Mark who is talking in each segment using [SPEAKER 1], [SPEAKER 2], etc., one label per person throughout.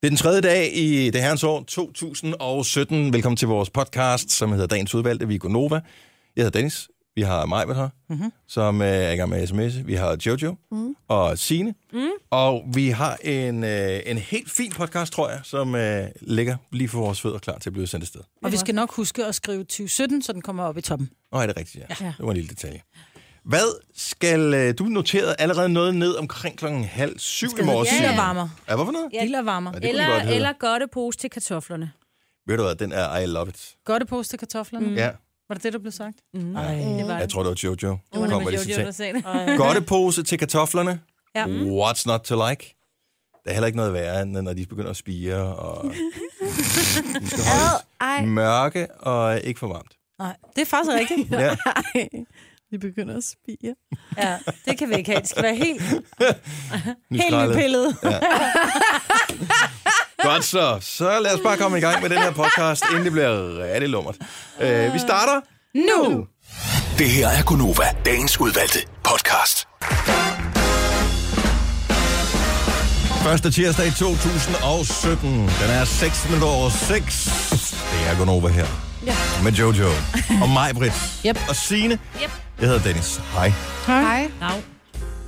[SPEAKER 1] Det er den tredje dag i det herrens år 2017. Velkommen til vores podcast, som hedder Dagens Udvalgte. Vi er Gonova. Jeg hedder Dennis. Vi har Majbert her, mm-hmm. som øh, er i gang med sms. Vi har Jojo mm. og Sine. Mm. Og vi har en, øh, en helt fin podcast, tror jeg, som øh, ligger lige for vores fødder klar til at blive sendt afsted.
[SPEAKER 2] Og vi skal nok huske at skrive 2017, så den kommer op i toppen.
[SPEAKER 1] Nå, er det rigtigt, ja.
[SPEAKER 2] Ja.
[SPEAKER 1] ja. Det var en lille detalje. Hvad skal... Øh, du noterede allerede noget ned omkring klokken halv syv i morges.
[SPEAKER 2] hedde
[SPEAKER 1] Signe.
[SPEAKER 2] dillervarmer.
[SPEAKER 1] Ja, hvorfor noget?
[SPEAKER 2] Ja. Lille varmer.
[SPEAKER 1] Ja, det kunne den godt
[SPEAKER 3] Eller,
[SPEAKER 1] hedde.
[SPEAKER 3] eller godte pose til kartoflerne.
[SPEAKER 1] Ved du hvad, den er I love it.
[SPEAKER 2] Godt at poste kartoflerne. Mm.
[SPEAKER 1] Mm. Ja.
[SPEAKER 2] Var det det, der blev sagt?
[SPEAKER 3] Det var
[SPEAKER 1] Jeg
[SPEAKER 3] det.
[SPEAKER 1] tror, det var Jojo.
[SPEAKER 3] Det var
[SPEAKER 1] Kom med
[SPEAKER 3] nemlig
[SPEAKER 1] det
[SPEAKER 3] Jojo, der
[SPEAKER 1] citat.
[SPEAKER 3] sagde det.
[SPEAKER 1] Godtepose til kartoflerne.
[SPEAKER 3] Ja.
[SPEAKER 1] What's not to like? Der er heller ikke noget værre, end når de begynder at spire, og de skal
[SPEAKER 4] Ej,
[SPEAKER 1] holde mørke og ikke for varmt.
[SPEAKER 2] Nej, det er faktisk rigtigt.
[SPEAKER 1] Ja.
[SPEAKER 4] ej. Vi begynder at spire.
[SPEAKER 2] ja, det kan vi ikke have. Det skal være helt, helt
[SPEAKER 1] nyskrællet.
[SPEAKER 2] nypillet.
[SPEAKER 1] Godt så. Så lad os bare komme i gang med den her podcast, inden det bliver rigtig lummert. Uh, vi starter
[SPEAKER 2] Nu!
[SPEAKER 5] Det her er Gunova, dagens udvalgte podcast.
[SPEAKER 1] Første tirsdag i 2017. Den er 6 minutter over 6. Det er Gunova her. Ja. Med Jojo. Og mig, Britt.
[SPEAKER 2] Yep.
[SPEAKER 1] Og Signe.
[SPEAKER 3] Yep.
[SPEAKER 1] Jeg hedder Dennis. Hej.
[SPEAKER 4] Hej.
[SPEAKER 3] Au.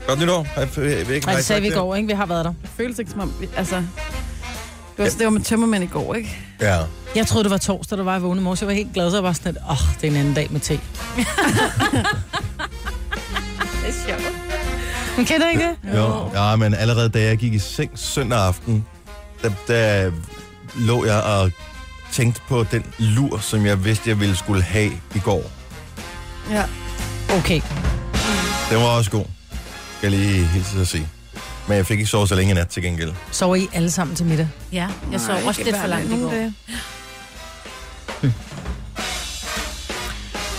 [SPEAKER 1] Godt nytår. Hej, f- øh, ikke-
[SPEAKER 2] Nej,
[SPEAKER 1] hej,
[SPEAKER 2] det sagde
[SPEAKER 1] tak
[SPEAKER 2] vi i
[SPEAKER 1] til-
[SPEAKER 2] går, ikke? Vi har været der.
[SPEAKER 4] Det føles ikke som om... Vi, altså, det var, det var med tømmermænd i går, ikke?
[SPEAKER 1] Ja.
[SPEAKER 2] Jeg troede, det var torsdag, der var jeg vågnede i morges. Jeg var helt glad, så jeg var sådan lidt, åh, oh, det er en anden dag med te.
[SPEAKER 3] Det er sjovt.
[SPEAKER 2] Men kender I ikke det?
[SPEAKER 1] Jo. Ja, men allerede da jeg gik i seng søndag aften, der, der lå jeg og tænkte på den lur, som jeg vidste, jeg ville skulle have i går.
[SPEAKER 4] Ja.
[SPEAKER 2] Okay.
[SPEAKER 1] Den var også god. Skal jeg lige hilse at sige. Men jeg fik ikke sovet så længe i nat til gengæld.
[SPEAKER 2] Sover I alle sammen til middag?
[SPEAKER 3] Ja, jeg sov også lidt for langt i går.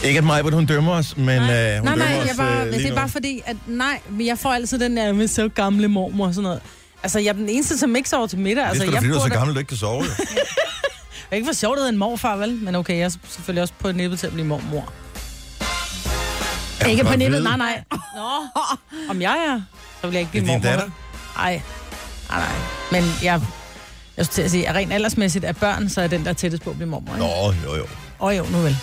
[SPEAKER 1] Ikke at mig, hun dømmer os, men nej. Øh, hun
[SPEAKER 2] Nej,
[SPEAKER 1] dømmer
[SPEAKER 2] nej,
[SPEAKER 1] os
[SPEAKER 2] jeg
[SPEAKER 1] øh,
[SPEAKER 2] bare, det
[SPEAKER 1] lige
[SPEAKER 2] er
[SPEAKER 1] nu.
[SPEAKER 2] bare fordi, at nej, men jeg får altid den der med så gamle mormor og sådan noget. Altså, jeg er den eneste, som ikke sover til middag.
[SPEAKER 1] Det er
[SPEAKER 2] Altså,
[SPEAKER 1] sgu da,
[SPEAKER 2] jeg
[SPEAKER 1] fordi du er så
[SPEAKER 2] burde-
[SPEAKER 1] gammel, du ikke kan sove. jo.
[SPEAKER 2] Det er ikke for sjovt, at en morfar, vel? Men okay, jeg er selvfølgelig også på nippet til at blive mormor.
[SPEAKER 1] Ja,
[SPEAKER 2] ikke på
[SPEAKER 1] godt
[SPEAKER 2] nippet,
[SPEAKER 1] Altså, vide.
[SPEAKER 2] nej, nej. Nå. Om jeg er, så vil jeg ikke
[SPEAKER 1] Det
[SPEAKER 2] blive
[SPEAKER 1] er
[SPEAKER 2] mormor.
[SPEAKER 1] din datter.
[SPEAKER 2] Nej, nej, nej. Men jeg, jeg skulle til at sige, at rent aldersmæssigt af børn, så er den der tættest på at blive mormor. Ikke?
[SPEAKER 1] Nå, jo, jo.
[SPEAKER 2] Åh oh, jo, nu vel.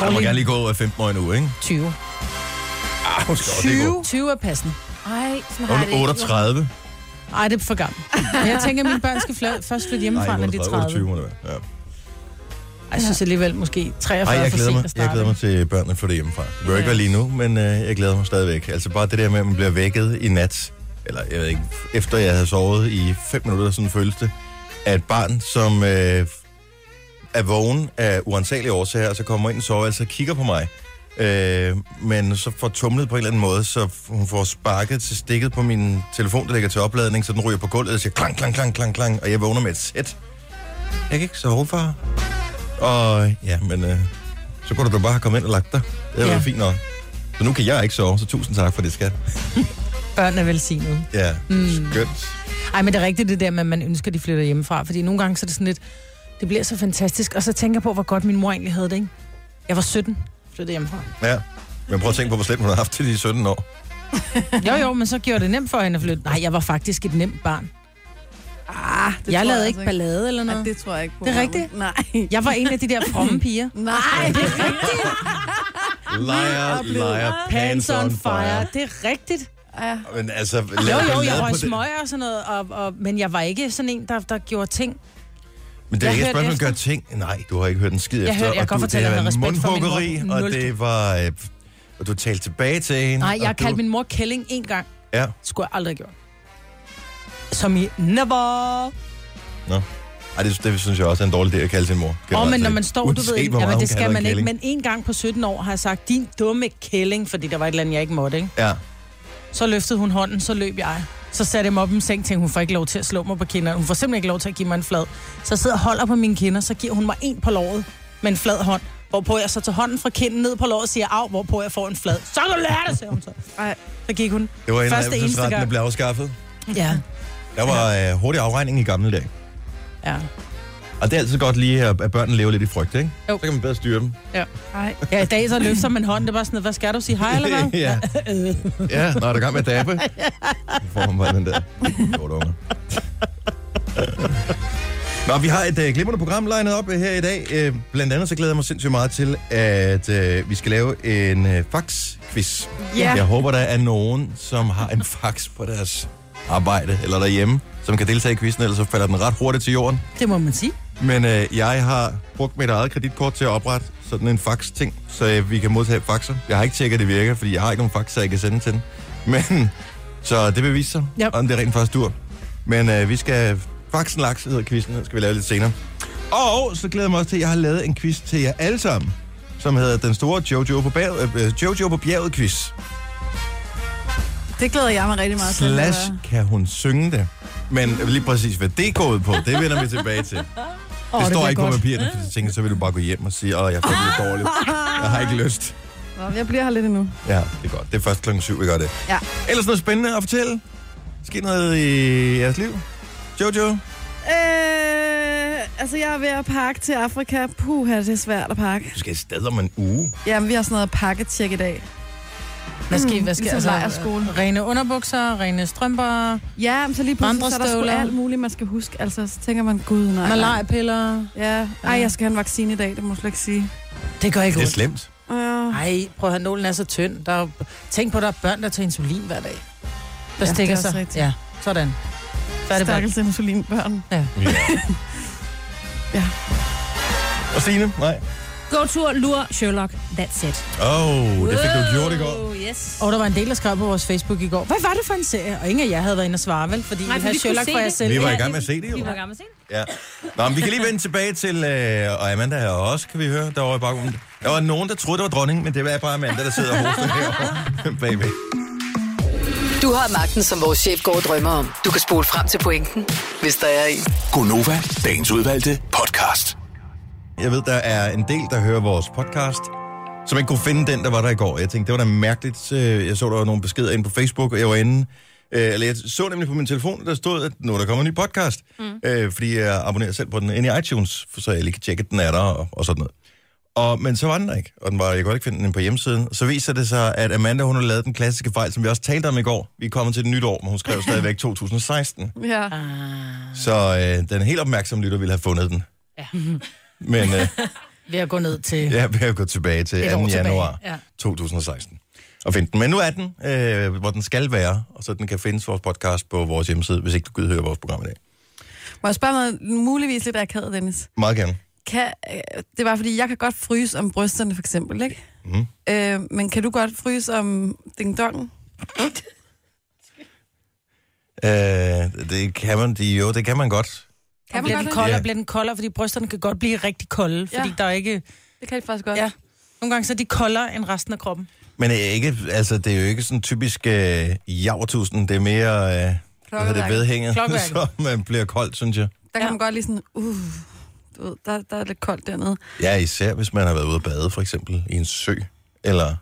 [SPEAKER 1] Jeg må
[SPEAKER 2] lige-
[SPEAKER 1] gerne lige gå øh, 15 år endnu, ikke?
[SPEAKER 2] 20.
[SPEAKER 1] Ah, hun skal også lige gå.
[SPEAKER 2] 20? 20 er passende.
[SPEAKER 3] Ej, sådan har
[SPEAKER 1] Hun
[SPEAKER 3] jeg
[SPEAKER 1] er
[SPEAKER 3] det ikke.
[SPEAKER 1] 38.
[SPEAKER 2] Ej, det er for gammelt. Men jeg tænker, at mine børn skal fly- først flytte hjemmefra, når de er
[SPEAKER 1] 28
[SPEAKER 2] 30.
[SPEAKER 1] må det være. Ja.
[SPEAKER 2] Ej, jeg synes alligevel måske 43
[SPEAKER 1] Ej, jeg
[SPEAKER 2] er for
[SPEAKER 1] glæder,
[SPEAKER 2] sent
[SPEAKER 1] mig,
[SPEAKER 2] at starte.
[SPEAKER 1] jeg glæder mig til børnene flytter hjemmefra. Det bør ikke være lige nu, men øh, jeg glæder mig stadigvæk. Altså bare det der med, at man bliver vækket i nat, eller jeg ved ikke, efter jeg havde sovet i 5 minutter, sådan føles det, af et barn, som øh, er vågen af uansagelige årsager, og så kommer ind i soveværelset og kigger på mig. Øh, men så får tumlet på en eller anden måde, så hun får sparket til stikket på min telefon, der ligger til opladning, så den ryger på gulvet og siger klang, klang, klang, klang, klang, og jeg vågner med et sæt. Jeg kan ikke sove, far. Og ja, men øh, så kunne du da bare have kommet ind og lagt dig. Det var
[SPEAKER 2] Ja.
[SPEAKER 1] ja. fint nok. Så nu kan jeg ikke sove, så tusind tak for det, skat.
[SPEAKER 2] Børn er velsignede.
[SPEAKER 1] Ja, mm. skønt.
[SPEAKER 2] Ej, men det er rigtigt det der med, at man ønsker, at de flytter hjemmefra. Fordi nogle gange så er det sådan lidt, det bliver så fantastisk. Og så tænker jeg på, hvor godt min mor egentlig havde det, ikke? Jeg var 17, flyttede hjemmefra.
[SPEAKER 1] Ja. Men prøv at tænke på, hvor slemt hun har haft til de 17 år.
[SPEAKER 2] Jo, jo, men så gjorde det nemt for hende at flytte. Nej, jeg var faktisk et nemt barn.
[SPEAKER 4] Ah, det
[SPEAKER 2] jeg
[SPEAKER 4] tror
[SPEAKER 2] lavede
[SPEAKER 4] altså
[SPEAKER 2] ikke ballade eller
[SPEAKER 4] Ej,
[SPEAKER 2] noget.
[SPEAKER 4] det tror jeg ikke på.
[SPEAKER 2] Det er rigtigt.
[SPEAKER 4] Nej.
[SPEAKER 2] Jeg var en af de der fromme piger.
[SPEAKER 4] Nej.
[SPEAKER 2] Ah,
[SPEAKER 1] Liar, liar,
[SPEAKER 2] Pants on fire. Det er rigtigt.
[SPEAKER 4] Ja.
[SPEAKER 1] Men altså,
[SPEAKER 2] Jo,
[SPEAKER 1] lad,
[SPEAKER 2] jo,
[SPEAKER 1] lad
[SPEAKER 2] jeg
[SPEAKER 1] på
[SPEAKER 2] røg
[SPEAKER 1] det.
[SPEAKER 2] smøger og sådan noget, og, og, men jeg var ikke sådan en, der, der gjorde ting.
[SPEAKER 1] Men det er
[SPEAKER 2] Jeg
[SPEAKER 1] ikke et
[SPEAKER 2] hørte
[SPEAKER 1] spørgsmål, at
[SPEAKER 2] efter.
[SPEAKER 1] gøre ting. Nej, du har ikke hørt en skid
[SPEAKER 2] Jeg
[SPEAKER 1] efter.
[SPEAKER 2] hørte- jeg
[SPEAKER 1] og
[SPEAKER 2] kan
[SPEAKER 1] du,
[SPEAKER 2] godt fortælle,
[SPEAKER 1] det
[SPEAKER 2] at jeg
[SPEAKER 1] var
[SPEAKER 2] havde respekt for min
[SPEAKER 1] mundhuggeri,
[SPEAKER 2] mor.
[SPEAKER 1] og
[SPEAKER 2] Nul.
[SPEAKER 1] det var... Øh, og du talte tilbage til hende.
[SPEAKER 2] Nej, jeg har
[SPEAKER 1] og du,
[SPEAKER 2] kaldt min mor Kælling en gang.
[SPEAKER 1] Ja,
[SPEAKER 2] Skulle jeg aldrig have gjort. Som i never.
[SPEAKER 1] Ej, det, det synes jeg også er en dårlig idé at kalde sin mor.
[SPEAKER 2] Åh,
[SPEAKER 1] Generelt
[SPEAKER 2] men når
[SPEAKER 1] set.
[SPEAKER 2] man står, du ved,
[SPEAKER 1] altså, Uanset, hvor meget
[SPEAKER 2] jamen,
[SPEAKER 1] hun
[SPEAKER 2] det
[SPEAKER 1] kalder
[SPEAKER 2] skal
[SPEAKER 1] en
[SPEAKER 2] man ikke.
[SPEAKER 1] kælling.
[SPEAKER 2] Men en gang på 17 år har jeg sagt, din dumme kælling, fordi der var et eller andet, jeg ikke måtte, ikke?
[SPEAKER 1] Ja.
[SPEAKER 2] Så løftede hun hånden, så løb jeg. Så satte jeg mig op i min seng, tænkte, hun får ikke lov til at slå mig på kinderne. Hun får simpelthen ikke lov til at give mig en flad. Så jeg sidder og holder på mine kinder, så giver hun mig en på låret med en flad hånd. Hvorpå jeg så tager hånden fra kinden ned på låret og siger, af, hvorpå jeg får en flad. Så kan du lære det, siger hun så.
[SPEAKER 4] Ej.
[SPEAKER 2] Så gik hun.
[SPEAKER 1] Det var en af
[SPEAKER 2] Første eneste
[SPEAKER 1] der
[SPEAKER 2] gang.
[SPEAKER 1] blev afskaffet.
[SPEAKER 2] Ja,
[SPEAKER 1] Der var øh, hurtig afregning i gamle dage.
[SPEAKER 2] ja.
[SPEAKER 1] Og det er altid godt lige, at at børnene lever lidt i frygt, ikke?
[SPEAKER 2] Jo.
[SPEAKER 1] Så kan man bedre styre dem.
[SPEAKER 4] Ej.
[SPEAKER 2] Ja, i dag så løfter man hånden, det er bare sådan, noget, hvad skal du sige, hej eller hvad?
[SPEAKER 1] ja. ja, når du er i gang med at dabe. Så får man bare den der. Godt unger. Nå, vi har et øh, glimrende program legnet op øh, her i dag. Øh, blandt andet så glæder jeg mig sindssygt meget til, at øh, vi skal lave en øh, fax-quiz.
[SPEAKER 4] Ja.
[SPEAKER 1] Jeg håber, der er nogen, som har en fax på deres arbejde eller derhjemme, som kan deltage i quizzen, ellers så falder den ret hurtigt til jorden.
[SPEAKER 2] Det må man sige.
[SPEAKER 1] Men øh, jeg har brugt mit eget kreditkort til at oprette sådan en fax-ting, så øh, vi kan modtage faxer. Jeg har ikke tjekket, at det virker, fordi jeg har ikke nogen faxer, jeg kan sende til den. Men, så det vil vise sig,
[SPEAKER 2] Yep.
[SPEAKER 1] yep. om det rent faktisk dur. Men øh, vi skal... Faxen laks hedder quizzen, den skal vi lave lidt senere. Og så glæder jeg mig også til, at jeg har lavet en quiz til jer alle sammen, som hedder Den Store Jojo på, bag, øh, øh, Jojo på bjerget quiz.
[SPEAKER 4] Det glæder jeg mig rigtig meget til.
[SPEAKER 1] Slash, kan hun synge det? Men lige præcis, hvad det går ud på, det vender vi tilbage til.
[SPEAKER 2] Åh,
[SPEAKER 1] Det står
[SPEAKER 2] bliver
[SPEAKER 1] ikke
[SPEAKER 2] godt.
[SPEAKER 1] på papirerne, for jeg tænker, så vil du bare gå hjem og sige, åh, jeg får det lidt dårligt. Jeg har ikke lyst.
[SPEAKER 4] Nå, jeg bliver her lidt endnu.
[SPEAKER 1] Ja, det er godt. Det er først klokken syv, vi gør det.
[SPEAKER 4] Ja.
[SPEAKER 1] Ellers noget spændende at fortælle? Sker noget i jeres liv? Jojo?
[SPEAKER 4] Øh, altså, jeg er ved at pakke til Afrika. Puh, det er svært at pakke.
[SPEAKER 1] Du skal et sted om en uge.
[SPEAKER 4] Jamen, vi har sådan noget pakketjek i dag.
[SPEAKER 2] Hvad skal I? Hvad skal, altså-
[SPEAKER 4] Ligesom lejrskole.
[SPEAKER 2] rene underbukser, rene strømper,
[SPEAKER 4] Ja, men så lige pludselig, så er der sgu
[SPEAKER 2] Vandrestøvler.
[SPEAKER 4] alt muligt, man skal huske. Altså, så tænker man, gud, nej. nej.
[SPEAKER 2] malarpiller.
[SPEAKER 4] Ja, ej, jeg skal have en vaccine i dag, det må jeg slet ikke sige.
[SPEAKER 2] Det gør ikke
[SPEAKER 1] Det er
[SPEAKER 2] ondt.
[SPEAKER 1] slemt.
[SPEAKER 4] Øh,
[SPEAKER 2] Nej, prøv at høre, nålen er så tynd. Der er, jo- tænk på, der er børn, der tager insulin hver dag. Der
[SPEAKER 4] Ja,
[SPEAKER 2] ja, stikker
[SPEAKER 4] det er også
[SPEAKER 2] sig.
[SPEAKER 4] rigtigt.
[SPEAKER 2] Ja, sådan. Færdig, Bert.
[SPEAKER 4] Stakkels insulinbørn.
[SPEAKER 1] Ja.
[SPEAKER 4] Ja.
[SPEAKER 1] Og Signe? Nej.
[SPEAKER 3] Go tur, lur, Sherlock. That's it.
[SPEAKER 1] Åh, oh, det fik du gjort i går.
[SPEAKER 3] Wow, Yes.
[SPEAKER 2] Og der var en del, der skrev på vores Facebook i går. Hvad var det for en serie? Og ingen af jer havde været inde og svare, vel? Fordi
[SPEAKER 3] Nej,
[SPEAKER 2] Nej,
[SPEAKER 3] for
[SPEAKER 2] vi havde
[SPEAKER 3] vi kunne
[SPEAKER 2] Sherlock
[SPEAKER 3] se
[SPEAKER 2] for jer
[SPEAKER 3] det.
[SPEAKER 2] selv.
[SPEAKER 1] Vi var i gang med at se det,
[SPEAKER 3] Vi
[SPEAKER 1] jo.
[SPEAKER 3] var gammel sen.
[SPEAKER 1] Ja. Nå, men vi kan lige vende tilbage til, øh, og Amanda her også, kan vi høre, derovre i baggrunden. Der var nogen, der troede, det var dronningen, men det var bare Amanda, der sidder og hoster herovre bagved.
[SPEAKER 6] Du har magten, som vores chef går og drømmer om. Du kan spole frem til pointen, hvis der er en.
[SPEAKER 5] Gonova, dagens udvalgte podcast.
[SPEAKER 1] Jeg ved, der er en del, der hører vores podcast, som ikke kunne finde den, der var der i går. Jeg tænkte, det var da mærkeligt. Øh, Jeg så, der var nogle beskeder inde på Facebook, og jeg var inde. øh, Eller jeg så nemlig på min telefon, der stod, at nu er der kommer en ny podcast. Mm. Øh, fordi jeg abonnerer selv på den inde i iTunes, for så jeg lige kan tjekke, at den er der og, og sådan noget. Og, men så var den der ikke, og den var, jeg kunne ikke finde den på hjemmesiden. Så viser det sig, at Amanda, hun har lavet den klassiske fejl, som vi også talte om i går. Vi er kommet til det nye år, men hun skrev stadigvæk 2016.
[SPEAKER 4] Ja.
[SPEAKER 2] Ah,
[SPEAKER 1] Så øh, den helt opmærksomme lytter ville have fundet den. Ja. Men... Øh,
[SPEAKER 2] Ved at gå ned til...
[SPEAKER 1] Ja, vi har gået tilbage til 2.
[SPEAKER 2] Et år tilbage,
[SPEAKER 1] januar
[SPEAKER 2] ja.
[SPEAKER 1] 2016 og finde den. Men nu er den, øh, hvor den skal være, og så den kan findes vores podcast på vores hjemmeside, hvis ikke du gider høre vores program i dag.
[SPEAKER 4] Må jeg spørge om noget muligvis lidt akavet, Dennis?
[SPEAKER 1] Meget gerne.
[SPEAKER 4] Kan, øh, det var fordi, jeg kan godt fryse om brysterne, for eksempel, ikke?
[SPEAKER 1] Mhm.
[SPEAKER 4] Øh, men kan du godt fryse om dingdongen?
[SPEAKER 1] Øh, det kan man, de, jo, det kan man godt.
[SPEAKER 4] Kan man
[SPEAKER 2] Bliver den
[SPEAKER 4] godt
[SPEAKER 2] koldere,
[SPEAKER 1] Ja.
[SPEAKER 2] bliver den koldere, fordi brysterne kan godt blive rigtig kolde, fordi
[SPEAKER 4] Ja.
[SPEAKER 2] der er ikke...
[SPEAKER 4] det? Det kan de faktisk godt.
[SPEAKER 2] Ja. Nogle gange så er de koldere end resten af kroppen.
[SPEAKER 1] Men øh, ikke, altså, det er jo ikke sådan typisk øh, javertusen, det er mere øh, hvad hedder det,
[SPEAKER 4] Klokkeværket.
[SPEAKER 1] vedhænget,
[SPEAKER 2] Klokkeværket.
[SPEAKER 1] så man bliver koldt, synes jeg.
[SPEAKER 4] Der kan
[SPEAKER 2] Ja.
[SPEAKER 4] man godt lige sådan, uh, du ved, der, der er lidt koldt dernede.
[SPEAKER 1] Ja, især hvis man har været ude at bade, for eksempel i en sø, eller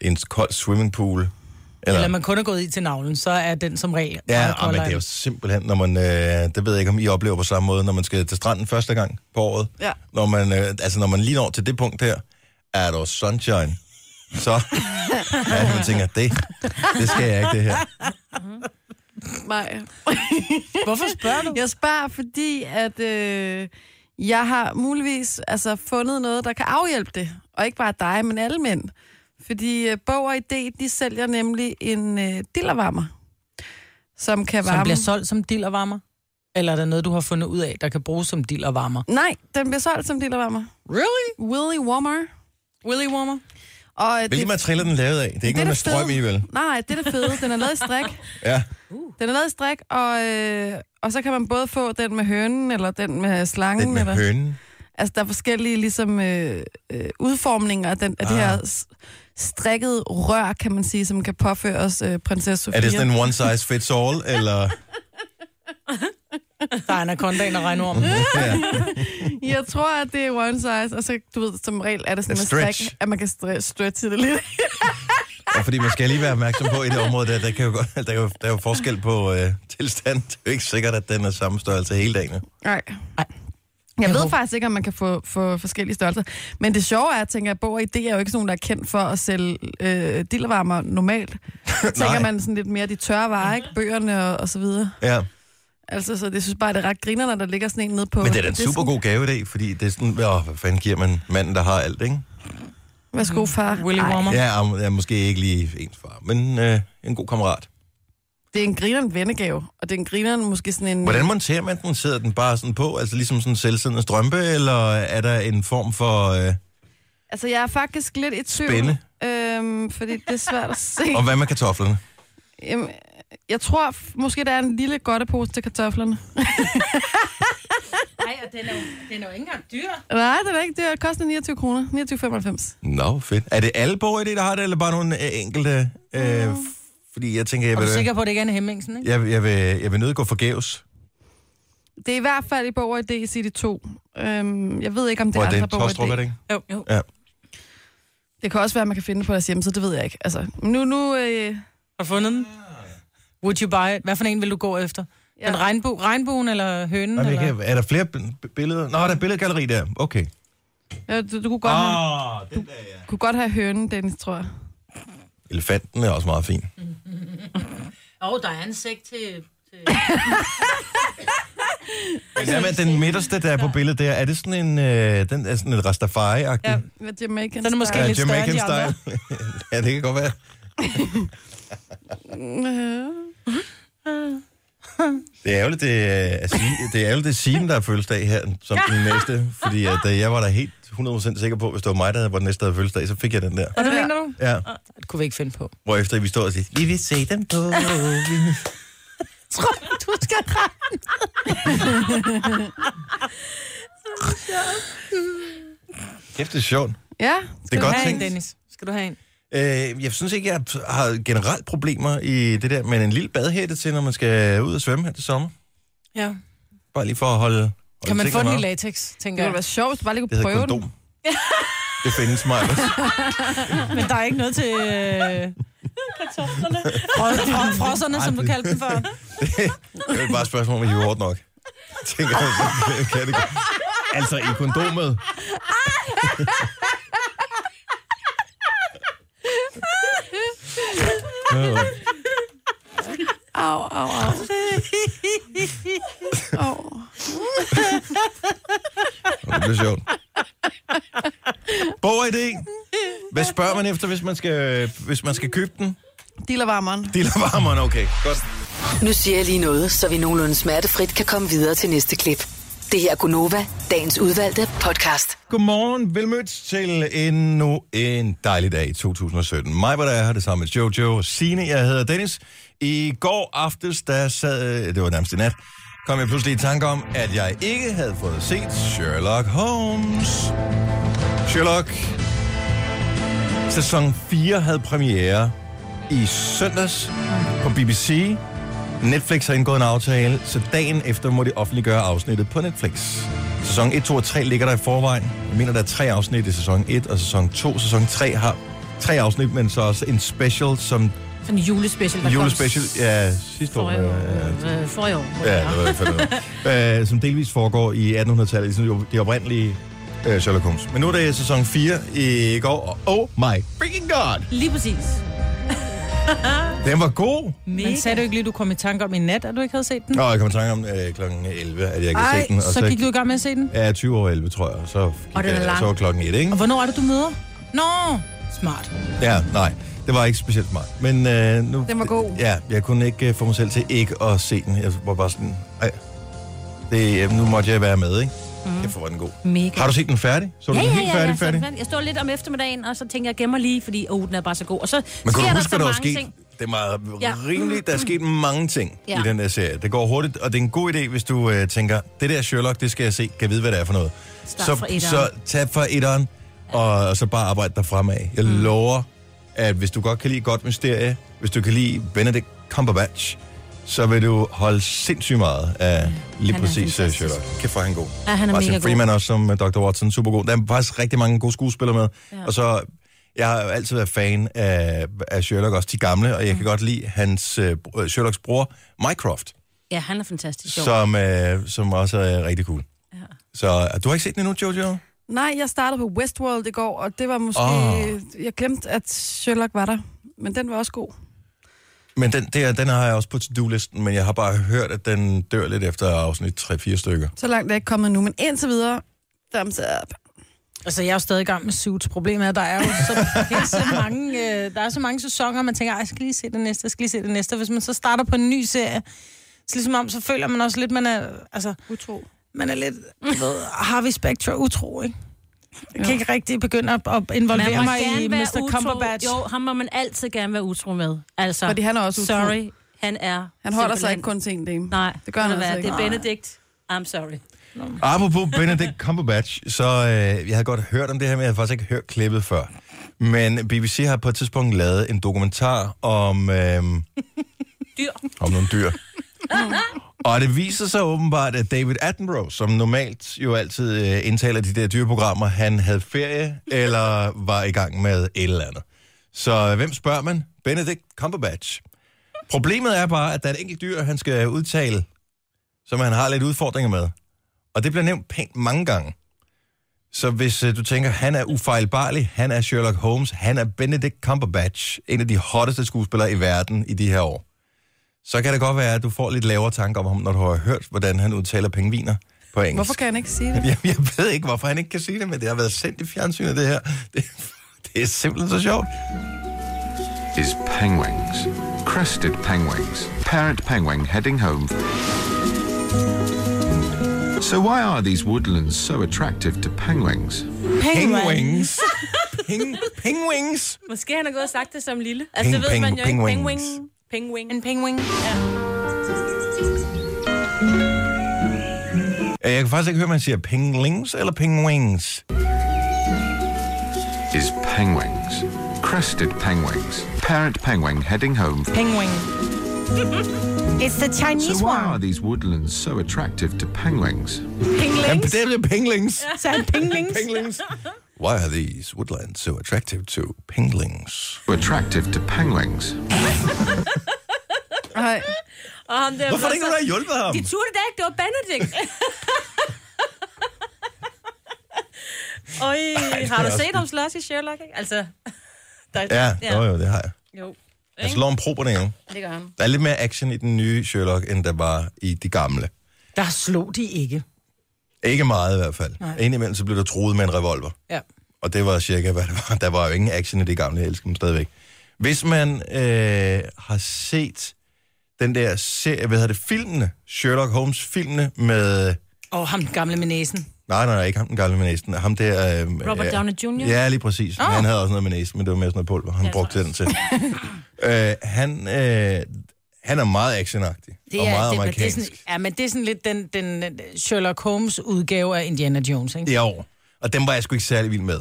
[SPEAKER 1] en kold swimmingpool.
[SPEAKER 2] Ja. Eller man kun er gået i til navlen, så er den som regel
[SPEAKER 1] Ja,
[SPEAKER 2] meget
[SPEAKER 1] og men det er jo simpelthen, når man, øh, det ved jeg ikke, om I oplever på samme måde, når man skal til stranden første gang på året.
[SPEAKER 4] Ja.
[SPEAKER 1] Når man, øh, altså, når man lige når til det punkt her, er der sunshine. Så ja, man tænker, det, det skal jeg ikke, det her.
[SPEAKER 4] Mm-hmm. Nej.
[SPEAKER 2] Hvorfor spørger du?
[SPEAKER 4] Jeg spørger, fordi at øh, jeg har muligvis altså, fundet noget, der kan afhjælpe det. Og ikke bare dig, men alle mænd. Fordi øh, Bog og ID, de sælger nemlig en øh, dillervarmer, som kan varme...
[SPEAKER 2] Som bliver solgt som dild og varmer? Eller er der noget, du har fundet ud af, der kan bruges som dild og varmer?
[SPEAKER 4] Nej, den bliver solgt som dillervarmer.
[SPEAKER 2] Really?
[SPEAKER 4] Willy Warmer.
[SPEAKER 2] Willy warmer?
[SPEAKER 4] Og, øh,
[SPEAKER 1] Hvilke
[SPEAKER 4] det,
[SPEAKER 1] materialer er den lavet af? Det er ikke
[SPEAKER 4] Det
[SPEAKER 1] noget
[SPEAKER 4] er
[SPEAKER 1] med
[SPEAKER 4] det
[SPEAKER 1] strøm i, vel?
[SPEAKER 4] nej, det er det fede. Den er lavet i strik.
[SPEAKER 1] Ja.
[SPEAKER 4] Den er lavet i strik, og, øh, og så kan man både få den med hønen, eller den med slangen.
[SPEAKER 1] Den med
[SPEAKER 4] eller...
[SPEAKER 1] hønen.
[SPEAKER 4] Altså, der er forskellige ligesom, øh, øh, udformninger af, den, af ah. det her s- strikkede rør, kan man sige, som kan påføres øh, prinsesse Sofia.
[SPEAKER 1] Er det sådan en one size fits all, eller?
[SPEAKER 2] Der er anacondaen og regnormen.
[SPEAKER 1] Ja.
[SPEAKER 4] Jeg tror, at det er one size, og så, du ved, som regel er det sådan
[SPEAKER 1] At
[SPEAKER 4] en
[SPEAKER 1] stretch.
[SPEAKER 4] strik, at man kan stre- stretche det lidt.
[SPEAKER 1] ja. fordi man skal lige være opmærksom på, i det område, der, der, kan jo, godt- der, er, jo, der er jo forskel på øh, tilstand. Det er jo ikke sikkert, at den er samme størrelse hele dagen. jo.
[SPEAKER 4] Nej.
[SPEAKER 2] Nej.
[SPEAKER 4] Jeg
[SPEAKER 2] Jeg
[SPEAKER 4] ved
[SPEAKER 2] håber-
[SPEAKER 4] faktisk ikke, om man kan få, få forskellige størrelser. Men det sjove er, at tænker, at Bog ID er jo ikke sådan nogen, der er kendt for at sælge øh, dillervarmer normalt. Så tænker
[SPEAKER 1] Nej.
[SPEAKER 4] man sådan lidt mere de tørre varer, ikke? Bøgerne og, og så videre.
[SPEAKER 1] Ja.
[SPEAKER 4] Altså, så det synes bare, det er ret griner, når der ligger sådan en nede på...
[SPEAKER 1] Men det er da en
[SPEAKER 4] disken.
[SPEAKER 1] super god gaveidé, fordi det er sådan, åh, hvad fanden giver man manden, der har alt, ikke?
[SPEAKER 4] Værsgo, far.
[SPEAKER 2] Willy
[SPEAKER 4] Ej,
[SPEAKER 2] Warmer.
[SPEAKER 1] Ja, og ja, måske ikke lige ens far, men øh, en god kammerat.
[SPEAKER 4] Det er en grineren vennegave, og det er en grineren måske sådan en...
[SPEAKER 1] Hvordan monterer man den? Sidder den bare sådan på, altså ligesom sådan en selvsiddende strømpe, eller er der en form for... Øh,
[SPEAKER 4] Altså, jeg er faktisk lidt i tvivl.
[SPEAKER 1] Spænde.
[SPEAKER 4] Øhm, fordi det er svært at se.
[SPEAKER 1] og hvad med kartoflerne?
[SPEAKER 4] Jamen, jeg tror f- måske, der er en lille godtepose til kartoflerne.
[SPEAKER 2] Nej, og den er, jo- den er jo ikke engang dyr.
[SPEAKER 4] Nej, det er ikke. Det koster 29 kroner. 29,95.
[SPEAKER 1] Nå, fedt. Er det alle borgere, der har det, eller bare nogle øh, enkelte? Øh, f- fordi jeg tænker, jeg
[SPEAKER 2] Mm. Er du
[SPEAKER 1] vil,
[SPEAKER 2] sikker på, at det ikke er en Hemmingsen, ikke?
[SPEAKER 1] jeg, jeg vil, jeg vil nødt gå forgæves.
[SPEAKER 2] Mm,
[SPEAKER 4] Det er i hvert fald i Borger ID City 2. Øhm, jeg ved ikke, om det
[SPEAKER 1] Hvor
[SPEAKER 4] er
[SPEAKER 1] er det?
[SPEAKER 4] andre
[SPEAKER 1] en Tostrup, er
[SPEAKER 4] Borger
[SPEAKER 1] det
[SPEAKER 4] ID.
[SPEAKER 1] ikke?
[SPEAKER 2] Jo. jo.
[SPEAKER 1] Ja.
[SPEAKER 4] Det kan også være, at man kan finde det på deres hjemmeside. Det ved jeg ikke. Altså, nu... nu øh,
[SPEAKER 2] Har du fundet den? Would you buy it? Hvad for en vil du gå efter? Ja.
[SPEAKER 4] Ja.
[SPEAKER 2] Den regnbu regnbuen eller hønen?
[SPEAKER 1] Nå, men
[SPEAKER 2] Jamen,
[SPEAKER 1] jeg
[SPEAKER 2] eller?
[SPEAKER 1] kan, er der flere b- billeder? Nå, der er billedgalleri der. Okay.
[SPEAKER 4] ja, du, du kunne, godt have,
[SPEAKER 1] Åh, oh, den der, ja.
[SPEAKER 4] kunne godt have hønen, Dennis, tror jeg.
[SPEAKER 1] Elefanten er også meget fin.
[SPEAKER 2] Åh, oh, der er en sæk til...
[SPEAKER 1] Men hvad med den midterste, der er på billedet der? Er det sådan en, øh, den er sådan en Rastafari-agtig?
[SPEAKER 4] Ja, med Jamaican
[SPEAKER 2] Den er måske
[SPEAKER 1] Ja,
[SPEAKER 2] lidt større end de andre.
[SPEAKER 1] ja, det kan godt være. Det er ærgerligt, det er, Signe- det er ærgerligt, det er Signe, der har fødselsdag her, som den næste. Fordi at, øh, jeg var da helt 100% sikker på, hvis det var mig, der var den næste, der havde fødselsdag, så fik jeg den der.
[SPEAKER 2] Og det mener du?
[SPEAKER 1] Ja,
[SPEAKER 2] Det kunne vi ikke finde på.
[SPEAKER 1] hvor efter vi står og siger, vi vil se dem på.
[SPEAKER 2] Tror du, du skal regne?
[SPEAKER 1] Kæft, det er sjovt.
[SPEAKER 4] Ja,
[SPEAKER 1] Det er
[SPEAKER 2] Skal
[SPEAKER 1] godt
[SPEAKER 2] du have en,
[SPEAKER 1] tænkt.
[SPEAKER 2] Dennis? Skal du have en?
[SPEAKER 1] Øh, jeg synes ikke, jeg har generelt problemer i det der, men en lille badhætte til, når man skal ud og svømme her til sommer.
[SPEAKER 2] Ja.
[SPEAKER 1] Bare lige for at holde... holde
[SPEAKER 2] Kan man få
[SPEAKER 1] tingene
[SPEAKER 2] den i
[SPEAKER 1] op.
[SPEAKER 2] latex,
[SPEAKER 4] det
[SPEAKER 2] tænker
[SPEAKER 4] ville være
[SPEAKER 2] jeg.
[SPEAKER 4] sjovt, hvis du bare lige
[SPEAKER 1] Det
[SPEAKER 4] kunne
[SPEAKER 1] hedder
[SPEAKER 4] prøve
[SPEAKER 1] kondom.
[SPEAKER 4] den.
[SPEAKER 1] Det findes mig også.
[SPEAKER 2] Men der er ikke noget til... Øh... Kartoflerne. Frosserne, som du kaldte dem for.
[SPEAKER 1] Det er bare et spørgsmål, om I er hårdt nok. Tænker jeg, så kan det godt. Altså, i kondomet. Øh,
[SPEAKER 4] Au, au, au. Au.
[SPEAKER 1] Det bliver sjovt. Borger idé. Hvad spørger man efter, hvis man skal, hvis man skal købe den?
[SPEAKER 4] Dillervarmeren.
[SPEAKER 1] Dillervarmeren, okay. Godt.
[SPEAKER 6] Nu siger jeg lige noget, så vi nogenlunde smertefrit kan komme videre til næste klip. Det her er Gunova, dagens udvalgte podcast.
[SPEAKER 1] Godmorgen, velmødt til endnu en dejlig dag i 2017. Mig var der er her, det samme med Jojo og Signe. Jeg hedder Dennis. I går aftes, der sad, det var nærmest i nat, kom jeg pludselig i tanke om, at jeg ikke havde fået set Sherlock Holmes. Sherlock Sæson 4 havde premiere i søndags på BBC. Netflix har indgået en aftale, så dagen efter må de offentliggøre afsnittet på Netflix. Sæson 1, 2 og 3 ligger der i forvejen. Jeg mener, der er tre afsnit i sæson 1 og sæson 2. Sæson 3 har tre afsnit, men så også en special som
[SPEAKER 3] Sådan en julespecial, der
[SPEAKER 1] julespecial.
[SPEAKER 3] kom
[SPEAKER 1] Ja, sidste år.
[SPEAKER 3] forrige år.
[SPEAKER 1] øh,
[SPEAKER 3] Øh, forrige år.
[SPEAKER 1] Ja, det var fedt. øh, som delvis foregår i 1800-tallet, ligesom jo- det oprindelige øh, Sherlock Holmes. Men nu er det sæson 4 i går, og oh my freaking god!
[SPEAKER 3] Lige præcis.
[SPEAKER 1] Den var god!
[SPEAKER 3] Mega.
[SPEAKER 2] Men sagde du ikke lige, du kom i tanke om i nat, at du ikke havde set den?
[SPEAKER 1] Nå, jeg kom i tanke om øh, kl. 11, at jeg kan
[SPEAKER 4] Ej,
[SPEAKER 1] se den. Og
[SPEAKER 2] Så gik du i gang med at se den?
[SPEAKER 1] Ja, 20 over 11, tror jeg. Så, gik
[SPEAKER 3] den er
[SPEAKER 1] jeg,
[SPEAKER 3] lang.
[SPEAKER 1] så var klokken 1, ikke?
[SPEAKER 2] Og hvornår er det, du møder? Nå, smart.
[SPEAKER 1] Ja, nej. Det var ikke specielt smart. Men øh, nu...
[SPEAKER 4] Den var god.
[SPEAKER 1] Ja, jeg kunne ikke øh, få mig selv til ikke at se den. Jeg var bare sådan... Ej, det, øh, nu måtte jeg være med, ikke? Mm. Kæft, hvor var den god.
[SPEAKER 3] Mhm. Mega.
[SPEAKER 1] Har du set den færdig? Så du
[SPEAKER 3] Ja,
[SPEAKER 1] den
[SPEAKER 3] ja,
[SPEAKER 1] helt
[SPEAKER 3] ja,
[SPEAKER 1] færdig,
[SPEAKER 3] ja, så er
[SPEAKER 1] færdig?
[SPEAKER 3] den færdig. Jeg står lidt om eftermiddagen, og så tænker jeg, jeg gemmer lige, fordi oh, den er bare så god. Og så
[SPEAKER 1] Men kan
[SPEAKER 3] sker
[SPEAKER 1] du
[SPEAKER 3] der
[SPEAKER 1] huske,
[SPEAKER 3] så
[SPEAKER 1] hvad der var
[SPEAKER 3] mange
[SPEAKER 1] sket?
[SPEAKER 3] ting.
[SPEAKER 1] Det er meget ja.
[SPEAKER 3] Ja.
[SPEAKER 1] rimeligt. Der er sket mange ting ja.
[SPEAKER 3] Ja.
[SPEAKER 1] i den der serie. Det går hurtigt, og det er en god idé, hvis du øh, tænker, det der Sherlock, det skal jeg se, kan vide, hvad det er for noget.
[SPEAKER 3] Start
[SPEAKER 1] så,
[SPEAKER 3] fra etteren.
[SPEAKER 1] så tag fra etteren, og, og så bare arbejde dig fremad. Jeg mm. lover, at hvis du godt kan lide Godt Mysterie, hvis du kan lide Benedict Cumberbatch, så vil du holde sindssygt meget af lige
[SPEAKER 3] Mm. Han er
[SPEAKER 1] præcis øh,
[SPEAKER 3] fantastisk.
[SPEAKER 1] Sherlock. Kæft, hvor er han god.
[SPEAKER 3] Ja, han er
[SPEAKER 1] Martin
[SPEAKER 3] mega god.
[SPEAKER 1] Freeman også som øh, Dr. Watson, super god. Der er faktisk rigtig mange gode skuespillere med. Ja. Og så, jeg har jo altid været fan af, af Sherlock, også de gamle, og jeg kan godt lide hans, øh, br- øh, Sherlocks bror, Mycroft,
[SPEAKER 3] Ja, han er fantastisk sjov.
[SPEAKER 1] som, øh, som også er rigtig cool. Ja. Så øh, du har ikke set den endnu, Jojo?
[SPEAKER 4] Nej, jeg startede på Westworld i går, og det var måske...
[SPEAKER 1] Åh.
[SPEAKER 4] Oh. Jeg glemte, at Sherlock var der. Men den var også god.
[SPEAKER 1] Men den, der, den har jeg også på to-do-listen, men jeg har bare hørt, at den dør lidt efter afsnit 3-4 stykker.
[SPEAKER 4] Så langt er jeg ikke kommet nu, men indtil videre, thumbs up.
[SPEAKER 2] Altså, jeg er jo stadig i gang med Suits. Problemet er, at der er jo så, helt så mange, øh, der er så mange sæsoner, og man tænker, "Ej, jeg skal lige se det næste, jeg skal lige se det næste. Hvis man så starter på en ny serie, så ligesom om, så føler man også lidt, man er, altså,
[SPEAKER 4] Utro.
[SPEAKER 2] man er lidt, du ved, Harvey Specter utro, ikke? Jeg kan ikke rigtig begynde at, at involvere mig i Mr. Cumberbatch.
[SPEAKER 3] Jo, ham må man altid gerne være utro med. Altså,
[SPEAKER 4] Fordi han er også utro.
[SPEAKER 3] sorry, han er
[SPEAKER 4] Han holder sig
[SPEAKER 3] simpelthen-
[SPEAKER 4] ikke kun til en dame.
[SPEAKER 3] Nej,
[SPEAKER 4] Det gør han
[SPEAKER 3] ved du
[SPEAKER 4] altså
[SPEAKER 3] hvad,
[SPEAKER 4] ikke.
[SPEAKER 3] Det er Benedikt. I'm sorry.
[SPEAKER 1] Apropos Benedict Cumberbatch, så øh, jeg havde godt hørt om det her, men jeg havde faktisk ikke hørt klippet før. Men BBC har på et tidspunkt lavet en dokumentar om, øh,
[SPEAKER 3] Dyr.
[SPEAKER 1] om nogle dyr. Og det viser sig åbenbart, at David Attenborough, som normalt jo altid øh, indtaler de der dyreprogrammer, han havde ferie eller var i gang med et eller andet. Så hvem spørger man? Benedict Cumberbatch. Problemet er bare, at der er et enkelt dyr, han skal udtale, som han har lidt udfordringer med. Og det bliver nævnt pænt mange gange. Så hvis øh, du tænker, han er ufejlbarlig, han er Sherlock Holmes, han er Benedict Cumberbatch, en af de hotteste skuespillere i verden i de her år, så kan det godt være, at du får lidt lavere tanker om ham, når du har hørt, hvordan han udtaler pengviner på engelsk.
[SPEAKER 4] Hvorfor kan han ikke sige det?
[SPEAKER 1] Jamen, jeg ved ikke, hvorfor han ikke kan sige det, men det har været sendt i fjernsynet, det her. Det, det er simpelthen så sjovt.
[SPEAKER 7] is penguins. Crested penguins. Parent penguin heading home. So why are these woodlands so attractive to penguins?
[SPEAKER 1] Penguins. Ping, penguins.
[SPEAKER 3] Måske han har gået og sagt det som lille.
[SPEAKER 1] Ping,
[SPEAKER 3] Altså, det ved
[SPEAKER 1] ping,
[SPEAKER 3] man jo ikke.
[SPEAKER 1] penguins.
[SPEAKER 3] Penguin. Penguin.
[SPEAKER 2] En penguin.
[SPEAKER 1] Øh, Jeg kan faktisk ikke høre, om man siger penglings eller penguins.
[SPEAKER 7] Is penguins. Crested penguins. Parent penguin heading home.
[SPEAKER 2] Penguin. It's the Chinese
[SPEAKER 7] So why are
[SPEAKER 2] one.
[SPEAKER 7] these woodlands so attractive to penguins?
[SPEAKER 1] Jamen,
[SPEAKER 2] Penglings.
[SPEAKER 1] det er det penglings.
[SPEAKER 2] Så er han penglings.
[SPEAKER 1] Penglings. Why are these woodlands so attractive to penglings?
[SPEAKER 7] Attractive to penguins.
[SPEAKER 4] Nej.
[SPEAKER 3] Og ham der
[SPEAKER 1] Hvorfor er det ikke, nogen, der har hjulpet ham?
[SPEAKER 3] De turde det da ikke, det var Benedikt. Øj,
[SPEAKER 1] jeg
[SPEAKER 3] har du
[SPEAKER 1] også
[SPEAKER 3] set ham slås i Sherlock? Ikke? Altså, der,
[SPEAKER 1] Ja, jo, jo, det har jeg.
[SPEAKER 3] jo.
[SPEAKER 1] Jeg slår om proberne jo.
[SPEAKER 3] Det gør han.
[SPEAKER 1] Der er lidt mere action i den nye Sherlock, end der var i de gamle.
[SPEAKER 2] Der slog de ikke.
[SPEAKER 1] Ikke meget i hvert fald. Indimellem så blev der troet med en revolver.
[SPEAKER 2] Ja.
[SPEAKER 1] Og det var cirka, hvad det var. Der var jo ingen action i det gamle, jeg elsker dem stadigvæk. Hvis man øh, har set den der serie, hvad hedder det, filmene, Sherlock Holmes-filmene med...
[SPEAKER 2] Og ham den gamle med næsen.
[SPEAKER 1] Nej, nej, nej, ikke ham den gamle med næsen. Ham der... Øh,
[SPEAKER 3] Robert
[SPEAKER 1] øh,
[SPEAKER 3] Downey Jr.?
[SPEAKER 1] Ja, lige præcis. Oh. Han havde også noget med næsen, men det var mere sådan noget pulver, han
[SPEAKER 3] Ja,
[SPEAKER 1] brugte den til. øh, han, øh, han er meget actionagtig.
[SPEAKER 2] Det
[SPEAKER 1] og meget
[SPEAKER 2] det, men det er
[SPEAKER 1] amerikansk.
[SPEAKER 2] sådan, ja, men det er sådan lidt den, den øh, Sherlock Holmes udgave af Indiana Jones, ikke?
[SPEAKER 1] i år. Og dem var jeg sgu ikke særlig vild med,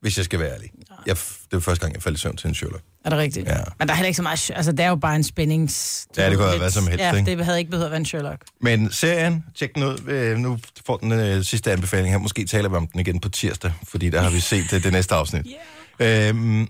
[SPEAKER 1] hvis jeg skal være ærlig. Jeg, f- det var første gang, jeg faldt i søvn til en Sherlock.
[SPEAKER 2] Er det rigtigt?
[SPEAKER 1] Ja.
[SPEAKER 2] Men der er heller ikke så meget... Altså, det er jo bare en spændings...
[SPEAKER 1] Ja, det kunne
[SPEAKER 2] ved,
[SPEAKER 1] have været som helst,
[SPEAKER 2] Ja,
[SPEAKER 1] ikke?
[SPEAKER 2] det havde ikke behøvet at være en Sherlock.
[SPEAKER 1] Men serien, tjek den ud. Øh, Nu får den øh, sidste anbefaling her. Måske taler vi om den igen på tirsdag, fordi der har vi set øh, det næste afsnit. Yeah. Øhm,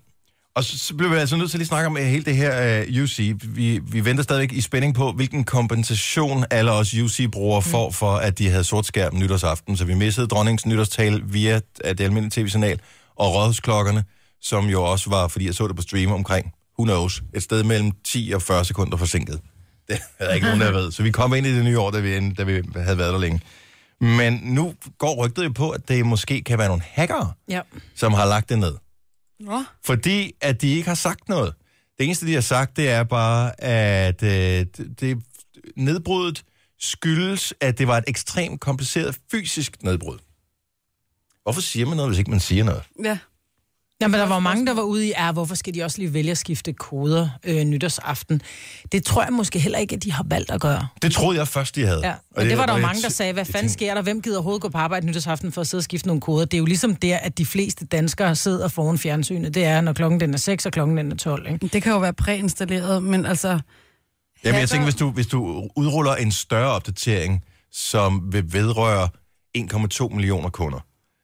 [SPEAKER 1] og så, så bliver vi altså nødt til at lige snakke om øh, hele det her øh, UC. Vi, vi venter stadigvæk i spænding på, hvilken kompensation alle os UC-brugere får for, at de havde sort skærm nytårsaften. Så vi missede dronningens nytårstale via øh, det almindelige tv-signal og rådhusklokkerne, som jo også var, fordi jeg så det på stream omkring, who knows, et sted mellem 10 og 40 sekunder forsinket. Det er der ikke nogen, der ved. Så vi kom ind i det nye år, da vi, end- da vi havde været der længe. Men nu går rygtet jo på, at det måske kan være nogle hackere,
[SPEAKER 2] Ja.
[SPEAKER 1] som har lagt det ned.
[SPEAKER 4] Nå.
[SPEAKER 1] Fordi at de ikke har sagt noget. Det eneste, de har sagt, det er bare, at øh, det, det nedbruddet skyldes, at det var et ekstremt kompliceret fysisk nedbrud. Hvorfor siger man noget, hvis ikke man siger noget?
[SPEAKER 4] Ja.
[SPEAKER 2] Ja, men der var mange, der var ude i, er, hvorfor skal de også lige vælge at skifte koder øh, nytårsaften? Det tror jeg måske heller ikke, at de har valgt at gøre.
[SPEAKER 1] Det troede jeg først, de havde.
[SPEAKER 2] Ja. Og det, det var der jo mange, der sagde, hvad fanden sker der? Hvem gider overhovedet gå på arbejde nytårsaften for at sidde og skifte nogle koder? Det er jo ligesom der, at de fleste danskere sidder foran fjernsynet. Det er, når klokken den er 6 og klokken den er 12, ikke?
[SPEAKER 4] Det kan jo være præinstalleret, men altså...
[SPEAKER 1] Jamen, jeg tænker, hvis du, hvis du udruller en større opdatering, som vil vedrøre 1,2 millioner kunder,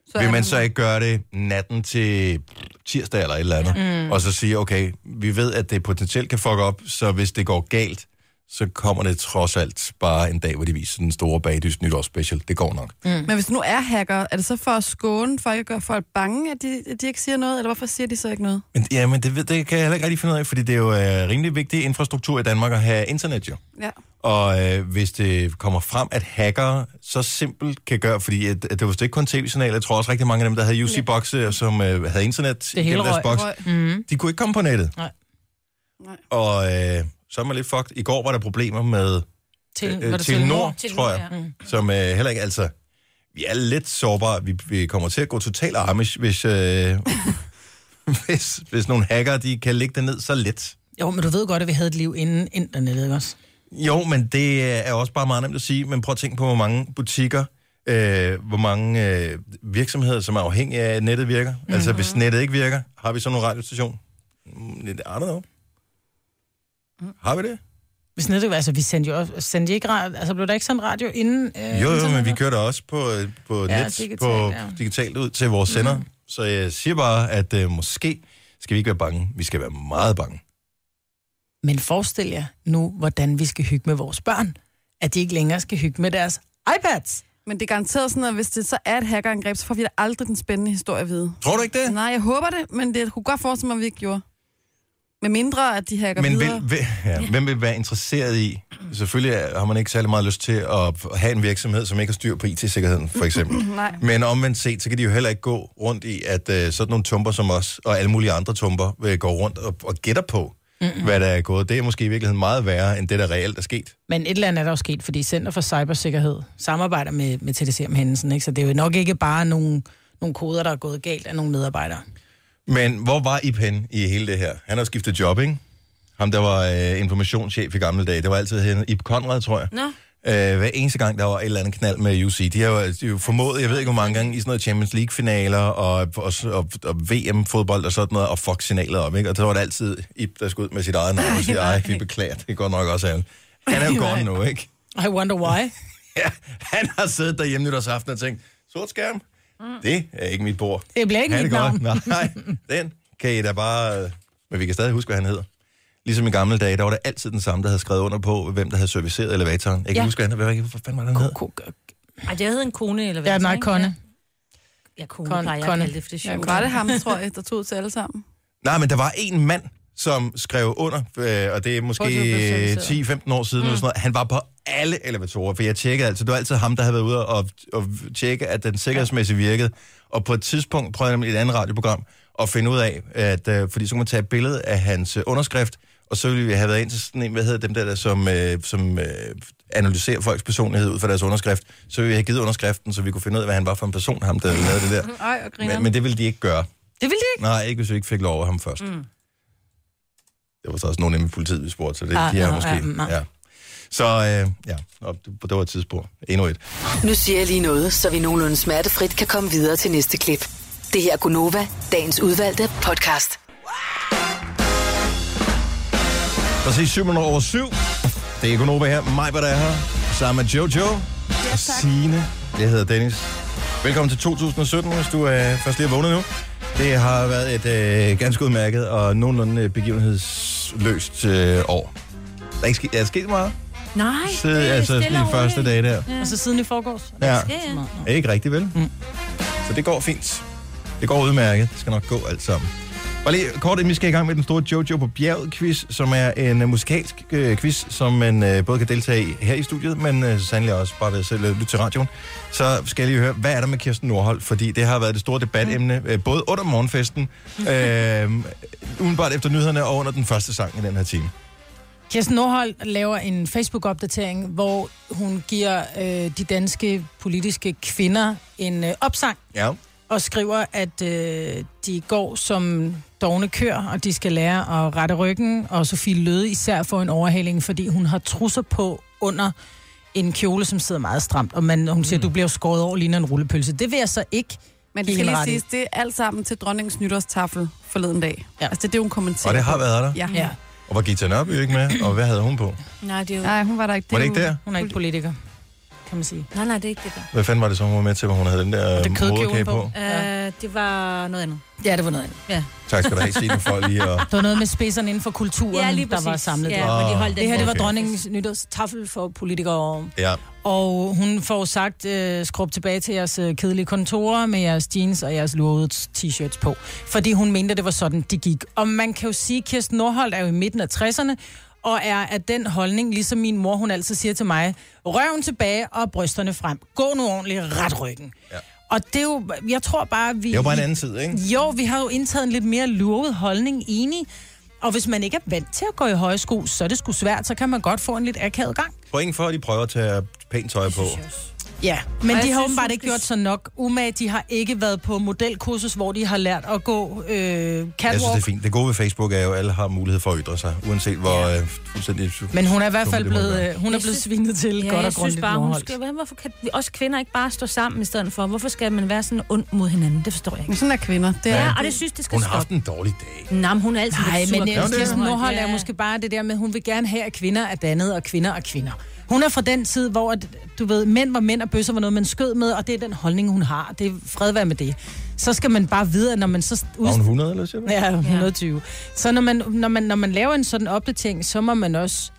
[SPEAKER 1] så vil man så ikke gøre det natten til tirsdag eller et eller andet, mm. og så sige, okay, vi ved, at det potentielt kan fuck op, så hvis det går galt, så kommer det trods alt bare en dag, hvor de viser den store bagdyst nytårsspecial. Det går nok. Mm.
[SPEAKER 4] Men hvis du nu er hacker, er det så for at skåne folk at gøre folk bange, at de, at de ikke siger noget? Eller hvorfor siger de så ikke noget?
[SPEAKER 1] Men, ja, men det, ved- det kan jeg heller ikke rigtig finde ud af, fordi det er jo øh, rimelig vigtig infrastruktur i Danmark at have internet jo.
[SPEAKER 4] Ja.
[SPEAKER 1] Og øh, hvis det kommer frem, at hackere så simpelt kan gøre, fordi at, at det var vist ikke kun tv-signaler, jeg tror også rigtig mange af dem, der havde UC-bokse, som øh, havde internet det
[SPEAKER 2] hele
[SPEAKER 1] deres
[SPEAKER 2] røg.
[SPEAKER 1] boks,
[SPEAKER 4] Røg.
[SPEAKER 3] Mm-hmm.
[SPEAKER 2] Mm.
[SPEAKER 1] de kunne ikke komme på nettet.
[SPEAKER 2] Nej.
[SPEAKER 4] Nej.
[SPEAKER 1] Og øh, så er man lidt fucked. I går var der problemer med
[SPEAKER 2] Til,
[SPEAKER 1] Øh,
[SPEAKER 2] var det til
[SPEAKER 1] Telenor,
[SPEAKER 2] Nord?
[SPEAKER 3] Til
[SPEAKER 1] tror
[SPEAKER 3] nu,
[SPEAKER 1] jeg.
[SPEAKER 3] ja.
[SPEAKER 1] som øh, heller ikke, altså, vi er lidt sårbare. Vi, vi kommer til at gå totalt amish, hvis, øh, hvis, hvis nogle hacker, de kan lægge det ned så let.
[SPEAKER 2] Jo, men du ved godt, at vi havde et liv inden internettet, ikke også?
[SPEAKER 1] Jo, men det øh, er også bare meget nemt at sige, men prøv at tænke på, hvor mange butikker, øh, hvor mange øh, virksomheder, som er afhængige af, at nettet virker.
[SPEAKER 2] Mhm.
[SPEAKER 1] Mm-hmm. Altså, hvis nettet ikke virker, har vi så nogle radiostation? Mm, I don't know.
[SPEAKER 2] Mm.
[SPEAKER 1] Har vi det?
[SPEAKER 2] Hvis nettet, altså, vi sendte jo også- sendte I ikke radio, altså blev der ikke sendt radio inden? Øh,
[SPEAKER 1] Jo, jo, men vi
[SPEAKER 2] internettet?
[SPEAKER 1] kører da også på, øh, på
[SPEAKER 2] Ja,
[SPEAKER 1] ja, net, digitalt,
[SPEAKER 2] digitalt,
[SPEAKER 1] på, ja.
[SPEAKER 2] ja.
[SPEAKER 1] digitalt ud til vores sender. Mm. Så jeg siger bare, at øh, måske skal vi ikke være bange. Vi skal være meget bange.
[SPEAKER 2] Men forestil jer nu, hvordan vi skal hygge med vores børn. At de ikke længere skal hygge med deres iPads.
[SPEAKER 4] Men det er garanteret sådan, at hvis det så er et hackerangreb, så får vi da aldrig den spændende historie at vide.
[SPEAKER 1] Tror du ikke det?
[SPEAKER 4] Nej, jeg håber det, men det jeg kunne godt forestille mig, at vi ikke gjorde. Med mindre, at de hacker
[SPEAKER 1] Men
[SPEAKER 4] videre.
[SPEAKER 1] vil, vil, ja, hvem vil være interesseret i? Selvfølgelig er- har man ikke særlig meget lyst til at have en virksomhed, som ikke har styr på IT-sikkerheden, for eksempel.
[SPEAKER 4] Nej.
[SPEAKER 1] Men omvendt set, så kan de jo heller ikke gå rundt i, at øh, sådan nogle tumper som os, og alle mulige andre tumper, øh, går rundt og, og gætter på, mm-hmm. hvad der er gået. Det er måske i virkeligheden meget værre, end det, der reelt er sket.
[SPEAKER 2] Men et eller andet er der jo sket, fordi Center for Cybersikkerhed samarbejder med, med TDC om hændelsen, ikke? så det er jo nok ikke bare nogle, nogle koder, der er gået galt af nogle medarbejdere.
[SPEAKER 1] Men hvor var Ip hen i hele det her? Han har skiftet job, ikke? Ham, der var øh, informationschef i gamle dage. Det var altid henne. Ip Konrad, tror jeg.
[SPEAKER 3] Nå,
[SPEAKER 1] Øh, hver eneste gang, der var et eller andet knald med UC. De har jo, de har jo formået, jeg ved ikke hvor mange gange, i sådan noget Champions League-finaler og, og, og, og VM-fodbold og sådan noget, og fuck signalet op, ikke? Og så var det altid Ip, der skulle ud med sit eget navn og sige, ej, vi beklager, det går nok også alle. Han er jo gone nu, ikke?
[SPEAKER 2] I wonder why.
[SPEAKER 1] Ja, han har siddet derhjemme nytårsaften og tænkt, sort skærm, det er ikke mit bord.
[SPEAKER 2] Mm. Det bliver ikke
[SPEAKER 1] Ha'
[SPEAKER 2] mit
[SPEAKER 1] det godt. Nej, den kan I da bare... øh, Men vi kan stadig huske, hvad han hedder. Ligesom i gamle dage, der var det altid den samme, der havde skrevet under på, hvem der havde serviceret elevatoren. Jeg kan ja.
[SPEAKER 3] Ja.
[SPEAKER 1] huske, hvad han hvad, hvad, hvad fanden var det, han hed?
[SPEAKER 3] Ej, det hedder en kone eller hvad?
[SPEAKER 2] Ja, nej,
[SPEAKER 3] ikke?
[SPEAKER 2] Conne.
[SPEAKER 3] Ja, kone
[SPEAKER 2] Conne,
[SPEAKER 3] plejer jeg at
[SPEAKER 2] Conne.
[SPEAKER 3] kalde det, for det er
[SPEAKER 4] Ja,
[SPEAKER 3] sjovt.
[SPEAKER 4] var det ham, tror jeg, der tog til alle sammen?
[SPEAKER 1] Nej, men der var en mand, som skrev under, øh, og det er måske
[SPEAKER 2] Hvor du blev
[SPEAKER 1] øh,
[SPEAKER 2] serviceret.
[SPEAKER 1] 10-15 år siden, mm. eller sådan noget. han var på alle elevatorer, for jeg tjekkede altid. Det var altid ham, der havde været ude og, og tjekke, at den sikkerhedsmæssigt virkede. Og på et tidspunkt prøvede jeg nemlig i et andet radioprogram at finde ud af, at, øh, fordi så kunne man tage et billede af hans øh, underskrift, og så ville vi have været ind til sådan en, hvad hedder dem der, der som, øh, som øh, analyserer folks personlighed ud fra deres underskrift. Så ville vi have givet underskriften, så vi kunne finde ud af, hvad han var for en person, ham der lavede det der.
[SPEAKER 4] Ej, og griner.
[SPEAKER 1] Men, men det ville de ikke gøre.
[SPEAKER 2] Det ville de ikke.
[SPEAKER 1] Nej, ikke hvis vi ikke fik lov af ham først. Mm. Det var så også nogen inde i politiet, vi spurgte, så det
[SPEAKER 2] Ah,
[SPEAKER 1] ah, de er
[SPEAKER 2] ah,
[SPEAKER 1] måske...
[SPEAKER 2] ah,
[SPEAKER 1] Ah,
[SPEAKER 2] nej.
[SPEAKER 1] ja. Så øh, ja, Nå, det- det var et tidsspur. Endnu et.
[SPEAKER 6] Nu siger jeg lige noget, så vi nogenlunde smertefrit kan komme videre til næste klip. Det her er Gunova, dagens udvalgte podcast.
[SPEAKER 1] Præcis 7 minutter over 7. Det er Gunova her. Mig, hvad der er her. Sammen med Jojo. Ja, Signe. Jeg hedder Dennis. Velkommen til 2017, hvis du er først lige er vågnet nu. Det har været et øh, ganske udmærket og nogenlunde øh, begivenhedsløst øh, år. Der er, ikke ske, er sket meget.
[SPEAKER 3] Nej,
[SPEAKER 1] Så,
[SPEAKER 3] det er
[SPEAKER 1] altså,
[SPEAKER 3] stille
[SPEAKER 1] de
[SPEAKER 3] og
[SPEAKER 1] første
[SPEAKER 3] roligt.
[SPEAKER 1] dage der.
[SPEAKER 2] Og så siden i forgårs.
[SPEAKER 1] Ja.
[SPEAKER 3] Ja, ja.
[SPEAKER 1] Ja, Ikke rigtigt, vel? Mm. Så det går fint. Det går udmærket. Det skal nok gå alt sammen. Bare lige kort, inden vi skal i gang med den store Jojo på bjerget quiz, som er en uh, musikalsk uh, quiz, som man uh, både kan deltage i her i studiet, men uh, sandelig også bare ved at selv øh, lytte til radioen. Så skal jeg lige høre, hvad er der med Kirsten Nordholt? Fordi det har været det store debatemne, uh, både under morgenfesten, uh, umiddelbart efter nyhederne og under den første sang i den her time.
[SPEAKER 2] Kirsten Nordholt laver en Facebook-opdatering, hvor hun giver øh, de danske politiske kvinder en øh, opsang,
[SPEAKER 1] Ja.
[SPEAKER 2] og skriver, at øh, de går som dogne køer, og de skal lære at rette ryggen, og Sofie Løde især får en overhaling, fordi hun har trusser på under en kjole, som sidder meget stramt, og man, hun siger,
[SPEAKER 4] Mm.
[SPEAKER 2] du bliver jo skåret over ligner en rullepølse. Det vil jeg så ikke.
[SPEAKER 4] Men
[SPEAKER 2] give
[SPEAKER 4] det skal
[SPEAKER 2] hende
[SPEAKER 4] lige
[SPEAKER 2] ret i.
[SPEAKER 4] siges, det er alt sammen til dronningens nytårstafel forleden dag.
[SPEAKER 2] Ja.
[SPEAKER 4] Ja. Altså, det er det, hun kommenterer.
[SPEAKER 1] Og det har
[SPEAKER 4] på.
[SPEAKER 1] været der.
[SPEAKER 4] Ja.
[SPEAKER 2] Ja,
[SPEAKER 4] ja.
[SPEAKER 1] Og var Gita Nørby ikke med? Og hvad havde hun på?
[SPEAKER 3] Nej, det er jo...
[SPEAKER 4] Nej, hun var der ikke.
[SPEAKER 1] Var det ikke
[SPEAKER 4] hun-
[SPEAKER 1] der?
[SPEAKER 2] hun er ikke politiker. kan man sige.
[SPEAKER 3] Nej, nej, det er ikke det der.
[SPEAKER 1] Hvad fanden var det så, hun var med til, hvor hun havde den der
[SPEAKER 2] det kødkjolen
[SPEAKER 1] moderkage på?
[SPEAKER 2] på.
[SPEAKER 1] på?
[SPEAKER 3] Ja. Øh, det var noget andet.
[SPEAKER 2] Ja, det var noget andet.
[SPEAKER 3] Ja,
[SPEAKER 1] Tak skal du have, Signe, for lige at...
[SPEAKER 2] Det var noget med spidserne inden for kulturen,
[SPEAKER 3] ja lige
[SPEAKER 2] der
[SPEAKER 3] præcis.
[SPEAKER 2] var samlet.
[SPEAKER 3] ja,
[SPEAKER 2] Ja.
[SPEAKER 3] hvor de
[SPEAKER 1] Ah.
[SPEAKER 3] holdt den
[SPEAKER 2] Det her, det var
[SPEAKER 3] der.
[SPEAKER 1] Okay.
[SPEAKER 2] dronningens nytårstafel for politikere.
[SPEAKER 1] Ja,
[SPEAKER 2] Og hun får sagt, øh, skrub tilbage til jeres øh, kedelige kontorer med jeres jeans og jeres lurvede t-shirts på. Fordi hun mente, det var sådan, det gik. Og man kan jo sige, at Kirsten Nordholt er jo i midten af 60'erne, og er af den holdning, ligesom min mor, hun altid siger til mig, røven tilbage og brysterne frem. Gå nu ordentligt ret ryggen.
[SPEAKER 1] Ja.
[SPEAKER 2] Og det er jo, jeg tror bare, vi...
[SPEAKER 1] det var bare en anden tid, ikke?
[SPEAKER 2] Jo, vi har jo indtaget en lidt mere lurvet holdning, enig. Og hvis man ikke er vant til at gå i høje sko, så er det sgu svært, så kan man godt få en lidt akavet gang.
[SPEAKER 1] Point for, at de prøver at tage pænt tøj på.
[SPEAKER 2] Ja, men
[SPEAKER 3] Og
[SPEAKER 2] de
[SPEAKER 3] jeg
[SPEAKER 2] har
[SPEAKER 3] synes,
[SPEAKER 2] åbenbart
[SPEAKER 3] hun
[SPEAKER 2] ikke
[SPEAKER 3] skal-
[SPEAKER 2] gjort så nok. Umage, de har ikke været på modelkursus, hvor de har lært at gå øh,
[SPEAKER 1] Jeg synes, det
[SPEAKER 2] catwalk.
[SPEAKER 1] er fint. Det gode ved Facebook er jo, at alle har mulighed for at ytre sig, uanset hvor øh, fuldstændig...
[SPEAKER 2] Men hun er i hvert
[SPEAKER 1] dumme
[SPEAKER 2] fald
[SPEAKER 1] det må
[SPEAKER 2] blevet,
[SPEAKER 1] være.
[SPEAKER 2] øh, hun er
[SPEAKER 3] Jeg
[SPEAKER 2] blevet
[SPEAKER 3] synes-
[SPEAKER 2] svinet til
[SPEAKER 3] Ja,
[SPEAKER 2] godt og
[SPEAKER 3] jeg synes
[SPEAKER 2] grundigt
[SPEAKER 3] bare, hun
[SPEAKER 2] Nordholt.
[SPEAKER 3] skal, Hvordan- hvorfor kan vi, os kvinder ikke bare stå sammen i stedet for? Hvorfor skal man være sådan ond mod hinanden? Det forstår jeg
[SPEAKER 4] Men
[SPEAKER 3] ikke.
[SPEAKER 4] sådan er kvinder. Det er,
[SPEAKER 3] Ja,
[SPEAKER 4] ja.
[SPEAKER 3] og det synes, det skal
[SPEAKER 1] Hun har haft
[SPEAKER 3] stoppe.
[SPEAKER 1] en dårlig dag.
[SPEAKER 3] Nej, men hun er altid
[SPEAKER 2] Nej,
[SPEAKER 3] lidt sur.
[SPEAKER 2] men
[SPEAKER 1] Nå,
[SPEAKER 2] jeg
[SPEAKER 1] det er
[SPEAKER 2] Kirsten
[SPEAKER 1] det.
[SPEAKER 2] Nordholt er
[SPEAKER 3] Ja.
[SPEAKER 2] måske bare det der med, at hun vil gerne have, at kvinder er dannet, og kvinder er kvinder. Hun er fra den tid, hvor at, du ved, mænd var mænd, og bøsser var noget, man skød med, og det er den holdning, hun har. Det er fred være med det. Så skal man bare vide, at når man så
[SPEAKER 1] Var
[SPEAKER 2] ud,
[SPEAKER 1] hun 100, eller siger du?
[SPEAKER 2] Ja, 120. Ja. Så når man, når, man, når man laver en sådan opdatering, så må man også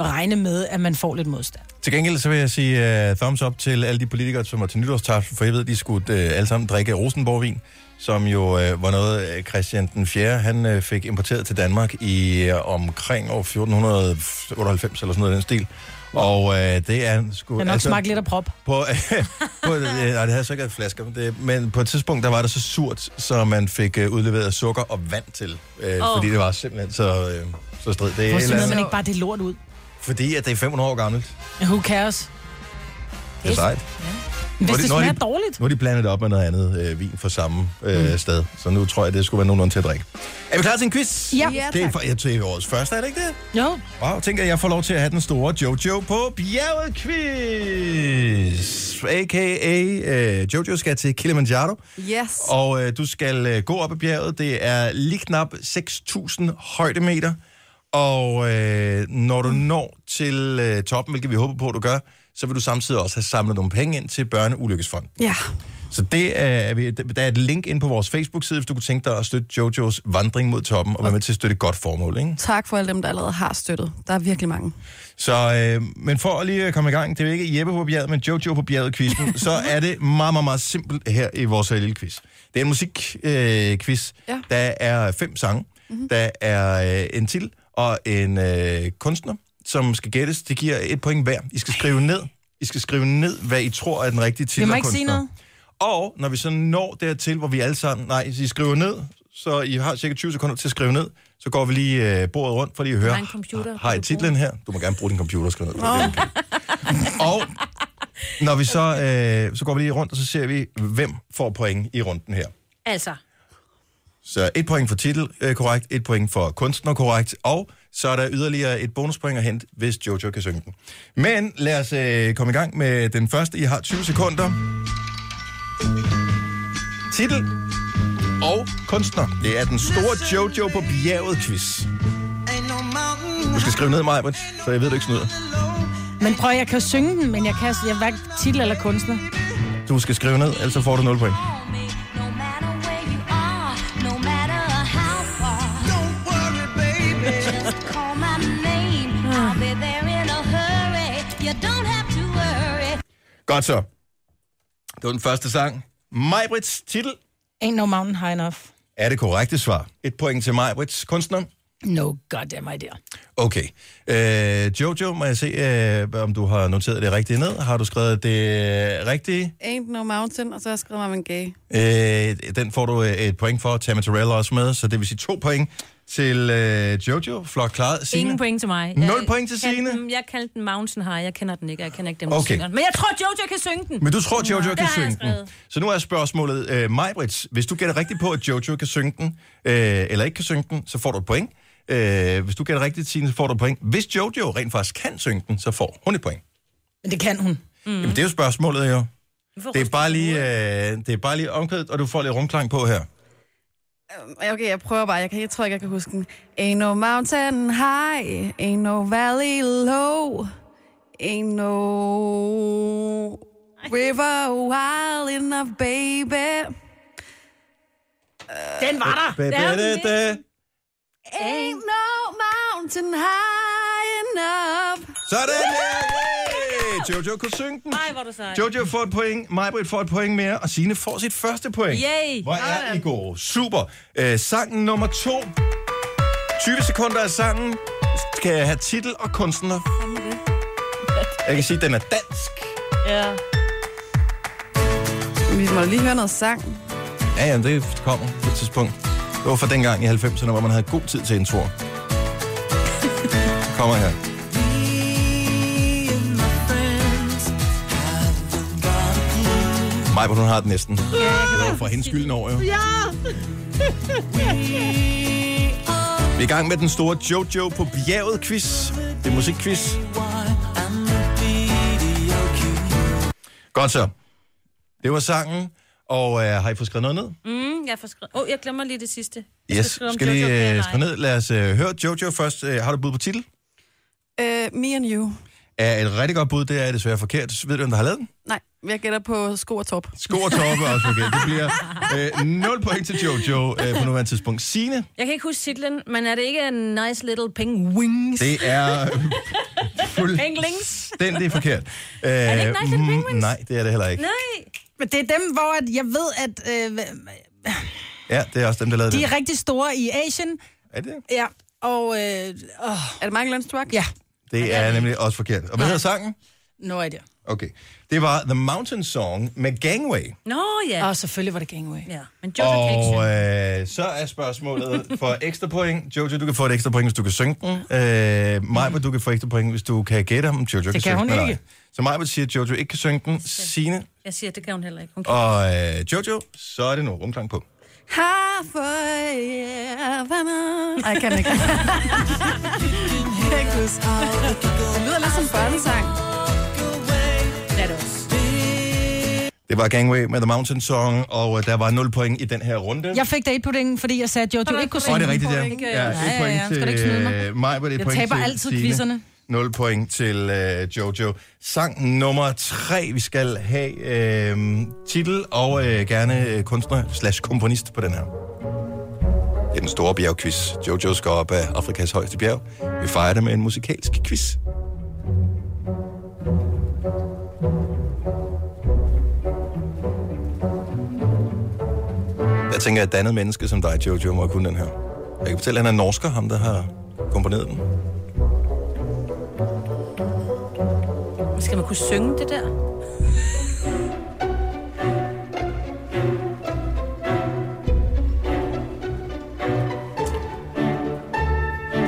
[SPEAKER 2] regne med, at man får lidt modstand.
[SPEAKER 1] Til gengæld så vil jeg sige uh, thumbs up til alle de politikere, som var til nytårstafel, for jeg ved, de skulle uh, alle sammen drikke Rosenborgvin, som jo uh, var noget, øh, Christian den 4. han uh, fik importeret til Danmark i uh, omkring år 1498 eller sådan noget i den stil. Og uh, det er sgu...
[SPEAKER 2] Jeg nok altså, smagt lidt af prop.
[SPEAKER 1] På, på, øh, nej, det havde så ikke været flasker, men, det, men på et tidspunkt, der var det så surt, så man fik øh, udleveret sukker og vand til, øh, oh.
[SPEAKER 3] Åh.
[SPEAKER 1] fordi det var simpelthen så, øh, så strid. Det er et
[SPEAKER 2] Hvorfor
[SPEAKER 1] eller
[SPEAKER 2] smider
[SPEAKER 1] andet,
[SPEAKER 2] man ikke bare det lort ud?
[SPEAKER 1] fordi at det er 500 år gammelt.
[SPEAKER 2] Who cares?
[SPEAKER 1] Det er sejt.
[SPEAKER 2] Hvis
[SPEAKER 1] Når de-
[SPEAKER 2] det
[SPEAKER 1] når de-
[SPEAKER 2] smager dårligt.
[SPEAKER 1] Nu har de blandet det op med noget andet øh, vin fra samme øh, mm. sted, så nu tror jeg, det skulle være nogenlunde til at drikke. Er vi klar til en quiz?
[SPEAKER 2] Ja.
[SPEAKER 4] Ja,
[SPEAKER 1] det er
[SPEAKER 4] tak.
[SPEAKER 1] for, jeg til årets første, er det ikke det?
[SPEAKER 2] Jo,
[SPEAKER 1] Wow, tænker jeg, jeg får lov til at have den store Jojo på bjerget quiz. A.k.a. Øh, Jojo skal til Kilimanjaro,
[SPEAKER 4] Yes.
[SPEAKER 1] og øh, du skal øh, gå op ad bjerget. Det er lige knap 6.000 højdemeter, og øh, når du når til øh, toppen, hvilket vi håber på, du gør, så vil du samtidig også have samlet nogle penge ind til Børneulykkesfonden.
[SPEAKER 4] Ja.
[SPEAKER 1] Så det er, vi- der er et link ind på vores Facebook-side, hvis du kunne tænke dig at støtte Jojos vandring mod toppen, og være med til at støtte et godt formål. Ikke?
[SPEAKER 4] Tak for alle dem, der allerede har støttet. Der er virkelig mange.
[SPEAKER 1] Så, øh, men for at lige at komme i gang, det er jo ikke Jeppe på bjerget, men Jojo på bjerget quizzen, så er det meget, meget, meget simpelt her i vores øh, lille quiz. Det er en musikquiz. Øh, quiz.
[SPEAKER 4] Ja.
[SPEAKER 1] Der er fem sange,
[SPEAKER 2] Mhm.
[SPEAKER 1] mm-hmm. der er øh, en til og en øh, kunstner, som skal gættes. Det giver et point hver. I skal skrive ned, I skal skrive ned hvad I tror er den rigtige titel
[SPEAKER 2] vi må
[SPEAKER 1] og
[SPEAKER 2] ikke sige
[SPEAKER 1] kunstner.
[SPEAKER 2] noget.
[SPEAKER 1] Og når vi så når dertil, hvor vi alle sammen... Nej, så I skriver ned, så I har cirka 20 sekunder til at skrive ned. Så går vi lige øh, bordet rundt for lige at høre.
[SPEAKER 3] har en computer,
[SPEAKER 1] Har I
[SPEAKER 3] du kan
[SPEAKER 1] titlen her? Du må gerne bruge din computer og skrive ned. Oh. og når vi så, øh, så går vi lige rundt, og så ser vi, hvem får point i runden her.
[SPEAKER 3] Altså,
[SPEAKER 1] Så et point for titel øh, korrekt, et point for kunstner korrekt, og så er der yderligere et bonuspoint at hente, hvis Jojo kan synge den. Men lad os øh, komme i gang med den første. I har 20 sekunder. Titel og kunstner. Det er den store Jojo på bjerget quiz. Du skal skrive ned, mig, så jeg ved, du ikke snyder.
[SPEAKER 2] Men prøv, jeg kan jo synge den, men jeg kan jeg er hverken titel eller kunstner.
[SPEAKER 1] Du skal skrive ned, ellers så får du 0 point. Godt så. Det var den første sang. Majbrits titel
[SPEAKER 2] Ain't no mountain high enough.
[SPEAKER 1] er det korrekte svar. Et point til Majbrits kunstner.
[SPEAKER 2] No goddamn idea.
[SPEAKER 1] Okay. Øh, Jojo, må jeg se, øh, om du har noteret det rigtige ned? Har du skrevet det rigtige?
[SPEAKER 4] Ain't no mountain, og så har jeg skrevet mig en gay.
[SPEAKER 1] Øh, den får du øh, et point for. Tammy Terrell er også med, så det vil sige to point til øh, Jojo. Flot klaret. Signe?
[SPEAKER 3] ingen point til mig.
[SPEAKER 1] Nul
[SPEAKER 3] Jeg
[SPEAKER 1] point til
[SPEAKER 3] kaldte
[SPEAKER 1] Signe.
[SPEAKER 3] den- Jeg kaldte den Mountain High. Jeg kender den ikke. Jeg kender ikke dem, der
[SPEAKER 1] Okay.
[SPEAKER 3] synger den. Men jeg tror, Jojo kan synge den.
[SPEAKER 1] Men du tror, Jojo
[SPEAKER 3] det
[SPEAKER 1] kan
[SPEAKER 3] har jeg
[SPEAKER 1] synge den.
[SPEAKER 3] skrevet.
[SPEAKER 1] Så nu er spørgsmålet, øh, Majbrits, hvis du gætter rigtigt på, at Jojo kan synge den, øh, eller ikke kan synge den, så får du et point. Øh, hvis du gætter rigtigt, Signe, så får du et point. Hvis Jojo rent faktisk kan synge den, så får hun et point.
[SPEAKER 2] Men det kan hun.
[SPEAKER 1] Mm. Jamen, det er jo spørgsmålet, jo.
[SPEAKER 3] Hvorfor
[SPEAKER 1] Det er
[SPEAKER 3] ryster
[SPEAKER 1] bare
[SPEAKER 3] du
[SPEAKER 1] lige,
[SPEAKER 3] hovedet?
[SPEAKER 1] øh, det er bare lige omkvædet, og du får lidt rumklang på her.
[SPEAKER 4] Øh, Okay, jeg prøver bare. Jeg, kan, jeg tror ikke, jeg kan huske den. Ain't no mountain high, ain't no valley low, ain't no... river wild enough, baby. Øh,
[SPEAKER 2] Den var
[SPEAKER 3] Ah,
[SPEAKER 2] der!
[SPEAKER 1] Baby,
[SPEAKER 3] Ja,
[SPEAKER 1] det, det.
[SPEAKER 4] Ain't no mountain high enough.
[SPEAKER 1] Sådan der! Yay! Jojo kunne synge den.
[SPEAKER 3] Nej, hvor er du sej.
[SPEAKER 1] Jojo får et point, Majbrit får et point mere, og Sine får sit første point.
[SPEAKER 3] Yay!
[SPEAKER 1] Hvor er I gode. Super. Øh, sangen nummer to. 20 sekunder af sangen skal have titel og kunstner. Jeg kan sige, at den er dansk.
[SPEAKER 3] Ja.
[SPEAKER 4] Vi må lige høre noget sang.
[SPEAKER 1] Ja, jamen, det kommer på et tidspunkt. Det var fra dengang i 90'erne, hvor man havde god tid til en tur. kommer her. Maj, hvor hun har den næsten. Ja, det var for hendes skyld når, jo. Ja! Vi er i gang med den store Jojo på bjerget quiz. Det er musikquiz. Godt så. Det var sangen. Og øh, har I fået skrevet noget ned?
[SPEAKER 3] Mm, jeg får skrevet... Åh, oh, jeg glemmer lige det sidste. Jeg
[SPEAKER 1] Yes, skal,
[SPEAKER 3] skrive om
[SPEAKER 1] skal
[SPEAKER 3] Jojo
[SPEAKER 1] lige
[SPEAKER 3] Planlej.
[SPEAKER 1] øh, skrive ned. Lad os øh, høre Jojo først. Øh, har du bud på titel?
[SPEAKER 4] Uh, me and you.
[SPEAKER 1] Er et rigtig godt bud, det er desværre forkert. Ved du, hvem der har lavet den?
[SPEAKER 4] Nej, jeg gætter på sko og top.
[SPEAKER 1] Sko og toppe er også forkert. Det bliver øh, 0 point til Jojo øh, på nuværende tidspunkt. Sine,
[SPEAKER 3] Jeg kan ikke huske titlen, men er det ikke en nice little penguins?
[SPEAKER 1] det er øh,
[SPEAKER 3] Penglings?
[SPEAKER 1] fuldstændig forkert. Øh, er
[SPEAKER 3] det ikke Nice Little Penguins?
[SPEAKER 1] Nej, det er det heller ikke.
[SPEAKER 3] Nej.
[SPEAKER 2] Men det er dem, hvor at jeg ved, at øh,
[SPEAKER 1] Ja, det er også dem, der lavede
[SPEAKER 2] de
[SPEAKER 1] det.
[SPEAKER 2] er rigtig store i Asien.
[SPEAKER 1] Er det?
[SPEAKER 2] Ja, og... Øh, åh,
[SPEAKER 4] Er det Michael Lunstruck?
[SPEAKER 2] ja,
[SPEAKER 1] Det er nemlig også forkert. Og hvad hedder sangen?
[SPEAKER 2] no idea.
[SPEAKER 1] Okay. Det var The Mountain Song med Gangway.
[SPEAKER 3] Nå, ja.
[SPEAKER 2] Og selvfølgelig var det Gangway.
[SPEAKER 3] ja. Men Jojo kan ikke
[SPEAKER 1] Og
[SPEAKER 3] synge.
[SPEAKER 1] øh, så er spørgsmålet for ekstra point. Jojo, du kan få et ekstra point, hvis du kan synge den. Øh, Majbert, du kan få ekstra point, hvis du kan gætte om Jojo kan
[SPEAKER 2] kan
[SPEAKER 1] synge
[SPEAKER 2] hun
[SPEAKER 1] den eller
[SPEAKER 2] ikke.
[SPEAKER 1] ej. Så Majbert siger, at Jojo ikke kan synge den. Sine
[SPEAKER 3] Jeg siger, det kan hun heller ikke. Hun kan.
[SPEAKER 1] og øh, Jojo, så er det nu rumklang på.
[SPEAKER 4] Har forever. Ej, jeg kan ikke. Jeg kan ikke huske. Det lyder lidt som en børnesang.
[SPEAKER 3] Det er det også.
[SPEAKER 1] Det var Gangway med The Mountain Song, og øh, der var 0 point i den her runde.
[SPEAKER 2] Jeg fik datepuddingen, fordi jeg sagde, at Jojo ikke kunne
[SPEAKER 1] Og
[SPEAKER 2] synge.
[SPEAKER 1] det er rigtigt, ja.
[SPEAKER 4] Point.
[SPEAKER 1] ja
[SPEAKER 2] Ja,
[SPEAKER 1] et
[SPEAKER 2] ja, ja.
[SPEAKER 1] point
[SPEAKER 2] Skal du ikke snyde mig?
[SPEAKER 1] til øh, mig, det
[SPEAKER 2] Jeg
[SPEAKER 1] point
[SPEAKER 2] taber
[SPEAKER 1] til
[SPEAKER 2] altid
[SPEAKER 1] Signe.
[SPEAKER 2] quizzerne.
[SPEAKER 1] 0 point til øh, Jojo. Sang nummer 3, vi skal have øh, titel og øh, gerne øh, kunstner slash komponist på den her. Det er den store bjergquiz. Jojo skal op af Afrikas højeste bjerg. Vi fejrer det med en musikalsk quiz. Jeg tænker, at et andet menneske som dig, Jojo, må kunne den her. Jeg kan fortælle, at han er norsker, ham der har komponeret den.
[SPEAKER 3] Skal man kunne synge det der?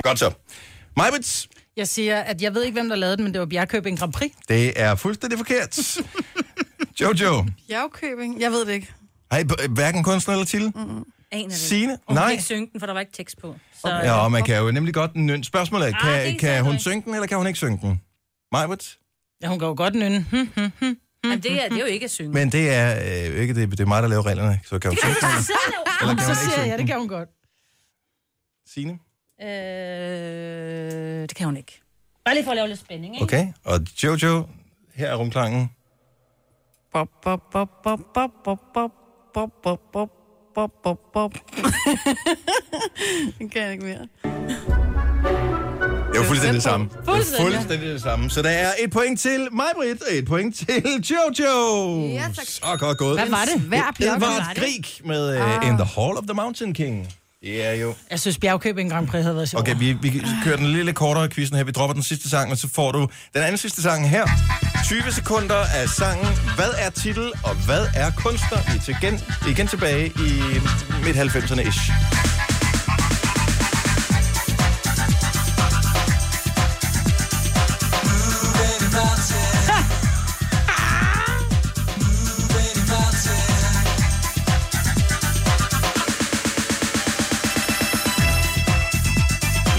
[SPEAKER 1] Godt så. Majbits,
[SPEAKER 2] Jeg siger, at jeg ved ikke, hvem der lavede den, men det var Bjergkøbing Grand Prix.
[SPEAKER 1] det er fuldstændig forkert. Jojo,
[SPEAKER 4] Bjergkøbing? Jeg ved det ikke.
[SPEAKER 1] har I b- hverken kunstner eller titel?
[SPEAKER 3] Aner det
[SPEAKER 1] Signe?
[SPEAKER 3] Hun
[SPEAKER 1] Nej.
[SPEAKER 3] kan ikke synge den, for der var ikke tekst på. Så
[SPEAKER 1] Ja, og man kan jo nemlig godt nynne. Spørgsmålet er,
[SPEAKER 3] Ah, det
[SPEAKER 1] kan,
[SPEAKER 3] er
[SPEAKER 1] kan
[SPEAKER 3] sandt,
[SPEAKER 1] hun
[SPEAKER 3] ikke?
[SPEAKER 1] synge den, eller kan hun ikke synge den? Majbits?
[SPEAKER 2] Ja, hun kan jo godt nynne. Hm, hm.
[SPEAKER 3] Jamen, øh, det, er, det er jo ikke at synge.
[SPEAKER 1] Men det er øh, ikke det, det er mig, der laver reglerne, så kan hun synge den, eller- eller kan
[SPEAKER 2] Så
[SPEAKER 1] hun ikke
[SPEAKER 2] siger
[SPEAKER 1] synge
[SPEAKER 2] jeg, det
[SPEAKER 1] den?
[SPEAKER 2] kan hun godt.
[SPEAKER 1] Signe?
[SPEAKER 3] Øh, det kan hun ikke. Bare lige for at lave lidt spænding, ikke?
[SPEAKER 1] Okay, og Jojo, her er rumklangen.
[SPEAKER 4] Bop, bop, bop, bop, bop, bop, bop, bop, bop, bop, bop, bop, bop. Den kan jeg ikke mere.
[SPEAKER 1] Det var fuldstændig det samme. Det var
[SPEAKER 4] Fuldstændig.
[SPEAKER 1] fuldstændig det samme. Så der er et point til Majbrit, og et point til Jojo.
[SPEAKER 4] Ja, tak.
[SPEAKER 1] Så godt gået.
[SPEAKER 2] Hvad var det?
[SPEAKER 4] Hver bjerg.
[SPEAKER 1] Edvard Grieg med uh, In the Hall of the Mountain King. Det er jo...
[SPEAKER 2] Jeg synes, Bjergkøbing Grand Prix havde været sjovt.
[SPEAKER 1] Okay, vi, vi kører den lille kortere quizzen her. Vi dropper den sidste sang, og så får du den anden sidste sang her. 20 sekunder af sangen. Hvad er titel, og hvad er kunstner? Vi er til igen, igen tilbage i midt-90'erne-ish.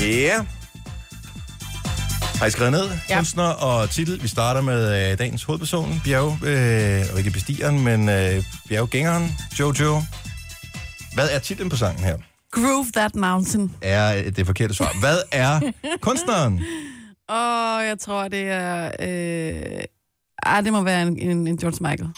[SPEAKER 1] Ja. Har I skrevet ned? Ja.
[SPEAKER 2] Ja.
[SPEAKER 1] Kunstner og titel. Vi starter med øh, dagens hovedperson, bjerg... Øh, og ikke bestigeren, men øh, bjerggængeren, Jojo. Hvad er titlen på sangen her?
[SPEAKER 4] Groove that mountain.
[SPEAKER 1] Er øh, det forkerte svar. Hvad er kunstneren?
[SPEAKER 4] Åh, jeg tror, det er... Øh, ah, det må være en, en, en George Michael.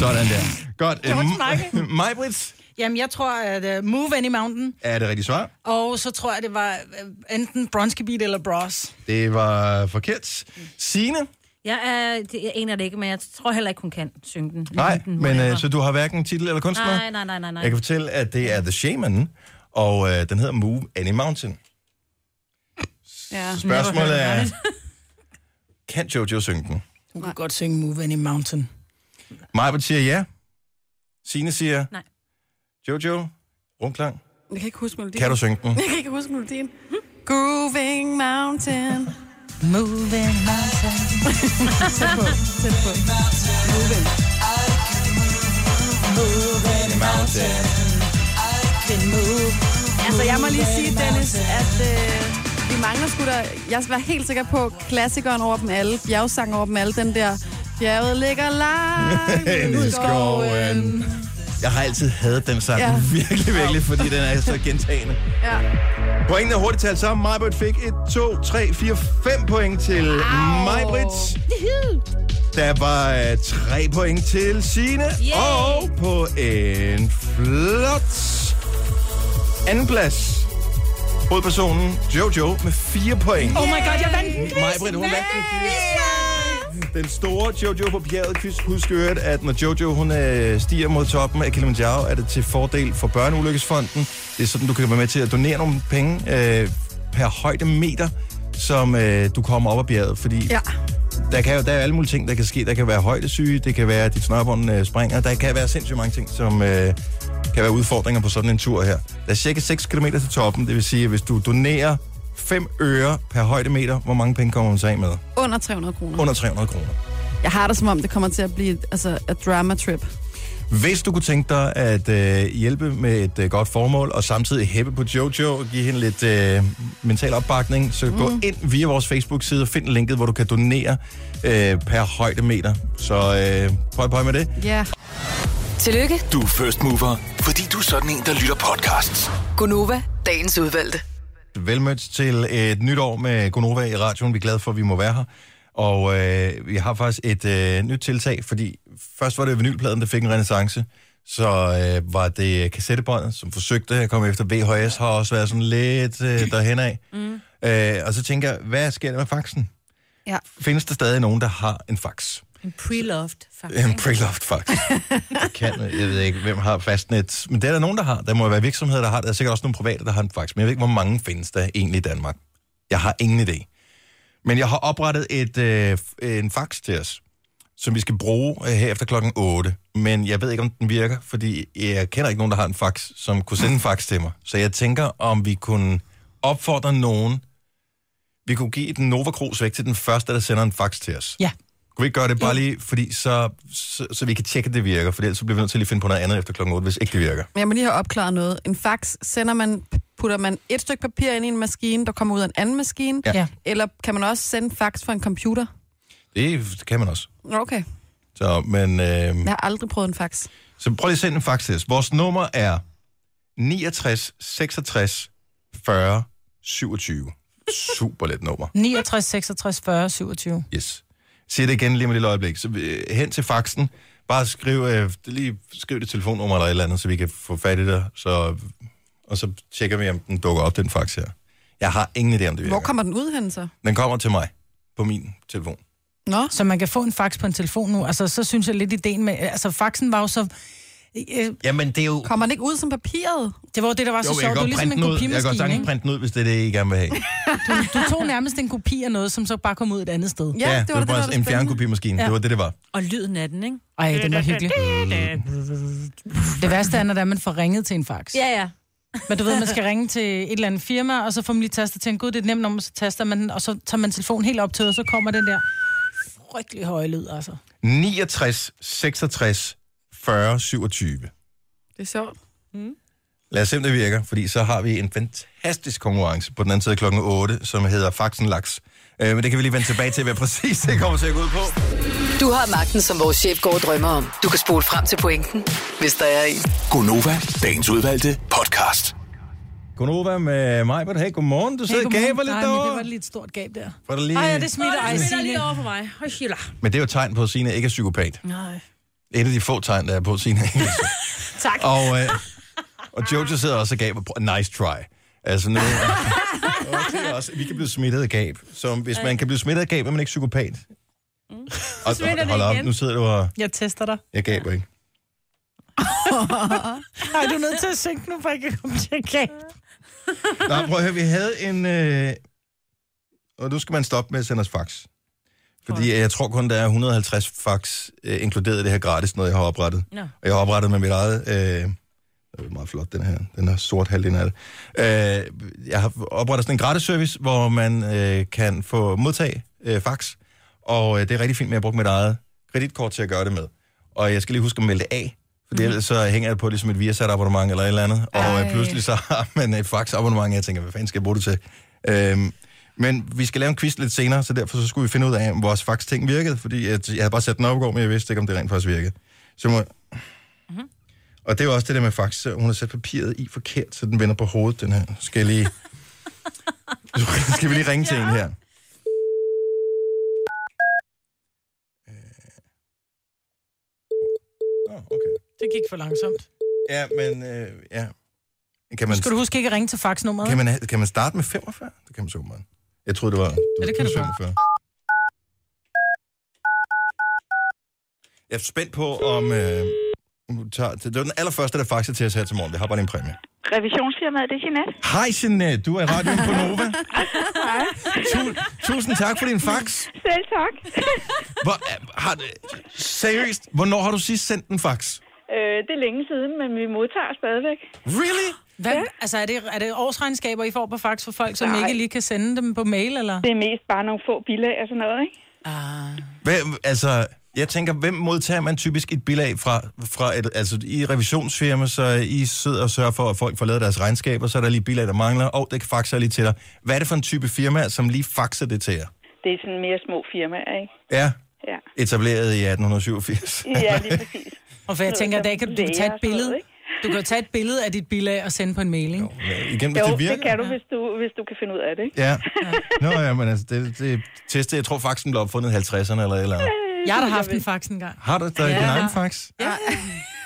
[SPEAKER 1] Sådan der. Øh, Godt.
[SPEAKER 2] Michael.
[SPEAKER 1] Majbrits
[SPEAKER 2] Jamen, jeg tror, at uh, Move Any Mountain,
[SPEAKER 1] er det rigtige svar.
[SPEAKER 2] og så tror jeg, det var uh, enten Bronski Beat eller Bros.
[SPEAKER 1] Det var forkert. Sine.
[SPEAKER 3] Jeg, er, det, jeg aner det ikke, men jeg tror heller ikke, hun kan synge den.
[SPEAKER 1] Nej,
[SPEAKER 3] den,
[SPEAKER 1] men
[SPEAKER 3] whatever.
[SPEAKER 1] øh, så du har hverken titel eller kunstner?
[SPEAKER 3] Nej, nej, nej, nej, nej.
[SPEAKER 1] Jeg kan fortælle, at det er The Shaman, og øh, den hedder Move Any Mountain.
[SPEAKER 4] Ja.
[SPEAKER 1] Spørgsmålet er, kan Jojo synge den?
[SPEAKER 2] Hun kan godt synge Move Any Mountain.
[SPEAKER 1] Majbert siger ja. Sine siger
[SPEAKER 3] Nej.
[SPEAKER 1] Jojo, rumklang.
[SPEAKER 4] Jeg kan ikke huske melodien.
[SPEAKER 1] Kan du synge den?
[SPEAKER 4] Jeg kan ikke huske melodien. Grooving Mountain.
[SPEAKER 2] Move Any Mountain.
[SPEAKER 4] Tæt på, tæt på. Grooving. Altså, jeg må lige sige, Dennis, at øh, vi mangler sgu da... Jeg var helt sikker på klassikeren over dem alle, bjergsang over dem alle, den der... Bjerget ligger langt
[SPEAKER 1] Ind i skoven. Jeg har altid hadet den sang,
[SPEAKER 4] Ja.
[SPEAKER 1] virkelig, virkelig, fordi den er så gentagende.
[SPEAKER 4] Ja.
[SPEAKER 1] Pointene er hurtigt talt sammen. Majbrit fik 1, 2, 3, 4, 5 point til Majbrit. Der var øh, 3 point til Sine Og på en flot andenplads. Hovedpersonen Jojo med 4 point.
[SPEAKER 2] Oh my god, jeg vandt den quiz!
[SPEAKER 1] Majbrit, hun vandt en quiz. Den store Jojo på bjerget quiz. Husk i øvrigt, at når Jojo hun, øh, stiger mod toppen af Kilimanjaro, er det til fordel for Børneulykkesfonden. Det er sådan, du kan være med til at donere nogle penge øh, per højde meter, som øh, du kommer op ad bjerget. Fordi ja. der, kan jo, der er alle mulige ting, der kan ske. Der kan være højdesyge, det kan være, at dit snørbånd øh, springer. Der kan være sindssygt mange ting, som... Øh, kan være udfordringer på sådan en tur her. Der er cirka 6 km til toppen, det vil sige, at hvis du donerer 5 øre per højdemeter, hvor mange penge kommer hun så af med?
[SPEAKER 4] Under 300 kroner.
[SPEAKER 1] Under 300 kroner.
[SPEAKER 4] Jeg har det som om, det kommer til at blive altså, et drama trip.
[SPEAKER 1] Hvis du kunne tænke dig at øh, hjælpe med et øh, godt formål, og samtidig hæppe på Jojo og give hende lidt øh, mental opbakning, så mm. gå ind via vores Facebook-side og find linket, hvor du kan donere øh, per højdemeter. Så øh, prøv at prøve med det.
[SPEAKER 4] Ja.
[SPEAKER 6] Tillykke,
[SPEAKER 5] Du er first mover, fordi du er sådan en, der lytter podcasts.
[SPEAKER 6] Gunova, dagens udvalgte.
[SPEAKER 1] Velmødt til et nyt år med Gonova i radioen. Vi er glade for, at vi må være her. Og øh, vi har faktisk et øh, nyt tiltag, fordi først var det vinylpladen, der fik en renaissance. Så øh, var det kassettebåndet, som forsøgte at komme efter VHS, har også været sådan lidt øh, derhen af. Mm. Øh, og så tænker jeg, hvad sker der med faxen?
[SPEAKER 4] Ja.
[SPEAKER 1] Findes der stadig nogen, der har en fax?
[SPEAKER 3] En pre-loved, faktisk.
[SPEAKER 1] En pre-loved fax. Jeg kan, jeg ved ikke, hvem har fastnet. Men det er der nogen, der har. Der må være virksomheder, der har. Der er sikkert også nogle private, der har en fax. Men jeg ved ikke, hvor mange findes der egentlig i Danmark. Jeg har ingen idé. Men jeg har oprettet et, øh, f- en fax til os, som vi skal bruge øh, her efter klokken 8. Men jeg ved ikke, om den virker, fordi jeg kender ikke nogen, der har en fax, som kunne sende en fax til mig. Så jeg tænker, om vi kunne opfordre nogen. Vi kunne give et Nova Cruz væk til den første, der sender en fax til os.
[SPEAKER 2] Ja.
[SPEAKER 1] Kunne vi ikke gøre det bare lige, fordi så, så, så vi kan tjekke, at det virker, for ellers så bliver vi nødt til at lige finde på noget andet efter klokken 8, hvis ikke det virker.
[SPEAKER 4] Jeg må lige have opklaret noget. En fax sender man, putter man et stykke papir ind i en maskine, der kommer ud af en anden maskine.
[SPEAKER 1] Ja.
[SPEAKER 2] Ja.
[SPEAKER 4] Eller kan man også sende fax fra en computer?
[SPEAKER 1] Det kan man også.
[SPEAKER 4] Okay.
[SPEAKER 1] Så, men, øh,
[SPEAKER 4] Jeg har aldrig prøvet en fax.
[SPEAKER 1] så prøv lige at sende en fax til os. Vores nummer er 69 66 40 27. Super let nummer.
[SPEAKER 2] 69, 66, 40, 27.
[SPEAKER 1] Yes. Sig det igen lige med et lille øjeblik. Så øh, hen til faxen. Bare skriv, øh, lige skriv det telefonnummer eller et eller andet, så vi kan få fat i dig. Så, og så tjekker vi, om den dukker op, den fax her. Jeg har ingen idé, om det virker.
[SPEAKER 4] Hvor kommer den ud hen så?
[SPEAKER 1] Den kommer til mig på min telefon.
[SPEAKER 4] Nå,
[SPEAKER 2] Så man kan få en fax på en telefon nu. Altså, så synes jeg lidt ideen med... Altså, faxen var jo så... Øh,
[SPEAKER 1] Jamen, det er jo...
[SPEAKER 4] kommer den ikke ud som papiret?
[SPEAKER 2] det var jo det, der var så
[SPEAKER 1] Jo, jeg
[SPEAKER 2] sjovt.
[SPEAKER 1] kan
[SPEAKER 2] Det var
[SPEAKER 1] godt
[SPEAKER 2] ligesom
[SPEAKER 1] printe
[SPEAKER 2] en
[SPEAKER 1] den ud. Jeg kan godt
[SPEAKER 2] kopimaskine,
[SPEAKER 1] sagtens
[SPEAKER 2] ikke?
[SPEAKER 1] printe den ud, hvis det er det, I gerne vil have.
[SPEAKER 2] Du tog nærmest en kopi af noget, som så bare kom ud et andet sted.
[SPEAKER 4] Ja, det var det, der var
[SPEAKER 1] bare
[SPEAKER 4] det
[SPEAKER 1] en
[SPEAKER 4] spændende.
[SPEAKER 1] fjernkopimaskine. Ja. Det var det, det var.
[SPEAKER 3] Og lyden af den, ikke?
[SPEAKER 2] Ej, den var hyggelig. Det værste er, når det er, man får ringet til en fax.
[SPEAKER 3] Ja, ja.
[SPEAKER 2] Men du ved, man skal ringe til et eller andet firma, og så får man lige tastet til en god, det er et nemt nummer, så taster man den, og så tager man telefonen helt op til, og så kommer den der frygtelig høje lyd, altså.
[SPEAKER 1] 69, 66, 40, 27.
[SPEAKER 4] Det er sjovt.
[SPEAKER 1] Mm. Lad os se, om det virker, fordi så har vi en fantastisk konkurrence på den anden side af klokken 8, som hedder Faxen Laks. Øh, men det kan vi lige vende tilbage til, hvad præcis det kommer til at gå ud på.
[SPEAKER 6] Du har magten, som vores chef går og drømmer om. Du kan spole frem til pointen, hvis der er en.
[SPEAKER 5] Gonova, dagens udvalgte podcast.
[SPEAKER 1] Godnova med mig, men hey, godmorgen. Du sidder hey,
[SPEAKER 2] godmorgen.
[SPEAKER 1] gaber lidt
[SPEAKER 2] Nej, men det var
[SPEAKER 1] derovre.
[SPEAKER 2] lidt stort gab der.
[SPEAKER 1] Var der lige...
[SPEAKER 2] Ej, ja, det smitter. Ej,
[SPEAKER 3] smitter
[SPEAKER 2] Signe.
[SPEAKER 3] lige over for mig. Hold shilla.
[SPEAKER 1] Men det er jo et tegn på, at Signe ikke er psykopat.
[SPEAKER 3] Nej.
[SPEAKER 1] Et af de få tegn, der er på, at Signe ikke er psykopat.
[SPEAKER 3] Tak.
[SPEAKER 1] Og, øh, og Jojo sidder også og gaber. Prøv- Nice try. Altså nu... Og det er også, vi kan blive smittet af gab. Så hvis man kan blive smittet af gab, er man ikke psykopat. Mm. Og,
[SPEAKER 3] Smitter det
[SPEAKER 1] hold op,
[SPEAKER 3] igen.
[SPEAKER 1] nu sidder du og...
[SPEAKER 2] Jeg tester dig.
[SPEAKER 1] Jeg gaber ikke.
[SPEAKER 2] Nej, du er nødt til at synke nu, for jeg kan komme til at gabe.
[SPEAKER 1] Nej, prøv at høre, vi havde en... Øh... Og nu skal man stoppe med at sende os fax. Fordi jeg tror kun, der er 150 fax øh, inkluderet i det her gratis, noget jeg har oprettet.
[SPEAKER 3] Nå.
[SPEAKER 1] Og jeg har oprettet med mit eget... Øh... Det er meget flot, den her. Den er sort halvdelen af det. Øh, jeg har oprettet sådan en gratis service, hvor man øh, kan få modtage øh, fax. Og øh, det er rigtig fint, med at jeg brugt mit eget kreditkort til at gøre det med. Og jeg skal lige huske at melde det af, for mm-hmm. ellers så hænger jeg på ligesom et Viasat-abonnement eller et eller andet. Og øh,
[SPEAKER 4] Ej.
[SPEAKER 1] pludselig så har man et fax-abonnement, og jeg tænker, hvad fanden skal jeg bruge det til? Øhm, men vi skal lave en quiz lidt senere, så derfor så skulle vi finde ud af, om vores fax-ting virkede, fordi jeg, jeg havde bare sat den op i går, men jeg vidste ikke, om det rent faktisk virkede. Så må... mm-hmm.
[SPEAKER 2] Mhm.
[SPEAKER 1] Og det er jo også det der med fax, så hun har sat papiret i forkert, så den vender på hovedet, den her. Skal jeg lige... skal vi lige ringe til en her? Nå, okay.
[SPEAKER 2] Det gik for langsomt.
[SPEAKER 1] Ja, men øh, ja. Kan
[SPEAKER 2] Nu
[SPEAKER 1] man,
[SPEAKER 2] skal du huske ikke at ringe til faxnummeret.
[SPEAKER 1] kan, man, have- kan man starte med 45? Det kan man så meget. Jeg troede, det var...
[SPEAKER 2] Ja, det kan du godt.
[SPEAKER 1] 45. Jeg er spændt på, om... Øh, om du tager, det var den allerførste, der faktisk til os her til morgen. Det har bare en præmie.
[SPEAKER 8] Revisionsfirmaet, det er Jeanette.
[SPEAKER 1] Hej, Jeanette. Du er i radioen på Nova. tu, tusind tak for din fax.
[SPEAKER 8] Selv tak.
[SPEAKER 1] Hvor, øh, har, seriøst, hvornår har du sidst sendt en fax?
[SPEAKER 8] øh, det er længe siden, men vi modtager stadigvæk.
[SPEAKER 1] Really?
[SPEAKER 2] Hvad, altså, er det, er det årsregnskaber, I får på fax for folk, som
[SPEAKER 8] Nej.
[SPEAKER 2] ikke lige kan sende dem på mail, eller?
[SPEAKER 8] Det er mest bare nogle få bilag og sådan noget, ikke?
[SPEAKER 2] Ah.
[SPEAKER 1] Hvem, altså, jeg tænker, hvem modtager man typisk et bilag fra? fra et, altså, I revisionsfirma, så I sidder og sørger for, at folk får lavet deres regnskaber, så er der lige et bilag, der mangler, og det kan faxer jeg lige til dig. Hvad er det for en type firma, som lige faxer det til jer?
[SPEAKER 8] Det er sådan mere små firmaer, ikke?
[SPEAKER 1] Ja,
[SPEAKER 8] Ja,
[SPEAKER 1] etableret i 1887.
[SPEAKER 8] ja lige præcis.
[SPEAKER 2] Og for jeg tænker, der kan du, du kan tage et billede. Du kan jo tage et billede af dit bilag og sende på en mail, ikke?
[SPEAKER 1] Igen, hvis
[SPEAKER 8] Jo,
[SPEAKER 1] det
[SPEAKER 8] det,
[SPEAKER 1] virker.
[SPEAKER 8] det kan du hvis, du, hvis du kan finde ud af det, ikke?
[SPEAKER 1] Ja. Nå ja, men altså, det, det testede, jeg tror faxen blev opfundet i 50'erne eller et eller
[SPEAKER 8] Øh,
[SPEAKER 1] andet.
[SPEAKER 2] Jeg har da haft en fax engang.
[SPEAKER 1] Har du der ja. din egen fax?
[SPEAKER 2] Men Jeg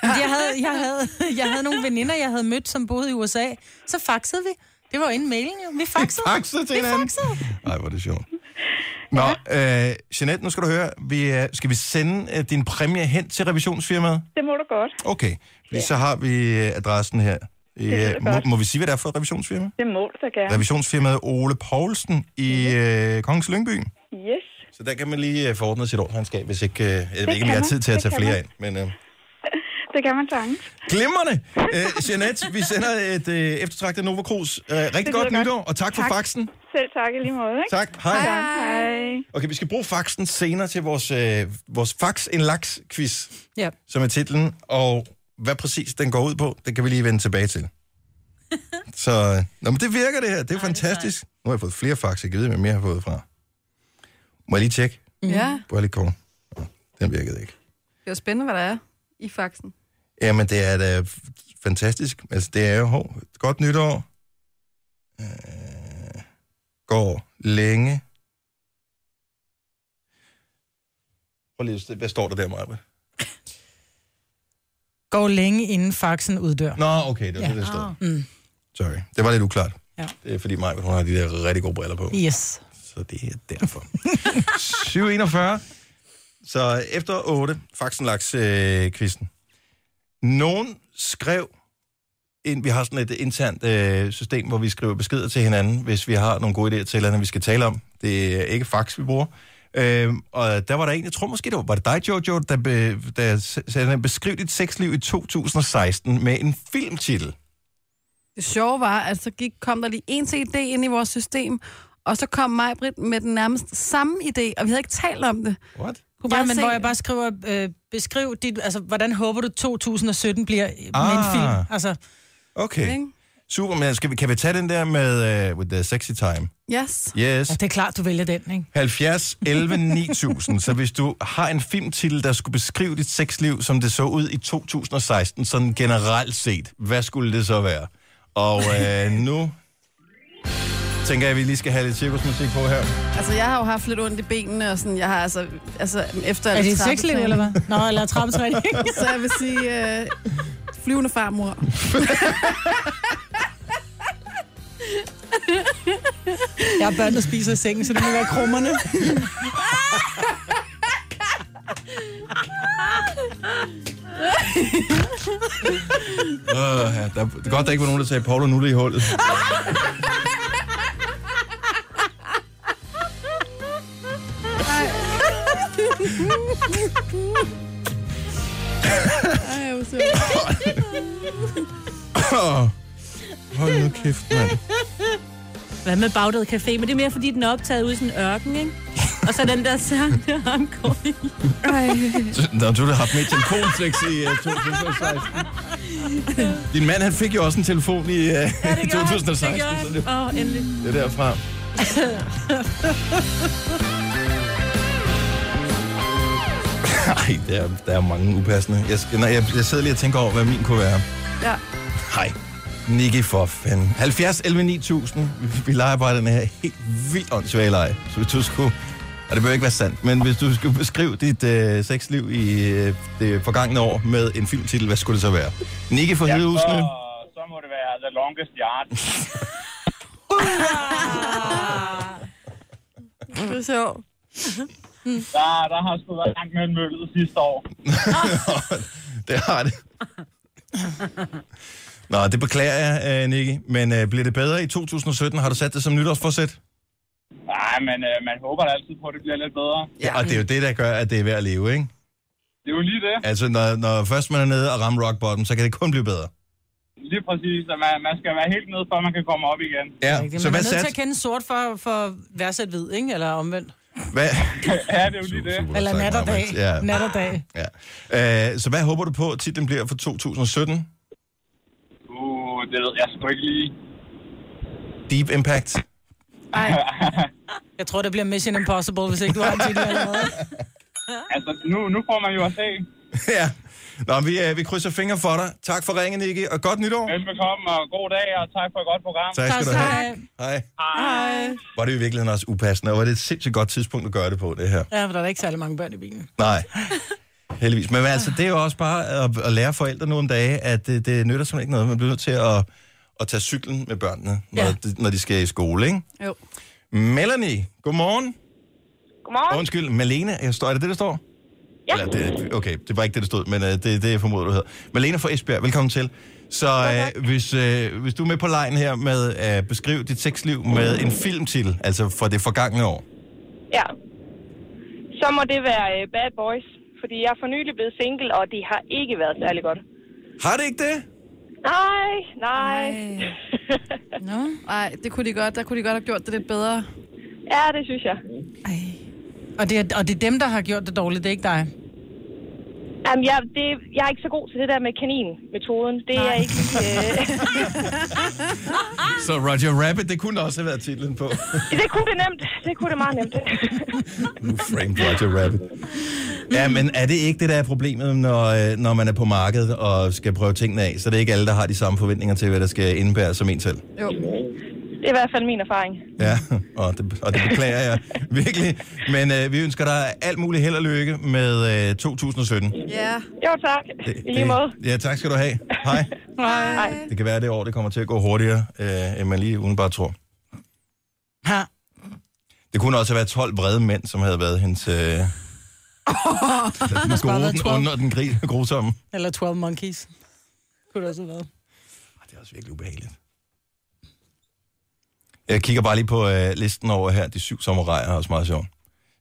[SPEAKER 2] havde, jeg, havde, jeg havde nogle veninder, jeg havde mødt, som boede i USA. Så faxede vi. Det var jo inden mailen, jo. Vi faxede.
[SPEAKER 1] Faxet til
[SPEAKER 2] Vi
[SPEAKER 1] hinanden.
[SPEAKER 2] faxede.
[SPEAKER 1] Nej, hvor er det sjovt. Nå, øh, Jeanette, nu skal du høre, vi, øh, skal vi sende øh, din præmie hen til revisionsfirmaet?
[SPEAKER 8] Det må du godt.
[SPEAKER 1] Okay, fordi så har vi øh, adressen her. Øh,
[SPEAKER 8] lyder
[SPEAKER 1] må,
[SPEAKER 8] godt.
[SPEAKER 1] må vi sige, hvad det er for et revisionsfirma?
[SPEAKER 8] Det må du da gerne.
[SPEAKER 1] Revisionsfirmaet Ole Poulsen i øh, Kongens Lyngby.
[SPEAKER 8] Yes.
[SPEAKER 1] Så der kan man lige øh, få ordnet sit årsregnskab, hvis ikke... Øh, jeg ved ikke, om jeg
[SPEAKER 8] kan
[SPEAKER 1] har
[SPEAKER 8] man.
[SPEAKER 1] tid til at
[SPEAKER 8] Det
[SPEAKER 1] tage
[SPEAKER 8] kan
[SPEAKER 1] flere
[SPEAKER 8] man.
[SPEAKER 1] ind, men... Øh,
[SPEAKER 8] Det kan man sagtens.
[SPEAKER 1] Glimrende! Øh, Jeanette, vi sender et øh, eftertragtet Nova Cruz. Øh, rigtig
[SPEAKER 8] Det
[SPEAKER 1] godt
[SPEAKER 8] lyder godt.
[SPEAKER 1] nytår, og tak, for
[SPEAKER 8] Tak.
[SPEAKER 1] faxen.
[SPEAKER 8] Selv tak i lige måde, ikke?
[SPEAKER 1] Tak, hej. hej.
[SPEAKER 8] Hej.
[SPEAKER 1] Okay, vi skal bruge faxen senere til vores, øh, vores fax en laks quiz,
[SPEAKER 2] Ja.
[SPEAKER 1] som er titlen, og hvad præcis den går ud på, det kan vi lige vende tilbage til. Så, øh, nå, men det virker det her, det er fantastisk. Nu har jeg fået flere fax, jeg kan vide, hvem jeg har fået fra. Må jeg lige tjekke?
[SPEAKER 4] Ja,
[SPEAKER 1] Bare lige kort. Nå, Den virkede ikke.
[SPEAKER 4] Mm. det er spændende, hvad der er i faxen.
[SPEAKER 1] Jamen, det er da f- fantastisk. Altså, det er jo hov, godt nytår. Øh, går længe. Prøv lige, at se, hvad står der der, Maja?
[SPEAKER 2] Går længe inden faxen uddør.
[SPEAKER 1] Nå, okay, det var ja.
[SPEAKER 2] Ja.
[SPEAKER 1] det, der stod.
[SPEAKER 2] Mm.
[SPEAKER 1] Sorry, det var lidt uklart.
[SPEAKER 2] Ja.
[SPEAKER 1] Det er fordi Maja, hun har de der rigtig gode briller på.
[SPEAKER 2] Yes.
[SPEAKER 1] Så det er derfor. 741. Så efter 8, faxen laks øh, quizzen. Nogen skrev, ind, vi har sådan et internt øh, system, hvor vi skriver beskeder til hinanden, hvis vi har nogle gode idéer til et eller andet, vi skal tale om. Det er ikke fax, vi bruger. Øhm, og der var der en, jeg tror måske, det var, var det dig, Jojo, der, be, der s- sagde, beskriv dit sexliv i 2016 med en filmtitel.
[SPEAKER 4] Det sjove var, at så gik, kom der lige en til idé ind i vores system, og så kom mig Britt med den nærmest samme idé, og vi havde ikke talt om det.
[SPEAKER 1] What?
[SPEAKER 4] Kunne
[SPEAKER 2] Ja, men hvor jeg bare skriver, øh, beskriv dit, altså, hvordan håber du 2017 bliver ah. med en
[SPEAKER 1] Ah.
[SPEAKER 2] film? Altså,
[SPEAKER 1] Okay.
[SPEAKER 4] Ikke?
[SPEAKER 1] Super, men skal vi, kan vi tage den der med uh, with the sexy time?
[SPEAKER 4] Yes.
[SPEAKER 1] Yes.
[SPEAKER 2] ja, det er klart, du vælger den, ikke?
[SPEAKER 1] 70 11 9000. Så hvis du har en filmtitel, der skulle beskrive dit sexliv, som det så ud i 2016, sådan generelt set, hvad skulle det så være? Og øh, nu tænker jeg, at vi lige skal have lidt cirkusmusik på her.
[SPEAKER 4] Altså, jeg har jo haft lidt ondt i benene, og sådan, jeg har altså... altså efter
[SPEAKER 2] Er det et
[SPEAKER 4] trappetræning.
[SPEAKER 2] sexliv, eller hvad? Nå, eller trappetræning.
[SPEAKER 4] Så jeg vil sige, øh, flyvende farmor.
[SPEAKER 2] Jeg har børn, der spiser i sengen, så det må være krummerne.
[SPEAKER 1] Øh, ja, der, det er godt, der ikke var nogen, der sagde Paul og Nulle i hullet.
[SPEAKER 4] Ej, hvor sødt.
[SPEAKER 1] Hold nu kæft, mand.
[SPEAKER 3] Hvad med Bagdad Café? Men det er mere, fordi den er optaget ude i sådan en ørken, ikke? Og så den der sang, der har omgået.
[SPEAKER 1] Der har du haft med telefonsex i uh, 2016. Din mand, han fik jo også en telefon i uh,
[SPEAKER 3] Det gør han,
[SPEAKER 1] 2016,
[SPEAKER 3] det gør han.
[SPEAKER 1] så det,
[SPEAKER 3] Åh, oh, endelig.
[SPEAKER 1] det er derfra. Ej, der, der er mange upassende. Jeg, skal- nej, jeg, jeg sidder lige og tænker over, hvad min kunne være.
[SPEAKER 4] Ja.
[SPEAKER 1] Hej. Nicky for fanden. 70 11 9000. Vi, vi leger bare den her helt vildt åndssvage leg. Så hvis du skulle... Og det bør ikke være sandt, men hvis du skulle beskrive dit øh, sexliv i øh, det forgangne år med en filmtitel, hvad skulle det så være? Nicky for ja, Hedehusene?
[SPEAKER 9] så må det være The Longest Yard.
[SPEAKER 4] Det er sjovt.
[SPEAKER 9] Der, der har sgu været langt mellem møllet sidste år.
[SPEAKER 1] det har det. Nå, det beklager jeg, øh, Nicky. Men øh, bliver det bedre i 2017? Har du sat det som nytårsforsæt?
[SPEAKER 9] Nej, men øh, man håber da altid på, at det bliver lidt bedre.
[SPEAKER 1] Ja. Og det er jo det, der gør, at det er værd at leve, ikke?
[SPEAKER 9] Det er jo lige det.
[SPEAKER 1] Altså, når, når først man er nede og rammer rock bottom, så kan det kun blive bedre.
[SPEAKER 9] Lige præcis. At man, man skal være helt nede, før man kan komme op igen.
[SPEAKER 1] Ja,
[SPEAKER 2] Man
[SPEAKER 1] så
[SPEAKER 2] er
[SPEAKER 1] hvad
[SPEAKER 2] nødt til
[SPEAKER 1] sats?
[SPEAKER 2] at kende sort for, for værdsat hvid, ikke? Eller omvendt.
[SPEAKER 1] Hvad?
[SPEAKER 9] Ja, det er jo lige det.
[SPEAKER 2] Eller nat og dag.
[SPEAKER 1] Ja.
[SPEAKER 2] Nat og dag.
[SPEAKER 1] ja. Øh, så hvad håber du på, at titlen bliver for 2017?
[SPEAKER 9] Uh, det ved jeg sgu ikke lige.
[SPEAKER 1] Deep Impact?
[SPEAKER 2] Jeg tror, det bliver Mission Impossible, hvis ikke du har en titel allerede.
[SPEAKER 9] Altså, nu, nu får man jo at se.
[SPEAKER 1] ja. Nå, vi, øh, vi krydser fingre for dig. Tak for ringen, Nicky, og godt nytår.
[SPEAKER 9] Velbekomme, og god dag, og tak for et godt program.
[SPEAKER 1] Tak skal du have.
[SPEAKER 2] Tak.
[SPEAKER 1] Hej.
[SPEAKER 4] Ej.
[SPEAKER 1] Var det i virkeligheden også upassende, og var det et sindssygt godt tidspunkt at gøre det på, det her?
[SPEAKER 2] Ja, for der er ikke særlig mange børn i bilen.
[SPEAKER 1] Nej. Heldigvis. Men altså, det er jo også bare at, at lære forældre nu om dage, at det, det nytter simpelthen ikke noget. Man bliver nødt til at, at tage cyklen med børnene, når, ja.
[SPEAKER 2] Ja.
[SPEAKER 1] de, når de skal i skole, ikke?
[SPEAKER 4] Jo.
[SPEAKER 1] Melanie, godmorgen.
[SPEAKER 8] Godmorgen.
[SPEAKER 1] Undskyld, Malene, jeg står, er det det, der står?
[SPEAKER 8] Ja.
[SPEAKER 1] Eller, det, okay, det var ikke det, der stod, men uh, det er det, jeg formoder, du hedder. Malene fra Esbjerg, velkommen til. Så uh, hvis, uh, hvis du er med på lejen her med at uh, beskrive dit sexliv med en filmtitel, altså fra det forgangne år.
[SPEAKER 8] Ja. Så må det være øh, Bad Boys, fordi jeg er for nylig blevet single, og det har ikke været særlig godt.
[SPEAKER 1] Har det ikke det?
[SPEAKER 8] Nej, nej.
[SPEAKER 3] Nå.
[SPEAKER 4] Ej, det kunne de godt. Der kunne de godt have gjort det lidt bedre.
[SPEAKER 8] ja, det synes jeg.
[SPEAKER 2] Og det, er, og det er dem, der har gjort det dårligt, det er ikke dig.
[SPEAKER 8] Jamen, jeg, det, jeg er ikke så god til det der med kaninmetoden. Det er ikke... Øh,
[SPEAKER 1] Så Roger Rabbit, det kunne også have været titlen på.
[SPEAKER 8] det kunne det nemt. Det kunne det meget nemt.
[SPEAKER 1] nu framed Roger Rabbit. Ja, men er det ikke det, der er problemet, når, øh, når man er på markedet og skal prøve tingene af? Så det er ikke alle, der har de samme forventninger til, hvad der skal indbære som en selv.
[SPEAKER 4] Jo.
[SPEAKER 8] det er i hvert fald min erfaring.
[SPEAKER 1] Ja, og det, og det beklager jeg virkelig. Men øh, vi ønsker dig alt muligt held og lykke med øh, 2017. Det,
[SPEAKER 4] Ja.
[SPEAKER 8] Jo, tak. I lige måde.
[SPEAKER 1] Ja, tak skal du have. Hej.
[SPEAKER 4] Hej.
[SPEAKER 1] Det kan være, at det år det kommer til at gå hurtigere, øh, end man lige udenbart tror.
[SPEAKER 2] Ha.
[SPEAKER 1] Det kunne også have været 12 vrede mænd, som havde været hendes... Øh, den
[SPEAKER 2] bare
[SPEAKER 1] gode,
[SPEAKER 2] været
[SPEAKER 1] den
[SPEAKER 2] 12.
[SPEAKER 1] onde og den gri- grusomme.
[SPEAKER 2] Eller 12 Monkeys. Kunne det også have været.
[SPEAKER 1] Ej, Det er også virkelig ubehageligt. Jeg kigger bare lige på øh, listen over her. De syv sommerrejer er også meget sjov.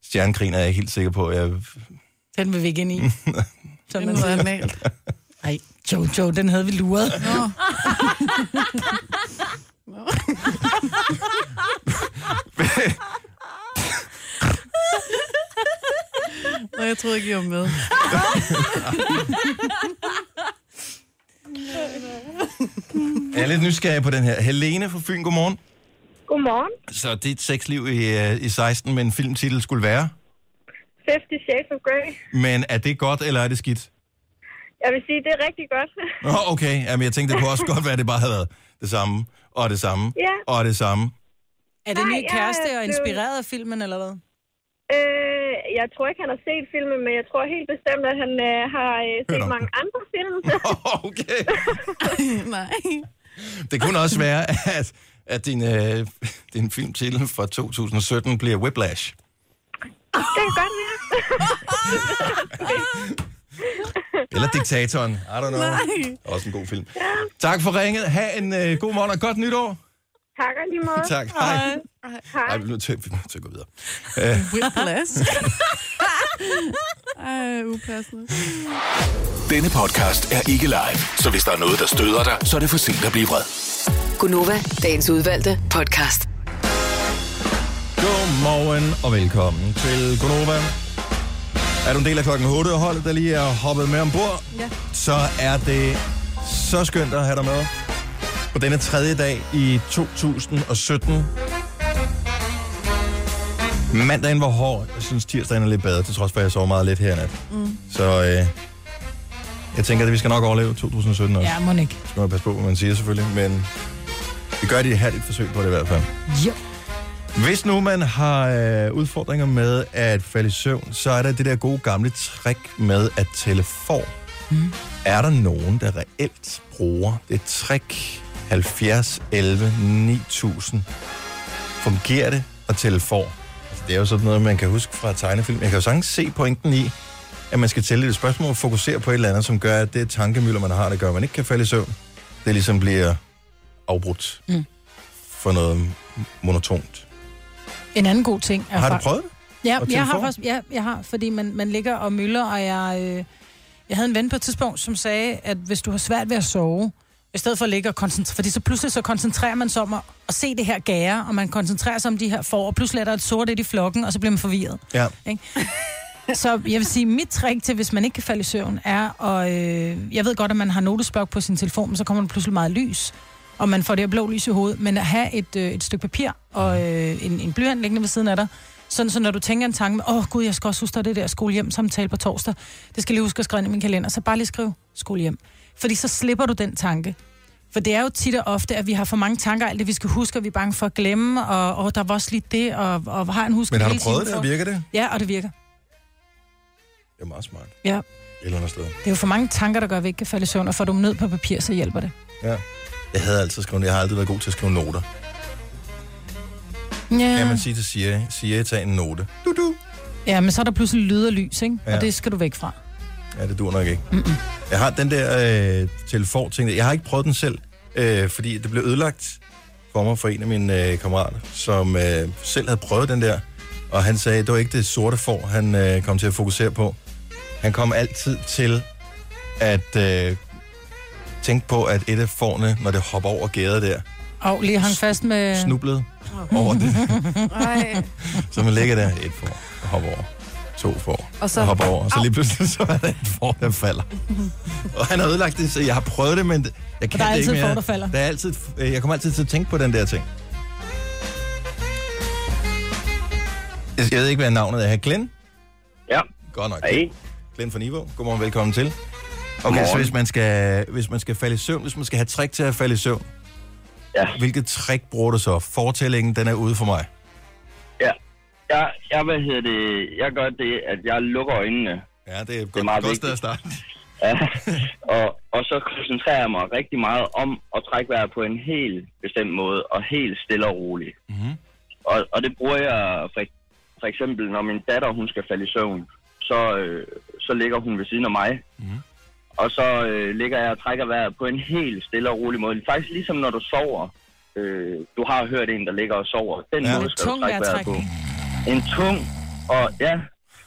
[SPEAKER 1] Stjernekrigen er jeg ikke helt sikker på. Jeg...
[SPEAKER 2] Den vil vi ikke ind
[SPEAKER 1] Mm.
[SPEAKER 2] i. Som
[SPEAKER 4] Det
[SPEAKER 2] man
[SPEAKER 4] må
[SPEAKER 2] siger.
[SPEAKER 4] være normalt.
[SPEAKER 2] Ej, Jojo, den havde vi luret.
[SPEAKER 4] Nå, jeg troede ikke, I var med.
[SPEAKER 1] jeg er lidt nysgerrig på den her. Helene fra Fyn, godmorgen.
[SPEAKER 8] Godmorgen.
[SPEAKER 1] Så dit sexliv i, øh, i 16 med en filmtitel skulle være.
[SPEAKER 8] 50 Shades of Grey.
[SPEAKER 1] Men er det godt, eller er det skidt?
[SPEAKER 8] Jeg vil sige, det er rigtig godt.
[SPEAKER 1] Nå, okay. Jamen, jeg tænkte, det kunne også godt være, at det bare havde været. det samme, og det samme,
[SPEAKER 8] Ja.
[SPEAKER 1] og det samme.
[SPEAKER 2] Er det
[SPEAKER 8] Nej,
[SPEAKER 2] ny
[SPEAKER 8] jeg
[SPEAKER 2] kæreste og
[SPEAKER 8] blev-
[SPEAKER 2] inspireret af filmen, eller hvad?
[SPEAKER 8] Øh, jeg tror ikke, han har set filmen, men jeg tror helt bestemt, at han øh, har øh,
[SPEAKER 1] Hørt
[SPEAKER 8] set
[SPEAKER 1] om
[SPEAKER 8] mange andre film.
[SPEAKER 1] Okay.
[SPEAKER 4] Nej.
[SPEAKER 1] Det kunne også være, at, at din, øh, din filmtitel fra 2017 bliver Whiplash.
[SPEAKER 8] det kan godt er være.
[SPEAKER 1] Eller Diktatoren. I don't know. Nej. Også en god film. Ja. Tak for ringet. Ha' en øh, god morgen og godt nytår.
[SPEAKER 8] Tak og lige måde.
[SPEAKER 1] Tak. Hej. Hej. vi er nødt til, vi er nødt til at gå videre. Øh,
[SPEAKER 4] Whiplash. Ej, upassende.
[SPEAKER 5] Denne podcast er ikke live, så hvis der er noget, der støder dig, så er det for sent at blive vred.
[SPEAKER 6] Gunova, dagens udvalgte podcast.
[SPEAKER 1] Godmorgen og velkommen til Gonova. Er du en del af klokken 8 holdet, der lige er hoppet med ombord,
[SPEAKER 4] Ja.
[SPEAKER 1] så er det så skønt at have dig med på denne tredje dag i 2017. Mandagen var hård. Jeg synes, tirsdagen er lidt bedre, til trods for, at jeg sov meget lidt her i nat. Mm. Så øh, jeg tænker, at vi skal nok overleve 2017 også.
[SPEAKER 2] Ja, Monik.
[SPEAKER 1] Så skal man passe på, hvad man siger selvfølgelig, men vi gør det her et forsøg på det i hvert fald.
[SPEAKER 2] Jo.
[SPEAKER 1] Hvis nu man har øh, udfordringer med at falde i søvn, så er der det der gode gamle trick med at tælle for. Mm. Er der nogen, der reelt bruger det trick 70, 11, 9000? Fungerer det at tælle for? Altså, det er jo sådan noget, man kan huske fra tegnefilm. Jeg kan jo sagtens se pointen i, at man skal tælle et spørgsmål og fokusere på et eller andet, som gør, at det tankemøller, man har, det gør, at man ikke kan falde i søvn. Det ligesom bliver afbrudt mm. for noget monotont.
[SPEAKER 2] En anden god ting er
[SPEAKER 1] Har du
[SPEAKER 2] fakt-
[SPEAKER 1] prøvet det?
[SPEAKER 2] Ja,
[SPEAKER 1] Og
[SPEAKER 2] jeg har
[SPEAKER 1] telefon?
[SPEAKER 2] faktisk, ja, jeg har, fordi man, man ligger og mylder, og jeg, øh, jeg havde en ven på et tidspunkt, som sagde, at hvis du har svært ved at sove, i stedet for at ligge og koncentrere, fordi så pludselig så koncentrerer man sig om at, at se det her gære, og man koncentrerer sig om de her får, og pludselig er der et sort et i flokken, og så bliver man forvirret.
[SPEAKER 1] Ja.
[SPEAKER 2] Så jeg vil sige, mit trick til, hvis man ikke kan falde i søvn, er, og øh, jeg ved godt, at man har notesblok på sin telefon, men så kommer der pludselig meget lys, og man får det her blå lys i hovedet, men at have et, øh, et stykke papir og øh, en, en blyant liggende ved siden af dig, sådan så når du tænker en tanke med, åh oh, gud, jeg skal også huske der er det der skolehjem-samtale på torsdag, det skal jeg lige huske at skrive ind i min kalender, så bare lige skriv skolehjem. Fordi så slipper du den tanke. For det er jo tit og ofte, at vi har for mange tanker, alt det vi skal huske, og vi er bange for at glemme, og, og der var også lige det, og, og har en husk.
[SPEAKER 1] Men har du prøvet det, og virker det?
[SPEAKER 2] Ja, og det virker.
[SPEAKER 1] Det er meget smart.
[SPEAKER 2] Ja.
[SPEAKER 1] Et eller andet sted.
[SPEAKER 2] Det er jo for mange tanker, der gør, at vi ikke kan falde i søvn, og får du dem ned på papir, så hjælper det.
[SPEAKER 1] Ja. Jeg havde altid skrevet, jeg har aldrig været god til at skrive noter. Kan
[SPEAKER 2] Ja.
[SPEAKER 1] man sige til Siri, Siri, tag en note. Du, du.
[SPEAKER 2] ja, men så er der pludselig lyd og lys, ikke?
[SPEAKER 1] Ja.
[SPEAKER 2] Og det skal du væk fra.
[SPEAKER 1] Ja, det dur nok ikke. Mm-mm. Jeg har den der øh, telefon-ting. der. Jeg har ikke prøvet den selv, øh, fordi det blev ødelagt for mig for en af mine øh, kammerater, som øh, selv havde prøvet den der. Og han sagde, det var ikke det sorte får, han øh, kom til at fokusere på. Han kom altid til at øh, tænke på, at et af fårene, når det hopper over gæret der,
[SPEAKER 2] Og lige hang fast med...
[SPEAKER 1] snublede over det.
[SPEAKER 4] Ej.
[SPEAKER 1] Så man ligger der et for, og hopper over. To for, og
[SPEAKER 4] Og
[SPEAKER 1] så
[SPEAKER 4] så-
[SPEAKER 1] og hopper over. Og så lige pludselig så er der et for, der falder. og han har ødelagt det, så jeg har prøvet det, men jeg kan
[SPEAKER 2] der er
[SPEAKER 1] det ikke
[SPEAKER 2] altid et
[SPEAKER 1] mere.
[SPEAKER 2] får, der falder.
[SPEAKER 1] Der er altid, øh, jeg kommer altid til at tænke på den der ting. Jeg jeg ved ikke, hvad navnet er. Glenn?
[SPEAKER 9] Ja.
[SPEAKER 1] Godt nok.
[SPEAKER 9] Hej.
[SPEAKER 1] Glenn fra Niveau. Godmorgen, velkommen til. Okay, så
[SPEAKER 9] Godmorgen.
[SPEAKER 1] hvis man, skal, hvis man skal falde i søvn, hvis man skal have trick til at falde i søvn,
[SPEAKER 9] Ja.
[SPEAKER 1] hvilket trick bruger du så? Fortællingen, den er ude for mig.
[SPEAKER 9] Ja. Jeg, jeg, hvad hedder det, jeg gør det, at jeg lukker øjnene.
[SPEAKER 1] Ja, det er et
[SPEAKER 9] er
[SPEAKER 1] godt,
[SPEAKER 9] meget
[SPEAKER 1] godt sted at
[SPEAKER 9] vigtigt.
[SPEAKER 1] starte.
[SPEAKER 9] Ja. og, og så koncentrerer jeg mig rigtig meget om at trække vejret på en helt bestemt måde, og helt stille og roligt. Mm-hmm. Og, og det bruger jeg for, for eksempel, når min datter hun skal falde i søvn, så, øh, så ligger hun ved siden af mig. Mm-hmm.
[SPEAKER 1] Mhm.
[SPEAKER 9] Og så øh, ligger jeg og trækker vejret på en helt stille og rolig måde. Faktisk ligesom når du sover. Øh, du har hørt en, der ligger og sover. Den
[SPEAKER 1] Ja.
[SPEAKER 9] ja. måde skal
[SPEAKER 2] Tung
[SPEAKER 9] du trække vejret på. En tung, og ja,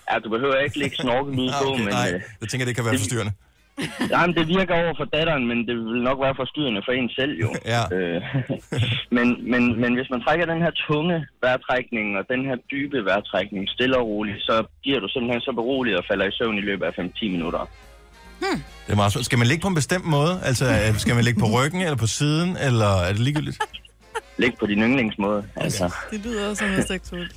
[SPEAKER 9] ja du behøver ikke lægge snorkelyd
[SPEAKER 1] Ah,
[SPEAKER 9] på,
[SPEAKER 1] okay,
[SPEAKER 9] men...
[SPEAKER 1] nej,
[SPEAKER 9] Øh,
[SPEAKER 1] jeg tænker, det kan være forstyrrende.
[SPEAKER 9] Nej, men det virker over for datteren, men det vil nok være forstyrrende for en selv jo.
[SPEAKER 1] Ja.
[SPEAKER 9] Øh, men, men, men hvis man trækker den her tunge vejrtrækning og den her dybe vejrtrækning stille og roligt, så bliver du simpelthen så beroliget og falder i søvn i løbet af 5-10 minutter.
[SPEAKER 1] Det er meget svært. Skal man ligge på en bestemt måde? Altså, øh, skal man ligge på ryggen eller på siden, eller er det ligegyldigt?
[SPEAKER 9] Læg på din yndlingsmåde. Altså.
[SPEAKER 4] Det lyder som noget seksuelt.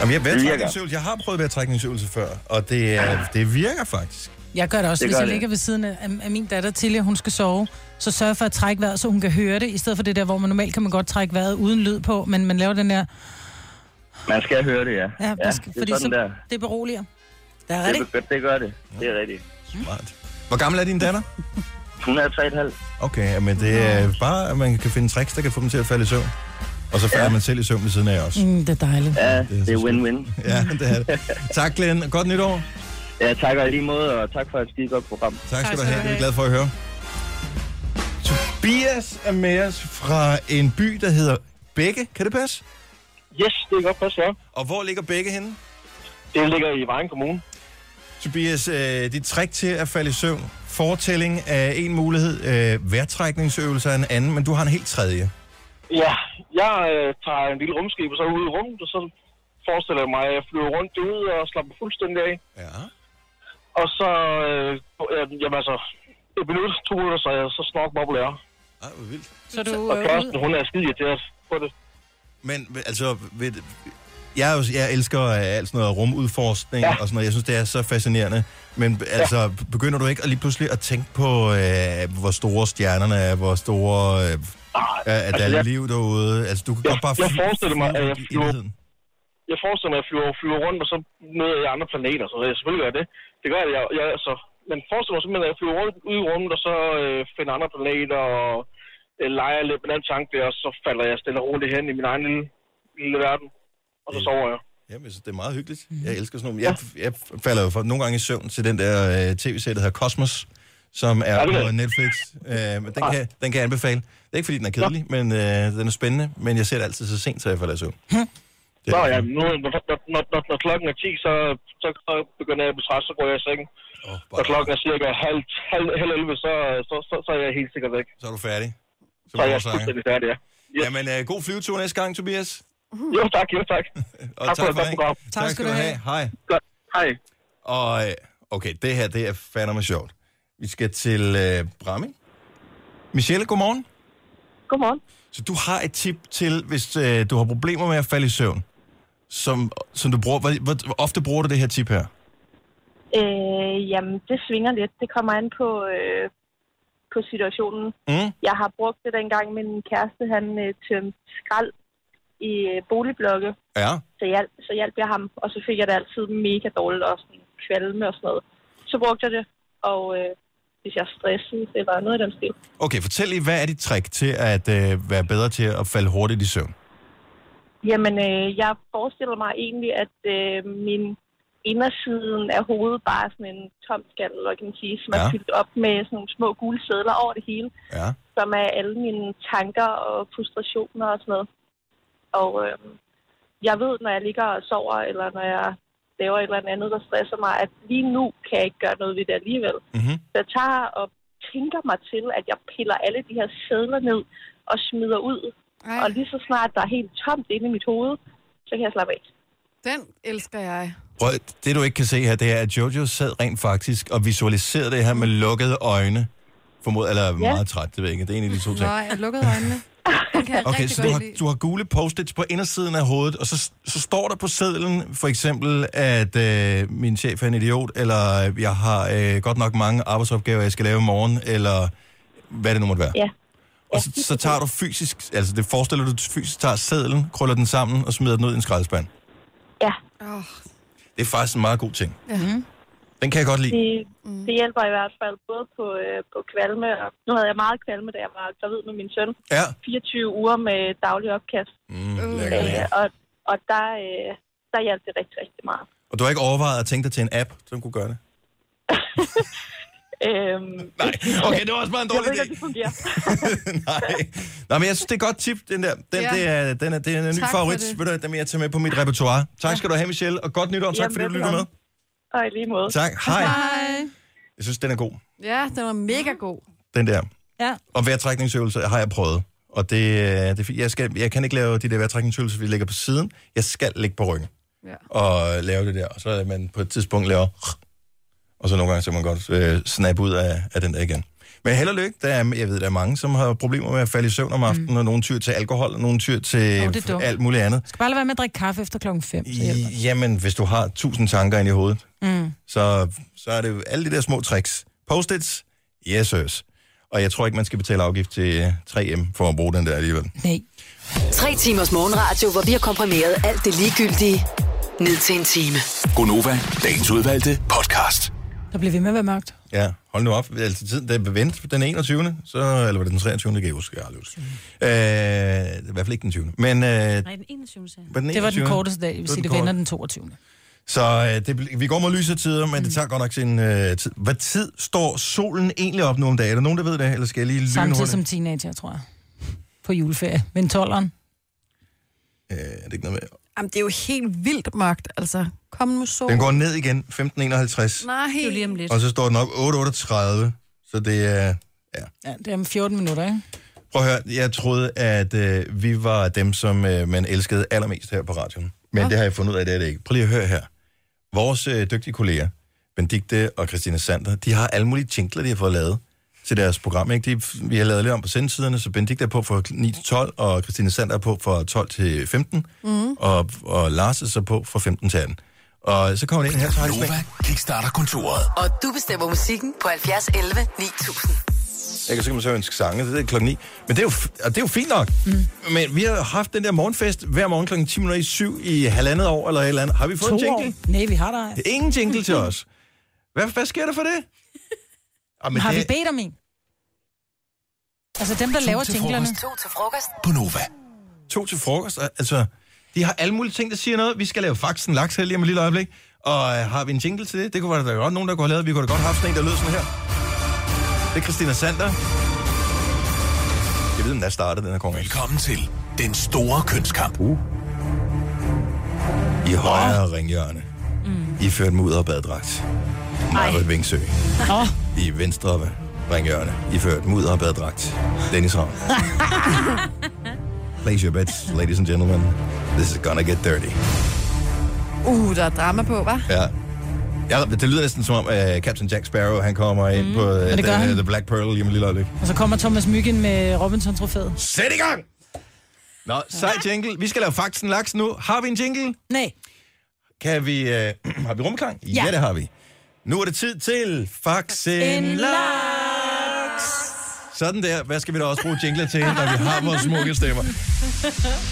[SPEAKER 1] Jamen, jeg,
[SPEAKER 9] Det virker.
[SPEAKER 1] vejrtrækningsøvelse, jeg har prøvet vejrtrækningsøvelse før, og det, er, det virker faktisk.
[SPEAKER 2] Jeg gør det også.
[SPEAKER 9] Det
[SPEAKER 2] Hvis
[SPEAKER 9] gør
[SPEAKER 2] jeg
[SPEAKER 9] det.
[SPEAKER 2] ligger ved siden af, af min datter til, at hun skal sove, så sørg for at trække vejret, så hun kan høre det, i stedet for det der, hvor man normalt kan man godt trække vejret uden lyd på, men man laver den her...
[SPEAKER 9] Man skal høre det, ja.
[SPEAKER 2] Ja, ja der skal,
[SPEAKER 9] det er sådan
[SPEAKER 2] så,
[SPEAKER 9] der.
[SPEAKER 2] det beroliger. Der er
[SPEAKER 9] Det,
[SPEAKER 2] rigtigt.
[SPEAKER 9] be- det gør det. Det er rigtigt.
[SPEAKER 1] Smart. Hvor gammel er din datter?
[SPEAKER 9] Hun er 3,5.
[SPEAKER 1] Okay, men det er bare, at man kan finde tricks, der kan få dem til at falde i søvn. Og så falder ja. man selv i søvn ved siden af også.
[SPEAKER 2] Mm, det er dejligt.
[SPEAKER 9] Ja,
[SPEAKER 1] det er
[SPEAKER 9] det er
[SPEAKER 1] så
[SPEAKER 9] win-win.
[SPEAKER 1] Ja, det er det. Tak, Glenn. Godt nytår.
[SPEAKER 9] Ja, tak og i lige måde, og tak for et skide godt program.
[SPEAKER 1] Tak skal du have. Det er vi glad for at høre. Tobias er med os fra en by, der hedder Bække. Kan det passe?
[SPEAKER 10] Yes, det kan godt passe, ja.
[SPEAKER 1] Og hvor ligger Bække henne?
[SPEAKER 10] Det ligger i Vejen Kommune.
[SPEAKER 1] Tobias, øh, dit trick til at falde i søvn. Fortælling er en mulighed, øh, vejrtrækningsøvelser er en anden, men du har en helt tredje.
[SPEAKER 10] Ja, jeg øh, tager en lille rumskib og så ud i rummet, og så forestiller jeg mig, at jeg flyver rundt derude og slapper fuldstændig af.
[SPEAKER 1] Ja.
[SPEAKER 10] Og så, øh, øh, jamen altså, et minut, to minutter, så er jeg så snart bobler.
[SPEAKER 1] Ej, hvor vildt.
[SPEAKER 2] Så du
[SPEAKER 10] Og
[SPEAKER 2] øh,
[SPEAKER 10] Kirsten,
[SPEAKER 2] ud,
[SPEAKER 10] hun er skide irriteret på det.
[SPEAKER 1] Men v- altså, ved, jeg, er jo- jeg elsker øh, alt sådan noget rumudforskning ja. og sådan noget. Jeg synes, det er så fascinerende. Men altså, begynder du ikke at lige pludselig at tænke på, øh, hvor store stjernerne er, hvor store... Øh, er, er der
[SPEAKER 10] altså,
[SPEAKER 1] er
[SPEAKER 10] jeg-
[SPEAKER 1] liv derude? Altså, du kan
[SPEAKER 10] Jeg-
[SPEAKER 1] godt bare
[SPEAKER 10] jeg
[SPEAKER 1] fly-
[SPEAKER 10] forestiller mig,
[SPEAKER 1] flyve
[SPEAKER 10] at jeg
[SPEAKER 1] i
[SPEAKER 10] flyver-
[SPEAKER 1] evigheden.
[SPEAKER 10] Jeg forestiller mig, at jeg flyver, flyver rundt, og så møder jeg andre planeter, så jeg selvfølgelig gør jeg det. Det gør jeg, jeg altså. Men forestiller mig simpelthen, at jeg flyver rundt ud i rummet, og så øh, finder andre planeter, og øh, leger lidt med den tanke der, og så falder jeg stille og roligt hen i min egen lille, lille verden. Og så
[SPEAKER 1] Det-
[SPEAKER 10] sover jeg.
[SPEAKER 1] Jamen, jeg synes, det er meget hyggeligt. Jeg elsker sådan noget. Jeg, jeg falder jo for, nogle gange i søvn til den der øh, tv-serie, der hedder Cosmos, som er
[SPEAKER 10] Ja, det ved
[SPEAKER 1] på
[SPEAKER 10] jeg.
[SPEAKER 1] Netflix. Øh, men den, kan, den kan jeg anbefale. Det er ikke, fordi den er kedelig, men øh, den er spændende. Men jeg ser det altid så sent, så jeg falder i søvn. Det,
[SPEAKER 10] Nå ja, nu, når, når, når, når, når klokken er 10, så, så begynder jeg at betræde, så går jeg i sengen.
[SPEAKER 1] Åh,
[SPEAKER 10] Når
[SPEAKER 1] bare,
[SPEAKER 10] klokken er cirka halv, halv, halv 11, så, så, så, så er jeg helt sikkert væk.
[SPEAKER 1] så er du færdig. Så,
[SPEAKER 10] Så er jeg
[SPEAKER 1] så
[SPEAKER 10] fuldstændig færdig, ja. Ja.
[SPEAKER 1] Jamen, øh, god flyvetur næste gang, Tobias.
[SPEAKER 10] Jo tak, jo tak.
[SPEAKER 1] Og
[SPEAKER 10] Tak for et godt
[SPEAKER 1] ringen.
[SPEAKER 10] program.
[SPEAKER 1] Tak, skal du have. Hej.
[SPEAKER 10] Godt. Hej.
[SPEAKER 1] Og øh, okay, det her, det er fandme sjovt. Vi skal til øh, Bramming. Michelle, godmorgen.
[SPEAKER 8] Godmorgen.
[SPEAKER 1] Så du har et tip til, hvis øh, du har problemer med at falde i søvn, som, som du bruger, hvor, hvor, hvor ofte bruger du det her tip her?
[SPEAKER 8] Øh, jamen, det svinger lidt. Det kommer an på, øh, på situationen.
[SPEAKER 1] Mm.
[SPEAKER 8] Jeg har brugt det dengang, min kæreste han øh, tømte skrald i øh, boligblokke,
[SPEAKER 1] Ja.
[SPEAKER 8] så hjalp, så hjalp jeg ham, og så fik jeg det altid mega dårligt og sådan kvalme og sådan noget. Så brugte jeg det, og øh, hvis jeg er stresset, det var noget i den stil.
[SPEAKER 1] Okay, fortæl lige, hvad er dit trick til at øh, være bedre til at falde hurtigt i søvn?
[SPEAKER 8] Jamen, øh, jeg forestiller mig egentlig, at øh, min indersiden af hovedet bare er sådan en tom skal, eller hvad kan man sige, som er
[SPEAKER 1] Ja.
[SPEAKER 8] fyldt op med sådan nogle små gule sædler over det hele,
[SPEAKER 1] Ja.
[SPEAKER 8] som er alle mine tanker og frustrationer og sådan noget. Og øh, jeg ved, når jeg ligger og sover, eller når jeg laver et eller andet, der stresser mig, at lige nu kan jeg ikke gøre noget ved det alligevel.
[SPEAKER 1] Mm-hmm.
[SPEAKER 8] Så jeg tager og tænker mig til, at jeg piller alle de her sædler ned og smider ud
[SPEAKER 4] Ej,
[SPEAKER 8] og lige så snart der er helt tomt inde i mit hoved, så kan jeg slappe af.
[SPEAKER 4] den elsker jeg.
[SPEAKER 1] Prøv, det du ikke kan se her, det er, at Jojo sad rent faktisk og visualiserede det her med lukkede øjne. Formod, eller ja. meget træt, det ved jeg ikke. Det er en af de to ting.
[SPEAKER 4] Nej, jeg lukkede øjnene. Den kan jeg
[SPEAKER 1] Okay,
[SPEAKER 4] rigtig
[SPEAKER 1] så du
[SPEAKER 4] godt
[SPEAKER 1] har,
[SPEAKER 4] lide.
[SPEAKER 1] du har gule post-its på indersiden af hovedet, og så, så står der på sedlen for eksempel, at øh, min chef er en idiot, eller øh, jeg har øh, godt nok mange arbejdsopgaver, jeg skal lave i morgen, eller hvad det nu måtte være.
[SPEAKER 8] Ja.
[SPEAKER 1] Og så, så tager du fysisk, altså det forestiller du, du fysisk tager sedlen, krøller den sammen og smider den ud i en skraldespand.
[SPEAKER 8] Ja,
[SPEAKER 4] Åh,
[SPEAKER 1] Det er faktisk en meget god ting.
[SPEAKER 4] ja.
[SPEAKER 1] Den kan jeg godt lide.
[SPEAKER 8] det,
[SPEAKER 1] Mm.
[SPEAKER 8] det hjælper i hvert fald både på, øh, på kvalme. Og nu havde jeg meget kvalme, da jeg var gravid med min søn.
[SPEAKER 1] Ja.
[SPEAKER 8] 24 uger med daglig opkast.
[SPEAKER 1] Mm,
[SPEAKER 4] Uh.
[SPEAKER 1] lækker,
[SPEAKER 8] Øh,
[SPEAKER 1] lækker.
[SPEAKER 8] og, og der, øh, der hjalp det rigtig, rigtig meget.
[SPEAKER 1] Og du har ikke overvejet at tænke dig til en app, som kunne gøre det?
[SPEAKER 8] Øhm,
[SPEAKER 1] Nej, okay, det var også bare en
[SPEAKER 8] jeg
[SPEAKER 1] dårlig
[SPEAKER 8] ved ikke,
[SPEAKER 1] idé.
[SPEAKER 8] om det fungerer.
[SPEAKER 1] Nej. Nå, men jeg synes, det er et godt tip, den der. Den, ja.
[SPEAKER 4] Ja.
[SPEAKER 1] det er, den er, det er en ny
[SPEAKER 4] Tak for
[SPEAKER 1] favorit,
[SPEAKER 4] det.
[SPEAKER 1] ved du, hvad, den vil jeg tage med på mit repertoire. Tak skal du have, Michelle, og godt nytår. Tak
[SPEAKER 8] Jamen,
[SPEAKER 1] fordi du lytter med.
[SPEAKER 8] velbekomme. og i lige måde.
[SPEAKER 1] Tak, hej.
[SPEAKER 4] Hej.
[SPEAKER 1] Jeg synes, den er god,
[SPEAKER 4] Ja, den var mega god.
[SPEAKER 1] den der.
[SPEAKER 2] Ja.
[SPEAKER 1] Og vejrtrækningsøvelser har jeg prøvet. Og det, øh, det er fint. jeg, skal, jeg kan ikke lave de der vejrtrækningsøvelser, vi lægger på siden. Jeg skal ligge på ryggen
[SPEAKER 4] Ja.
[SPEAKER 1] og lave det der. Og så er det, at man på et tidspunkt laver... Og så nogle gange, så kan man godt øh, snappe ud af, af den der igen. Men held og lykke. Der er, jeg ved, der er mange, som har problemer med at falde i søvn om aftenen, mm. og nogen tyr til alkohol, og nogen tyr til
[SPEAKER 2] Åh, det er dumt.
[SPEAKER 1] alt muligt andet.
[SPEAKER 2] Skal bare lade være med at drikke kaffe efter klokken 5, så hjælper det.
[SPEAKER 1] Jamen, hvis du har tusind tanker ind i hovedet,
[SPEAKER 2] Mm.
[SPEAKER 1] Så, så er det jo alle de der små tricks. Post-its, yes, sirs. Og jeg tror ikke, man skal betale afgift til øh, 3M for at bruge den der alligevel.
[SPEAKER 2] Nej.
[SPEAKER 6] Tre timers morgenradio, hvor vi har komprimeret alt det ligegyldige ned til en time.
[SPEAKER 5] Gonova, dagens udvalgte podcast.
[SPEAKER 2] Der bliver ved med at være mørkt.
[SPEAKER 1] Ja, hold nu op. Altså, tiden, det er vendt den 21. Så, eller var det den 23. Det kan jeg huske, jeg har aldrig huske. Øh, det er I hvert fald ikke den 20. Men øh,
[SPEAKER 3] Nej, den 21. sagde jeg.
[SPEAKER 1] Var den
[SPEAKER 2] Det var den
[SPEAKER 1] 21..
[SPEAKER 2] korteste dag, det vil
[SPEAKER 1] Det var
[SPEAKER 2] sige,
[SPEAKER 1] den
[SPEAKER 2] det vender den 22.
[SPEAKER 1] Så øh, det, bl- vi går mod lyse tider, men mm. det tager godt nok sin øh, tid. Hvad tid står solen egentlig op nu om dagen? Er der nogen, der ved det? Eller skal jeg lige lyne
[SPEAKER 2] Samtidig
[SPEAKER 1] hurtigt?
[SPEAKER 2] som teenager, tror jeg. På juleferie. Men 12'eren.
[SPEAKER 1] Øh, er det ikke noget med?
[SPEAKER 4] Jamen, det er jo helt vildt magt, altså. Kom nu sol.
[SPEAKER 1] Den går ned igen, 15.51.
[SPEAKER 4] Nej,
[SPEAKER 3] Det er jo
[SPEAKER 4] helt...
[SPEAKER 3] lige om lidt.
[SPEAKER 1] Og så står den op 8.38. Så det er...
[SPEAKER 2] Ja, det er om 14 minutter, ikke?
[SPEAKER 1] Prøv at høre, jeg troede, at øh, vi var dem, som øh, man elskede allermest her på radioen. Men det har jeg fundet ud af, det er det ikke. Prøv lige at høre her. Vores øh, dygtige kolleger, Benedikte og Christina Sander, de har alle mulige tinkler, de har fået lavet til deres program. Ikke? De, vi har lavet lidt om på sendetiderne, så Benedikte er på fra 9 til 12, og Christina Sander er på fra 12 til 15, mm. og, og Lars er så på fra 15 til 18. Og så kommer det ind her, så har de sådan en-
[SPEAKER 5] Nova kickstarter kontoret.
[SPEAKER 6] Og du bestemmer musikken på 70 11 9000.
[SPEAKER 1] Ikke? Og så kan man så ønske sange, så det er klokken 9. Men det er jo, f- og det er jo fint nok. Mm. Men vi har haft den der morgenfest hver morgen klokken 10 minutter i syv i halvandet år, eller et eller andet. Har vi fået
[SPEAKER 2] To
[SPEAKER 1] en jingle?
[SPEAKER 2] år. Nej, vi har der. ej.
[SPEAKER 1] Det er ingen jingle til os. Hvad, hvad sker der for det? Ah, men
[SPEAKER 2] Har vi
[SPEAKER 1] det,
[SPEAKER 2] bedt om en? Altså dem, der laver
[SPEAKER 5] til
[SPEAKER 2] tinglerne.
[SPEAKER 6] To til frokost.
[SPEAKER 5] På Nova.
[SPEAKER 1] to til frokost, og- altså, de har alle mulige ting, der siger noget. Vi skal lave faksen laks her lige om et lille øjeblik. Og øh, har vi en jingle til det? Det kunne være, der er godt nogen, der kunne have lavet. Vi kunne da godt have haft sådan en, der lød sådan her. Det er Christina Sander. Jeg ved, om der startede den her konkurrence.
[SPEAKER 5] Velkommen til den store kønskamp.
[SPEAKER 1] I højre ringhjørne. Mm. I ført mudder og baddragt. Marvind Vingsø.
[SPEAKER 2] Åh,
[SPEAKER 1] I venstre ringhjørne. I ført mudder og baddragt. Dennis Ravn. Place your bets, ladies and gentlemen. This is gonna get dirty.
[SPEAKER 4] Uh, der er drama på, hva'?
[SPEAKER 1] Ja. Ja, det lyder næsten som om, at Captain Jack Sparrow, han kommer ind mm. på uh,
[SPEAKER 2] det
[SPEAKER 1] the,
[SPEAKER 2] gør han.
[SPEAKER 1] the, Black Pearl lige om et lille øjeblik.
[SPEAKER 2] og så kommer Thomas Myggen med Robinson-trofæet.
[SPEAKER 1] Sæt i gang! Nå, sej jingle. Vi skal lave fakten laks nu. Har vi en jingle?
[SPEAKER 2] Nej.
[SPEAKER 1] Kan vi... Øh, har vi rumklang? Ja. ja, det har vi. Nu er det tid til Faxen Laks. Sådan der. Hvad skal vi da også bruge jingler til, når vi har vores smukke stemmer?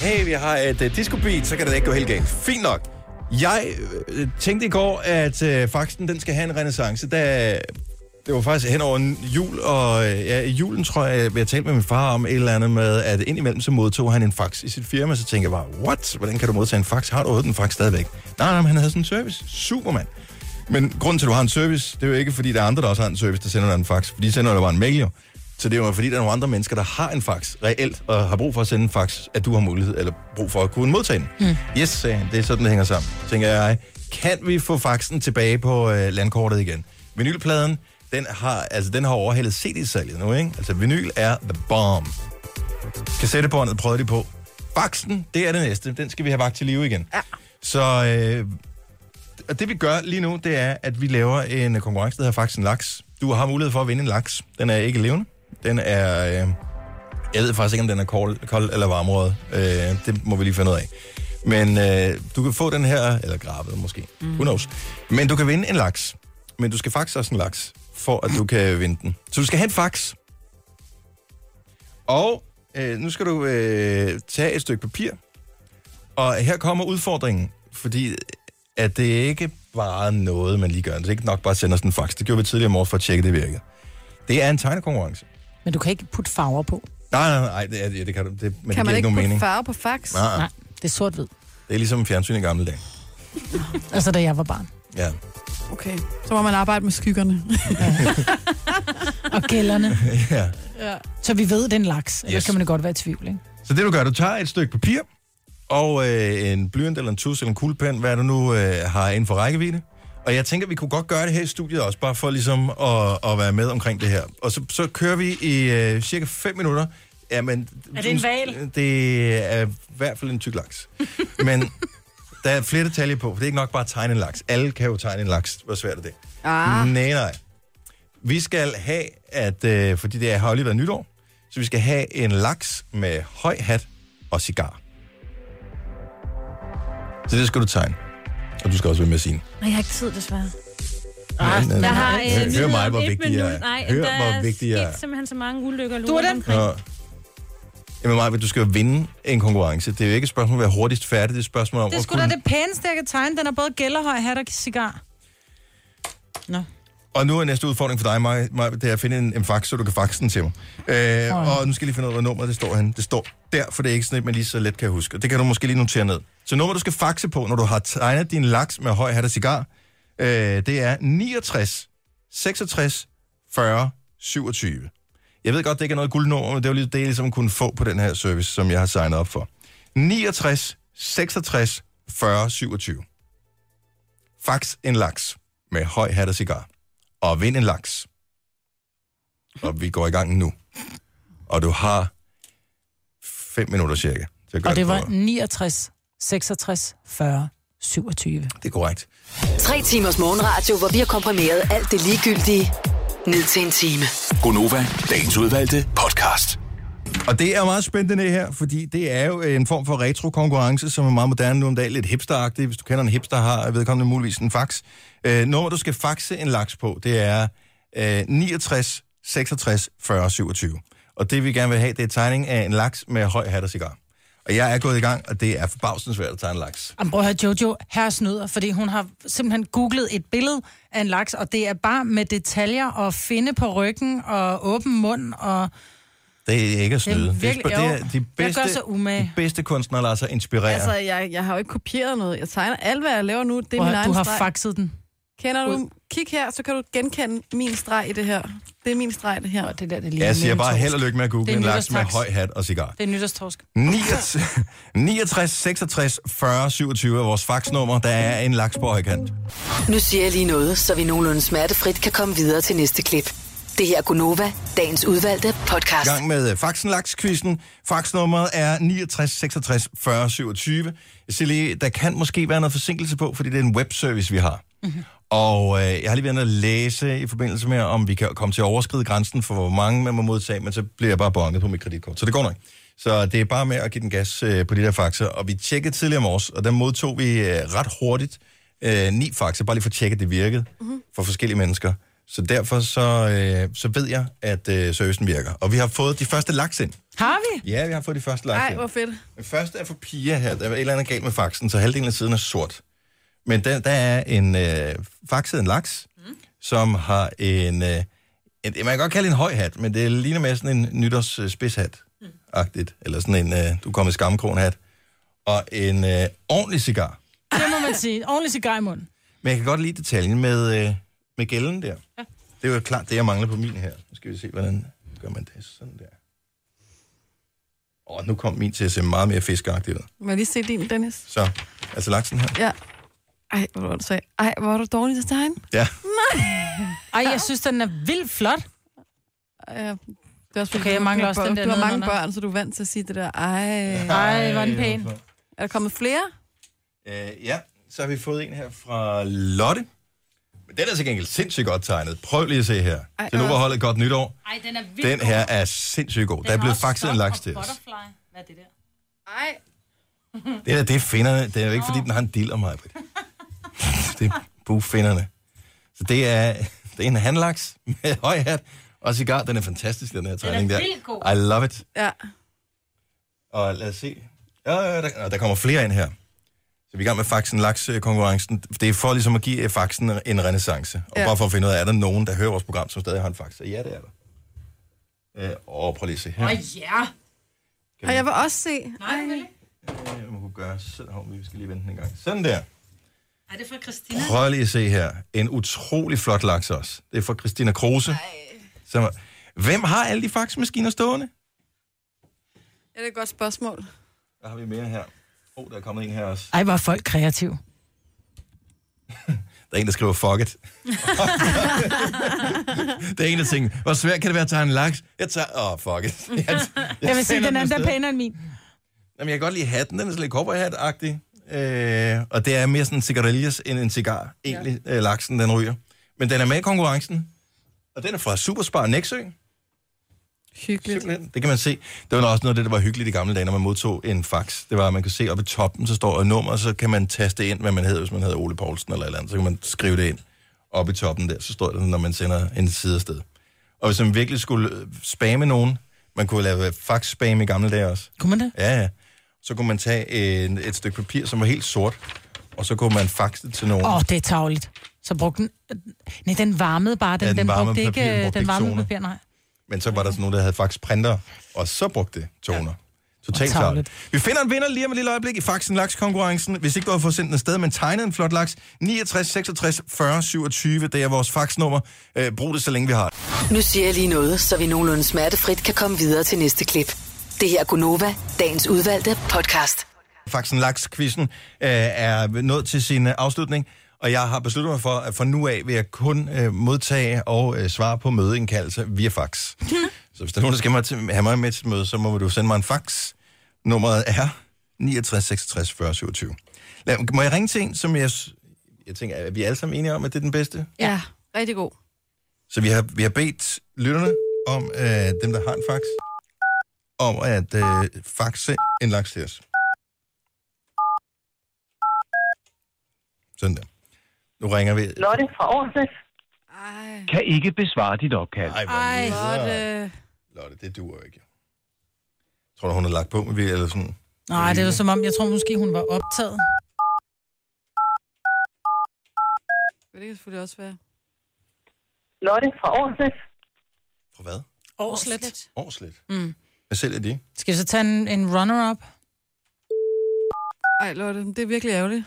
[SPEAKER 1] Hey, vi har et uh, disco beat, så kan det da ikke gå helt galt. Fint nok. Jeg øh, tænkte i går, at øh, faxen den skal have en renaissance, da det var faktisk hen over en jul, og øh, ja, i julen tror jeg, jeg talte med min far om et eller andet med, at indimellem så modtog han en fax i sit firma, så tænkte jeg bare, what? Hvordan kan du modtage en fax? Har du overhovedet en fax stadigvæk? Nej, nej, men han havde sådan en service. Superman. Men grunden til, at du har en service, det er jo ikke, fordi der er andre, der også har en service, der sender dig en fax. For de sender dig bare en mail, jo. Så det er jo fordi, der er nogle andre mennesker, der har en fax reelt, og har brug for at sende en fax, at du har mulighed, eller brug for at kunne modtage den. Mm. Yes, sagde han. Det er sådan, det hænger sammen. Tænker jeg, kan vi få faxen tilbage på øh, landkortet igen? Vinylpladen, den har, altså, den har overhældet CD-salget nu, ikke? Altså, vinyl er the bomb. Kassettebåndet prøvede de på. Faxen, det er det næste. Den skal vi have vagt til live igen. Ja. Så øh, og det vi gør lige nu, det er, at vi laver en øh, konkurrence, der hedder faktisk en laks. Du har mulighed for at vinde en laks. Den er ikke levende. Den er... Øh, jeg ved faktisk ikke, om den er kold, kold eller varmrød. Øh, det må vi lige finde ud af. Men øh, du kan få den her, eller gravet måske, mm. who knows. Men du kan vinde en laks. Men du skal faktisk også en laks, for at du kan vinde den. Så du skal have en fax. Og øh, nu skal du øh, tage et stykke papir. Og her kommer udfordringen, fordi øh, at det ikke bare noget, man lige gør. Det er ikke nok bare at sende os en fax. Det gjorde vi tidligere om året for at tjekke, det virkede. Det er en tegnekonkurrence.
[SPEAKER 2] Men du kan ikke putte farver på.
[SPEAKER 1] Nej, nej, nej, det, er, ja, det kan du, det, men
[SPEAKER 4] Kan
[SPEAKER 1] det
[SPEAKER 4] man
[SPEAKER 1] giver ikke
[SPEAKER 4] ikke
[SPEAKER 1] nogen
[SPEAKER 4] putte
[SPEAKER 1] mening.
[SPEAKER 4] farve på fax?
[SPEAKER 1] Nej, nej,
[SPEAKER 2] Nej, det er sort-hvid.
[SPEAKER 1] det er ligesom fjernsyn i gamle dage.
[SPEAKER 2] Altså, da jeg var barn.
[SPEAKER 1] Ja.
[SPEAKER 4] Okay, så må man arbejde med skyggerne.
[SPEAKER 2] Og gælderne.
[SPEAKER 1] ja.
[SPEAKER 2] Så vi ved, det er en laks. Ellers
[SPEAKER 1] Yes.
[SPEAKER 2] yes. kan man da godt være i tvivl, ikke?
[SPEAKER 1] Så det du gør, du tager et stykke papir, og øh, en blyant eller en tus eller en kuglepen, hvad du nu øh, har inden for rækkevidde. Og jeg tænker, vi kunne godt gøre det her i studiet også, bare for ligesom at, at være med omkring det her. Og så, så kører vi i øh, cirka 5 minutter. Jamen,
[SPEAKER 3] Er det en hval?
[SPEAKER 1] Det er i hvert fald en tyk laks. Men der er flere detaljer på, for det er ikke nok bare at tegne en laks. Alle kan jo tegne en laks. Hvor svært er det?
[SPEAKER 4] Ah.
[SPEAKER 1] Nej, nej. Vi skal have, at, øh, fordi det har jo lige været nytår, så vi skal have en laks med høj hat og cigar. Så det skal du tegne. Og du skal også være med sin.
[SPEAKER 3] Nej, jeg har ikke tid, desværre.
[SPEAKER 1] Nej,
[SPEAKER 3] Ah,
[SPEAKER 1] nej,
[SPEAKER 3] Jeg
[SPEAKER 1] nej.
[SPEAKER 3] har øh,
[SPEAKER 1] Hør- hør
[SPEAKER 3] nyheder
[SPEAKER 1] mig,
[SPEAKER 3] om
[SPEAKER 1] hvor
[SPEAKER 3] et
[SPEAKER 1] vigtig jeg er.
[SPEAKER 3] minut. Nej,
[SPEAKER 1] Hør,
[SPEAKER 3] der
[SPEAKER 1] hvor
[SPEAKER 3] er
[SPEAKER 1] vigtig jeg
[SPEAKER 3] sket
[SPEAKER 1] er.
[SPEAKER 3] simpelthen så mange ulykker.
[SPEAKER 2] Du er den?
[SPEAKER 1] Og... Jamen Maja, du skal jo vinde en konkurrence. Det er jo ikke et spørgsmål om at være hurtigst færdig, det er et spørgsmål om
[SPEAKER 2] Det er
[SPEAKER 1] at
[SPEAKER 2] sgu da det pæneste, jeg kan tegne. Den er både gælderhøj, hat og cigar.
[SPEAKER 1] Og nu er næste udfordring for dig, Maja, Maja, det er at finde en, en fax, så du kan faxe den til mig. Øh, og nu skal jeg lige finde ud af, hvad nummer det står henne. Det står der, for det er ikke sådan, at man lige så let kan huske. Og det kan du måske lige notere ned. Så nummer, du skal faxe på, når du har tegnet din laks med høj hat og cigar, øh, det er 69 66 40 27. Jeg ved godt, det ikke er noget guldnummer, men det var lige det, jeg ligesom kunne få på den her service, som jeg har signet op for. 69 66 40 27. Fax en laks med høj hat og cigar og vind en laks. Og vi går i gang nu. Og du har 5 minutter cirka. Til at gøre
[SPEAKER 2] Og det var
[SPEAKER 1] på.
[SPEAKER 2] 69, 66, 40, 27.
[SPEAKER 1] Det er korrekt.
[SPEAKER 6] Tre timers morgenradio, hvor vi har komprimeret alt det ligegyldige ned til en time.
[SPEAKER 5] Gonova, dagens udvalgte podcast.
[SPEAKER 1] Og det er meget spændende det her, fordi det er jo en form for retro-konkurrence, som er meget moderne nu om dagen, lidt hipsteragtig. Hvis du kender en hipster, har vedkommende muligvis en fax. Øh, når du skal faxe en laks på, det er øh, 69 66 40 27. Og det vi gerne vil have, det er tegning af en laks med høj hat og cigar. Og jeg er gået i gang, og det er forbavsende svært at tegne en laks.
[SPEAKER 2] Jamen, prøv at høre, Jojo, her snyder, fordi hun har simpelthen googlet et billede af en laks, og det er bare med detaljer og finde på ryggen og åben mund og...
[SPEAKER 1] Det er ikke at
[SPEAKER 2] Det er
[SPEAKER 1] snyde. Det er,
[SPEAKER 2] virkelig-
[SPEAKER 1] virkelig, det
[SPEAKER 2] jo.
[SPEAKER 1] er de
[SPEAKER 2] Jeg gør
[SPEAKER 1] bedste,
[SPEAKER 2] så umage.
[SPEAKER 1] de bedste kunstnere lader sig inspirere.
[SPEAKER 4] Altså, jeg, jeg har jo ikke kopieret noget. Jeg tegner alt, hvad jeg laver nu. Det er
[SPEAKER 2] Prøv at
[SPEAKER 4] min
[SPEAKER 2] høre,
[SPEAKER 4] egen
[SPEAKER 2] du har
[SPEAKER 4] streg.
[SPEAKER 2] faxet den.
[SPEAKER 4] Kender
[SPEAKER 2] Ud.
[SPEAKER 4] du? Kig her, så kan du genkende min streg i det her. Det er min streg i det her.
[SPEAKER 2] Det der, det
[SPEAKER 1] jeg siger bare held og lykke med at
[SPEAKER 2] Det
[SPEAKER 1] google
[SPEAKER 2] er
[SPEAKER 1] en laks med
[SPEAKER 2] nytårstaks.
[SPEAKER 1] høj hat og cigar.
[SPEAKER 2] Det er nytårstorsk.
[SPEAKER 1] 69, 69 66 40 27 er vores faxnummer. Der er en laks på højkant.
[SPEAKER 6] Nu siger jeg lige noget, så vi nogenlunde smertefrit kan komme videre til næste klip. Det her er Gunova, dagens udvalgte
[SPEAKER 1] I
[SPEAKER 6] podcast.
[SPEAKER 1] gang med øh, faxen laks-quizzen. Faxnummeret er 69 66 40 27. Jeg siger lige, der kan måske være noget forsinkelse på, fordi det er en webservice, vi har.
[SPEAKER 3] Mhm.
[SPEAKER 1] Mm-hmm. Og øh, jeg har lige været inde og læse i forbindelse med, om vi kan komme til at overskride grænsen for, hvor mange man må modtage, men så bliver jeg bare bonget på mit kreditkort. Så det går nok. Så det er bare med at give den gas øh, på de der faxer. Og vi tjekkede tidligere om års, og der modtog vi øh, ret hurtigt øh, ni faxer, bare lige for at tjekke, at det virkede mm-hmm. for forskellige mennesker. Så derfor så, øh, så ved jeg, at øh, servicen virker. Og vi har fået de første laks ind.
[SPEAKER 2] Har vi?
[SPEAKER 1] Ja, vi har fået de første laks
[SPEAKER 4] Ej,
[SPEAKER 1] ind.
[SPEAKER 4] hvor fedt.
[SPEAKER 1] Den første er for piger her. Der er et eller andet galt med faxen, så halvdelen af siden er sort. Men der, der er en øh, faxet en laks, mm. som har en, øh, en... Man kan godt kalde det en høj hat, men det ligner mere sådan en nytårs øh, spidshat. Agtigt. Eller sådan en, øh, du kommer i skamkron hat. Og en øh, ordentlig cigar.
[SPEAKER 2] Det må man sige. Ordentlig cigar i munden.
[SPEAKER 1] Men jeg kan godt lide detaljen med, øh, med gælden der. Ja. Det er jo klart det, jeg mangler på min her. Nu skal vi se, hvordan gør man det sådan der. Og nu kom min til at se meget mere fiskeagtig ud.
[SPEAKER 4] Må jeg lige se din, Dennis?
[SPEAKER 1] Så, altså laksen her.
[SPEAKER 4] Ja. Ej, hvor var du sagde. Ej, hvor er du dårlig til at tegne.
[SPEAKER 1] Ja.
[SPEAKER 2] Ej, jeg synes, den er vildt flot.
[SPEAKER 4] Ja, det er også, fordi
[SPEAKER 2] Okay, jeg
[SPEAKER 4] du- du
[SPEAKER 2] mangler
[SPEAKER 4] har
[SPEAKER 2] også
[SPEAKER 4] børn-
[SPEAKER 2] den der
[SPEAKER 4] Du har mange
[SPEAKER 2] nedenunder.
[SPEAKER 4] børn, så du er vant til at sige det der. Ej.
[SPEAKER 2] Ej, hvor er den pæn.
[SPEAKER 4] Er der kommet flere?
[SPEAKER 1] Øh, ja, så har vi fået en her fra Lotte. Men den er til gengæld sindssygt godt tegnet. Prøv lige at se her.
[SPEAKER 4] Ej,
[SPEAKER 1] Så nu
[SPEAKER 4] øh.
[SPEAKER 1] var holdet godt nytår.
[SPEAKER 3] Nej, den er vildt
[SPEAKER 1] Den her er sindssygt god. Der er blevet fakset en laks til os.
[SPEAKER 3] Hvad er det der?
[SPEAKER 4] Ej.
[SPEAKER 1] Det er det finderne. Det er jo ikke, fordi den har en diller, mig. Det er bufinderne. Så det er, det er en handlaks med høj hat og cigar. Den er fantastisk, den her tegning der.
[SPEAKER 3] vildt god.
[SPEAKER 1] I love it.
[SPEAKER 4] Ja.
[SPEAKER 1] Og lad os se. Ja, ja, ja, der, nå, der kommer flere ind her. Så vi er i gang med faxen laks øh, konkurrencen. Det er for ligesom at give øh, faxen en renaissance. Og ja.
[SPEAKER 4] Ja.
[SPEAKER 1] bare for at finde ud af, er der nogen, der hører vores program, som stadig har en fax? Og Ja, det er der. Øh, og prøv lige at se her.
[SPEAKER 3] Åh, ja.
[SPEAKER 4] Og jeg vil også se.
[SPEAKER 3] Nej, vel?
[SPEAKER 1] Øh, man kunne gøre sådan. Hov, vi skal lige vente den en gang. Sådan der.
[SPEAKER 3] Er det fra Christina?
[SPEAKER 1] Prøv lige at se her. En utrolig flot laks også. Det er fra Christina Kruse. Som, er- hvem har alle de faxmaskiner stående?
[SPEAKER 4] Ja, det er et godt spørgsmål.
[SPEAKER 1] Der har vi mere her. Åh, oh, der er kommet en her også.
[SPEAKER 2] Ej, hvor er folk kreative.
[SPEAKER 1] Der er en, der skriver, fuck it. der er en, der tænker, hvor svært kan det være at tage en laks? Jeg tager, åh, oh, fuck it. Jeg, jeg,
[SPEAKER 2] Jeg vil sige,
[SPEAKER 1] sender
[SPEAKER 2] den anden er
[SPEAKER 1] afsted.
[SPEAKER 2] pænere end min.
[SPEAKER 1] Jamen, jeg kan godt lide hatten, den er sådan lidt cowboyhat-agtig. Øh, og det er mere sådan en cigarillas end en cigar, egentlig, ja. øh, laksen, den ryger. Men den er med i konkurrencen, og den er fra Superspar Nexø.
[SPEAKER 4] Hyggeligt.
[SPEAKER 1] Simpelthen. Det kan man se. Det var også noget af det, der var hyggeligt i gamle dage, når man modtog en fax. Det var, at man kunne se oppe i toppen, så står der et nummer, og så kan man taste ind, hvad man hedder, hvis man hedder Ole Poulsen eller et eller andet. Så kan man skrive det ind oppe i toppen der, så står det, når man sender en side afsted. Og hvis man virkelig skulle øh, spamme nogen, man kunne lave øh, fax-spam i gamle dage også.
[SPEAKER 2] Kunne man det?
[SPEAKER 1] Ja, ja. Så kunne man tage en, et stykke papir, som var helt sort, og så kunne man faxe det til nogen.
[SPEAKER 2] Åh, oh, det er tavligt. Så brugte den... Nej, den varmede bare. Den,
[SPEAKER 1] Ja,
[SPEAKER 2] ja,
[SPEAKER 1] den
[SPEAKER 2] den, den
[SPEAKER 1] varmede
[SPEAKER 2] brugte ikke...
[SPEAKER 1] papir, den
[SPEAKER 2] Den,
[SPEAKER 1] brugte
[SPEAKER 2] den
[SPEAKER 1] ikke
[SPEAKER 2] varmede
[SPEAKER 1] toner.
[SPEAKER 2] papir, nej.
[SPEAKER 1] Men så var der sådan nogen, der havde faktisk printer, og så brugte det toner. Ja. Totalt
[SPEAKER 2] Og
[SPEAKER 1] klart.
[SPEAKER 2] tarveligt.
[SPEAKER 1] Vi finder en vinder lige om et lille øjeblik i Faxen Laks konkurrencen. Hvis ikke du har fået sendt den afsted, men tegnet en flot laks, 69 66 40 27, det er vores faxnummer. Øh, brug det, så længe vi har det.
[SPEAKER 6] Nu siger jeg lige noget, så vi nogenlunde smertefrit kan komme videre til næste klip. Det her er Gunova, dagens udvalgte podcast.
[SPEAKER 1] Faxen laks quizzen øh, er nået til sin øh, afslutning, og jeg har besluttet mig for, at fra nu af vil jeg kun øh, modtage og øh, svare på mødeindkaldelser via fax. Så hvis der er nogen, der skal mig til- have mig med til et møde, så må du sende mig en fax. Nummeret er 69 66 40 27. Lad, må jeg ringe til en, som jeg... s- Jeg tænker, er vi alle sammen enige om, at det er den bedste?
[SPEAKER 4] Ja, rigtig god.
[SPEAKER 1] Så vi har, vi har bedt lytterne om, øh, dem der har en fax, om at øh, faxe en laks til os. Sådan der. Nu ringer vi.
[SPEAKER 11] Lotte fra Aarhus.
[SPEAKER 12] Kan ikke besvare dit opkald.
[SPEAKER 1] Ej,
[SPEAKER 4] Ej,
[SPEAKER 1] Lotte.
[SPEAKER 4] øh,
[SPEAKER 1] Lotte, det duer jo ikke. Tror du, hun har lagt på med vi eller sådan?
[SPEAKER 2] Nej, det var som om, jeg tror måske, hun var optaget.
[SPEAKER 4] Vil det kan selvfølgelig også være.
[SPEAKER 11] Lotte fra Aarhus.
[SPEAKER 1] Fra hvad?
[SPEAKER 2] Årslet.
[SPEAKER 1] Årslet.
[SPEAKER 2] Mm.
[SPEAKER 1] Hvad sælger de?
[SPEAKER 2] Skal vi så tage en, en runner-up?
[SPEAKER 4] Ej, Lotte, det er virkelig ærgerligt.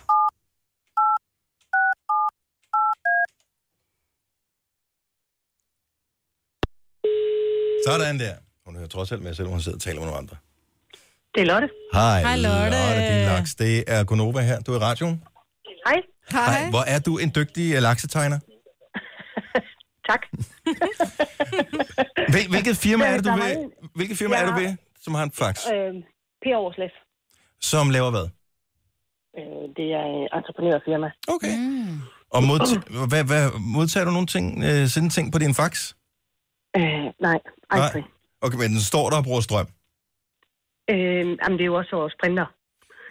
[SPEAKER 1] Sådan der. Hun hører trods alt med, selvom hun sidder og taler med nogle andre.
[SPEAKER 11] Det er Lotte.
[SPEAKER 1] Hej,
[SPEAKER 11] Hej, Lotte.
[SPEAKER 1] Lotte din laks. Det er Gunova her. Du er i radioen.
[SPEAKER 11] Hej.
[SPEAKER 1] Hej. Hvor er du en dygtig øh, laksetegner?
[SPEAKER 11] Tak.
[SPEAKER 1] Hvil, hvilket firma er det, du
[SPEAKER 11] Der var
[SPEAKER 1] ved?
[SPEAKER 11] en-
[SPEAKER 1] Hvilket firma er du
[SPEAKER 11] Jeg-
[SPEAKER 1] ved, som har en fax?
[SPEAKER 11] Øh,
[SPEAKER 8] Øhm,
[SPEAKER 11] per Aarhuslæs.
[SPEAKER 1] Som laver hvad?
[SPEAKER 11] Øh, det er et entreprenørfirma.
[SPEAKER 1] Okay. Og modtager, hvad, hvad, modtager du nogle ting, øh, sende ting på din fax?
[SPEAKER 11] Øh, nej, aldrig.
[SPEAKER 1] Okay, men den står der og bruger strøm.
[SPEAKER 11] Øh, jamen, det er jo også vores printer.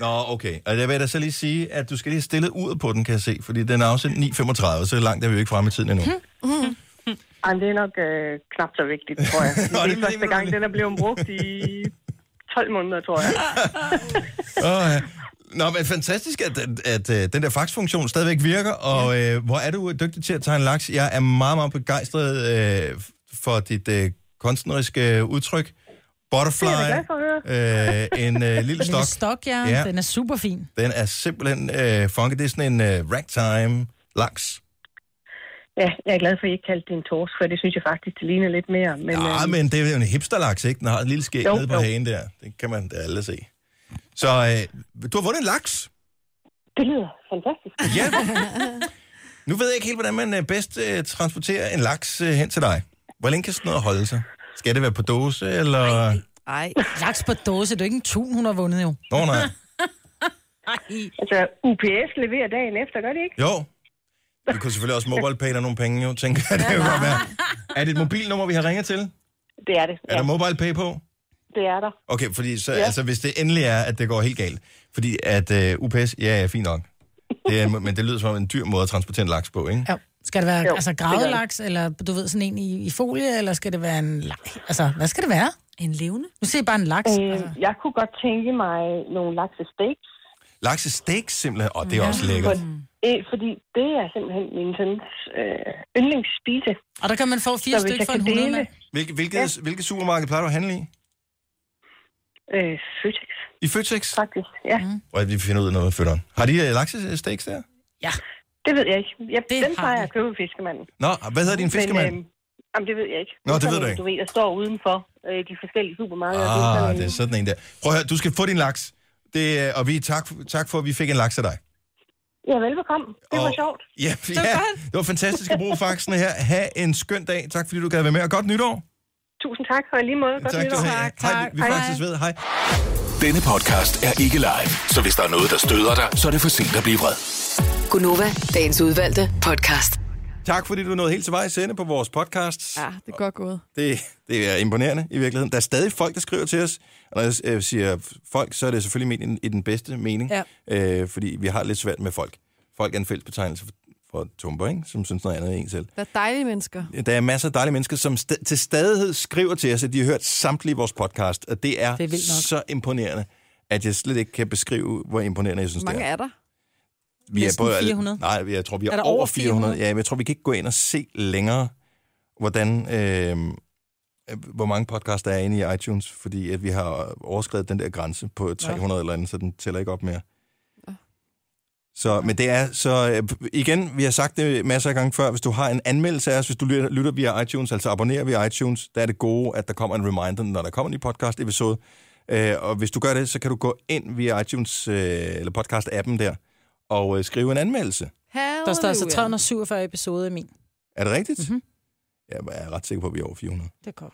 [SPEAKER 1] Nå, okay. Og der vil jeg da så lige sige, at du skal lige have stillet uret på den, kan jeg se, fordi den er afsendt 9.35, så langt er vi jo ikke fremme i tiden endnu.
[SPEAKER 2] Hmm.
[SPEAKER 11] Mm. Jamen, det er nok øh, knap så vigtigt, tror jeg.
[SPEAKER 1] Nå,
[SPEAKER 11] det
[SPEAKER 1] det
[SPEAKER 11] er første gang, den er blevet brugt i 12 måneder, tror jeg.
[SPEAKER 1] Åh, ja. Nå, men fantastisk, at, at, at øh, den der faxfunktion stadigvæk virker, og øh, hvor er du dygtig til at tegne laks. Jeg er meget, meget begejstret øh, for dit øh, kunstneriske øh, udtryk. Butterfly,
[SPEAKER 2] Det er jeg da glad for
[SPEAKER 1] øh, en øh, lille stok.
[SPEAKER 2] Lille stok, ja.
[SPEAKER 1] Ja.
[SPEAKER 2] ja. Den er super fin.
[SPEAKER 1] Den er simpelthen øh, funky. Det er sådan en øh, ragtime laks.
[SPEAKER 11] Ja, jeg er glad for, at I ikke kaldte det en tors, for det synes jeg faktisk, det ligner lidt mere. Men,
[SPEAKER 1] Ja,
[SPEAKER 11] øhm,
[SPEAKER 1] Ah, men det er jo en hipsterlaks, ikke? Den har et lille skæg
[SPEAKER 11] Jo,
[SPEAKER 1] nede på
[SPEAKER 11] jo.
[SPEAKER 1] hagen der. Det kan man da alle se. Så øh, du har vundet en laks.
[SPEAKER 11] Det lyder fantastisk.
[SPEAKER 1] Ja. Nu ved jeg ikke helt, hvordan man øh, bedst øh, transporterer en laks øh, hen til dig. Hvor længe kan sådan noget holde sig? Skal det være på dåse, eller...
[SPEAKER 2] Ej. Laks på dåse, det er jo ikke en tun, hun har vundet jo.
[SPEAKER 1] Nå, nej.
[SPEAKER 11] altså, UPS leverer dagen efter, gør det ikke?
[SPEAKER 1] Jo. Vi kunne selvfølgelig også MobilePay nogle penge, jo, tænker jeg. Det kan jo godt være. Er det et mobilnummer, vi har ringet til?
[SPEAKER 11] Det er det.
[SPEAKER 1] Er der MobilePay på?
[SPEAKER 11] Det er der.
[SPEAKER 1] Okay, fordi så, ja.
[SPEAKER 11] Ja.
[SPEAKER 1] altså, hvis det endelig er, at det går helt galt. Fordi at øh, UPS, ja, ja, fint nok. Det er, men det lyder som om en dyr måde at transportere en laks på, ikke?
[SPEAKER 2] Ja. Skal det være
[SPEAKER 1] Jo,
[SPEAKER 2] jo, altså
[SPEAKER 1] det gør det.
[SPEAKER 2] gravelaks, eller du ved, sådan en i, i folie, eller skal det være en laks? Altså, hvad skal det være? En levende? Nu siger jeg bare en laks. Øh, altså.
[SPEAKER 11] Jeg kunne godt tænke mig nogle laksesteaks.
[SPEAKER 1] Laksesteak simpelthen, og det er også lækkert.
[SPEAKER 11] For- øh, Fordi det er simpelthen min søns øh, yndlingsspise.
[SPEAKER 2] Og der kan man få fire
[SPEAKER 11] Så hvis
[SPEAKER 2] stykker
[SPEAKER 11] jeg
[SPEAKER 2] for
[SPEAKER 11] kan
[SPEAKER 2] en 100
[SPEAKER 11] dele-
[SPEAKER 2] mand.
[SPEAKER 1] Hvilke, hvilke, ja. hvilke supermarked plejer du at handle i?
[SPEAKER 11] Øh, Føtex.
[SPEAKER 1] I Føtex?
[SPEAKER 11] Faktisk, ja. Mm.
[SPEAKER 1] Og vi finder ud af noget med fødderen. Har de øh, laksesteaks der?
[SPEAKER 2] Ja.
[SPEAKER 11] Det ved jeg ikke. Jeg,
[SPEAKER 2] det
[SPEAKER 11] den
[SPEAKER 2] har
[SPEAKER 11] plejer
[SPEAKER 2] vi.
[SPEAKER 11] jeg at købe i fiskemanden.
[SPEAKER 1] Nå, hvad hedder din fiskemand?
[SPEAKER 11] Men, øh, jamen, det ved jeg ikke.
[SPEAKER 1] Nå, det
[SPEAKER 11] er
[SPEAKER 1] ved
[SPEAKER 11] sådan
[SPEAKER 1] du
[SPEAKER 11] en,
[SPEAKER 1] ikke.
[SPEAKER 11] Du ved, der står udenfor øh, de forskellige supermarkeder. er
[SPEAKER 1] ah,
[SPEAKER 11] sådan
[SPEAKER 1] det er
[SPEAKER 11] en-
[SPEAKER 1] sådan en der. Prøv at høre, du skal få din laks. Det, øh, og vi tak, tak for, at vi fik en laks af dig.
[SPEAKER 11] Ja, velbekomme. Det var
[SPEAKER 1] Og-
[SPEAKER 11] sjovt.
[SPEAKER 1] Ja, det ja, det var fantastisk at bruge faxene her. Ha' en skøn dag. Tak fordi du gad være med, og godt nytår.
[SPEAKER 11] Tusind tak, og i lige måde. Godt
[SPEAKER 1] tak,
[SPEAKER 11] nytår.
[SPEAKER 1] du have. Hej, vi, vi faktisk ved. Hej.
[SPEAKER 5] Denne podcast er ikke live, så hvis der er noget, der støder dig, så er det for sent at blive vred.
[SPEAKER 6] Gunova, dagens udvalgte podcast.
[SPEAKER 1] Tak fordi du nåede helt til vej i sende på vores podcast.
[SPEAKER 4] Ja, det er godt gået.
[SPEAKER 1] Det, det er imponerende i virkeligheden. Der er stadig folk, der skriver til os. Og når jeg øh, siger folk, så er det selvfølgelig ment i den- i den bedste mening.
[SPEAKER 13] Ja.
[SPEAKER 1] Øh, fordi vi har lidt svært med folk. Folk er en fælles betegnelse for, for tumper, ikke? som synes noget andet end en selv.
[SPEAKER 4] Der er dejlige mennesker.
[SPEAKER 1] Der er masser af dejlige mennesker, som st- til stadighed skriver til os, at de har hørt samtlige vores podcast. Og det er,
[SPEAKER 4] Det er vildt nok.
[SPEAKER 1] så imponerende, at jeg slet ikke kan beskrive, hvor imponerende jeg synes,
[SPEAKER 4] Hvor mange
[SPEAKER 1] det
[SPEAKER 4] er der?
[SPEAKER 1] er. Vi
[SPEAKER 4] Næsten
[SPEAKER 1] både-
[SPEAKER 4] 400?
[SPEAKER 1] Nej, jeg tror, vi er,
[SPEAKER 4] Er der
[SPEAKER 1] over
[SPEAKER 4] over
[SPEAKER 1] 400. Ja, men jeg tror, vi kan ikke gå ind og se længere, hvordan, øh, hvor mange podcasts der er inde i iTunes, fordi at vi har overskrevet den der grænse på 300 eller andet, så den tæller ikke op mere. Så, men det er, så øh, igen, vi har sagt det masser af gange før, hvis du har en anmeldelse af os, hvis du lytter, lytter via iTunes, altså abonnerer via iTunes, der er det gode, at der kommer en reminder, når der kommer en ny podcast-episode. Øh, og hvis du gør det, så kan du gå ind via iTunes, øh, eller podcast-appen der, og øh, skrive en anmeldelse.
[SPEAKER 2] Der står altså 347 episoder i min.
[SPEAKER 1] Er det rigtigt? Mm-hmm. Jeg er ret sikker på, at vi er over 400.
[SPEAKER 2] Det går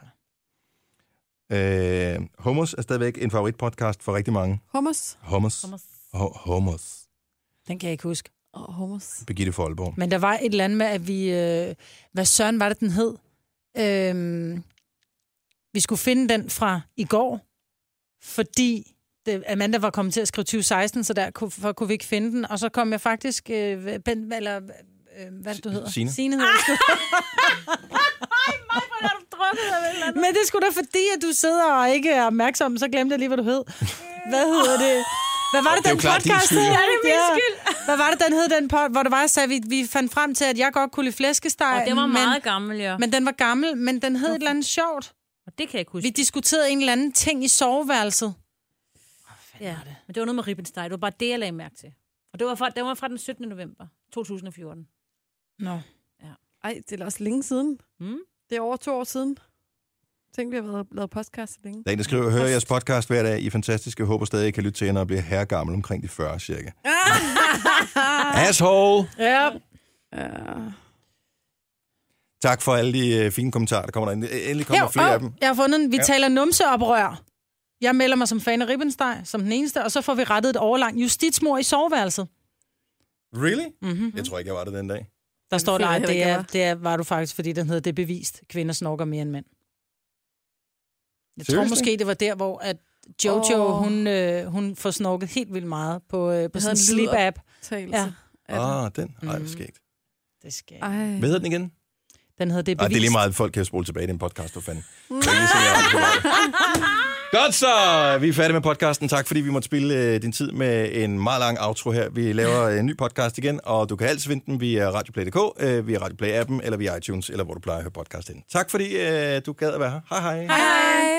[SPEAKER 2] godt.
[SPEAKER 1] Øh, Hummus er stadigvæk en favoritpodcast for rigtig mange.
[SPEAKER 4] Hummus.
[SPEAKER 1] Hummus.
[SPEAKER 2] Hummus.
[SPEAKER 1] Hu- Hummus.
[SPEAKER 2] Den kan jeg ikke huske.
[SPEAKER 4] Åh, hummus.
[SPEAKER 1] Birgitte Folborg.
[SPEAKER 2] Men der var et eller andet med, at vi... Øh, hvad søren var det, den hed? Øh, vi skulle finde den fra i går, fordi det, Amanda var kommet til at skrive 2016, så der kunne, for, kunne vi ikke finde den. Og så kom jeg faktisk... Øh, ben, eller, øh, hvad er det, du hedder?
[SPEAKER 13] Signe.
[SPEAKER 2] Signe hedder ah! Men det er sgu da fordi, at du sidder og ikke er opmærksom, så glemte jeg lige, hvad du hed. Hvad hedder det? Hvad var det,
[SPEAKER 13] Det er jo
[SPEAKER 2] den
[SPEAKER 13] klart din
[SPEAKER 2] podcast
[SPEAKER 13] skyld,
[SPEAKER 2] hed?
[SPEAKER 13] jo. Ja,
[SPEAKER 3] det er
[SPEAKER 2] Ja.
[SPEAKER 3] min skyld.
[SPEAKER 2] Hvad var det, den hed, den pod, hvor det var, jeg sagde, vi, vi fandt frem til, at jeg godt kunne lide flæskesteg.
[SPEAKER 3] Og det var meget gammel, ja.
[SPEAKER 2] Men den var gammel, men den hed et eller andet sjovt.
[SPEAKER 3] Og det kan jeg ikke huske.
[SPEAKER 2] Vi diskuterede en eller anden ting i soveværelset.
[SPEAKER 3] Ja, men det var noget med ribbensteg. Det var bare det, jeg lagde mærke til. Og det var fra, det var fra den 17. november 2014.
[SPEAKER 2] Nå.
[SPEAKER 4] Ej, det er da også længe siden.
[SPEAKER 3] Mm.
[SPEAKER 4] Det er over to år siden. Tænk, vi har været, lavet podcast så længe.
[SPEAKER 1] Der er en, der skriver, hører jeres podcast hver dag. I er fantastiske. Jeg håber stadig, I kan lytte til jer, når jeg bliver herregammel omkring de 40 cirka. Asshole!
[SPEAKER 2] Ja.
[SPEAKER 1] Tak for alle de øh, fine kommentarer, der kommer derinde. Endelig kommer
[SPEAKER 2] Hæv,
[SPEAKER 1] flere
[SPEAKER 2] åh,
[SPEAKER 1] af dem.
[SPEAKER 2] Jeg har fundet den. Vi
[SPEAKER 1] Ja.
[SPEAKER 2] ja. taler numseoprør. Jeg melder mig som fan af ribbensteg, som den eneste, og så får vi rettet et overlangt justitsmor i soveværelset.
[SPEAKER 1] Really?
[SPEAKER 2] Mhm.
[SPEAKER 1] Jeg tror ikke, jeg var det den dag.
[SPEAKER 2] Der står der,
[SPEAKER 1] føler jeg
[SPEAKER 2] at
[SPEAKER 1] heller
[SPEAKER 2] det,
[SPEAKER 1] ikke, jeg
[SPEAKER 2] er,
[SPEAKER 1] var.
[SPEAKER 2] det er, var du faktisk, fordi den hedder Det er bevist. Kvinder snorker mere end mænd. Jeg tror
[SPEAKER 13] Seriously?
[SPEAKER 2] måske, det var der, hvor at Jojo,
[SPEAKER 4] Åh.
[SPEAKER 2] oh. hun, øh, hun får snorket helt vildt meget på, øh, på
[SPEAKER 4] Jeg
[SPEAKER 2] sådan
[SPEAKER 4] havde
[SPEAKER 2] en
[SPEAKER 4] en
[SPEAKER 2] sleep-app.
[SPEAKER 4] lydoptagelse
[SPEAKER 2] Ja,
[SPEAKER 1] Ah, den. Ej, det skægt.
[SPEAKER 2] det skal
[SPEAKER 4] Ej.
[SPEAKER 1] Hvad hedder den igen?
[SPEAKER 2] Den hedder Mhm. Det er
[SPEAKER 1] Ej,
[SPEAKER 2] bevist.
[SPEAKER 1] det er lige meget, folk kan spole tilbage i den podcast, for fanden. Det er ikke sådan, jeg har det på vej. Godt så, vi er færdige med podcasten. Tak fordi vi måtte spille øh, din tid med en meget lang outro her. Vi laver øh, en ny podcast igen, og du kan altid finde den via radioplay.dk, øh, via radioplay-appen, eller via iTunes, eller hvor du plejer at høre podcast ind. Tak fordi øh, du gad at være her. Hej hej.
[SPEAKER 13] Hej.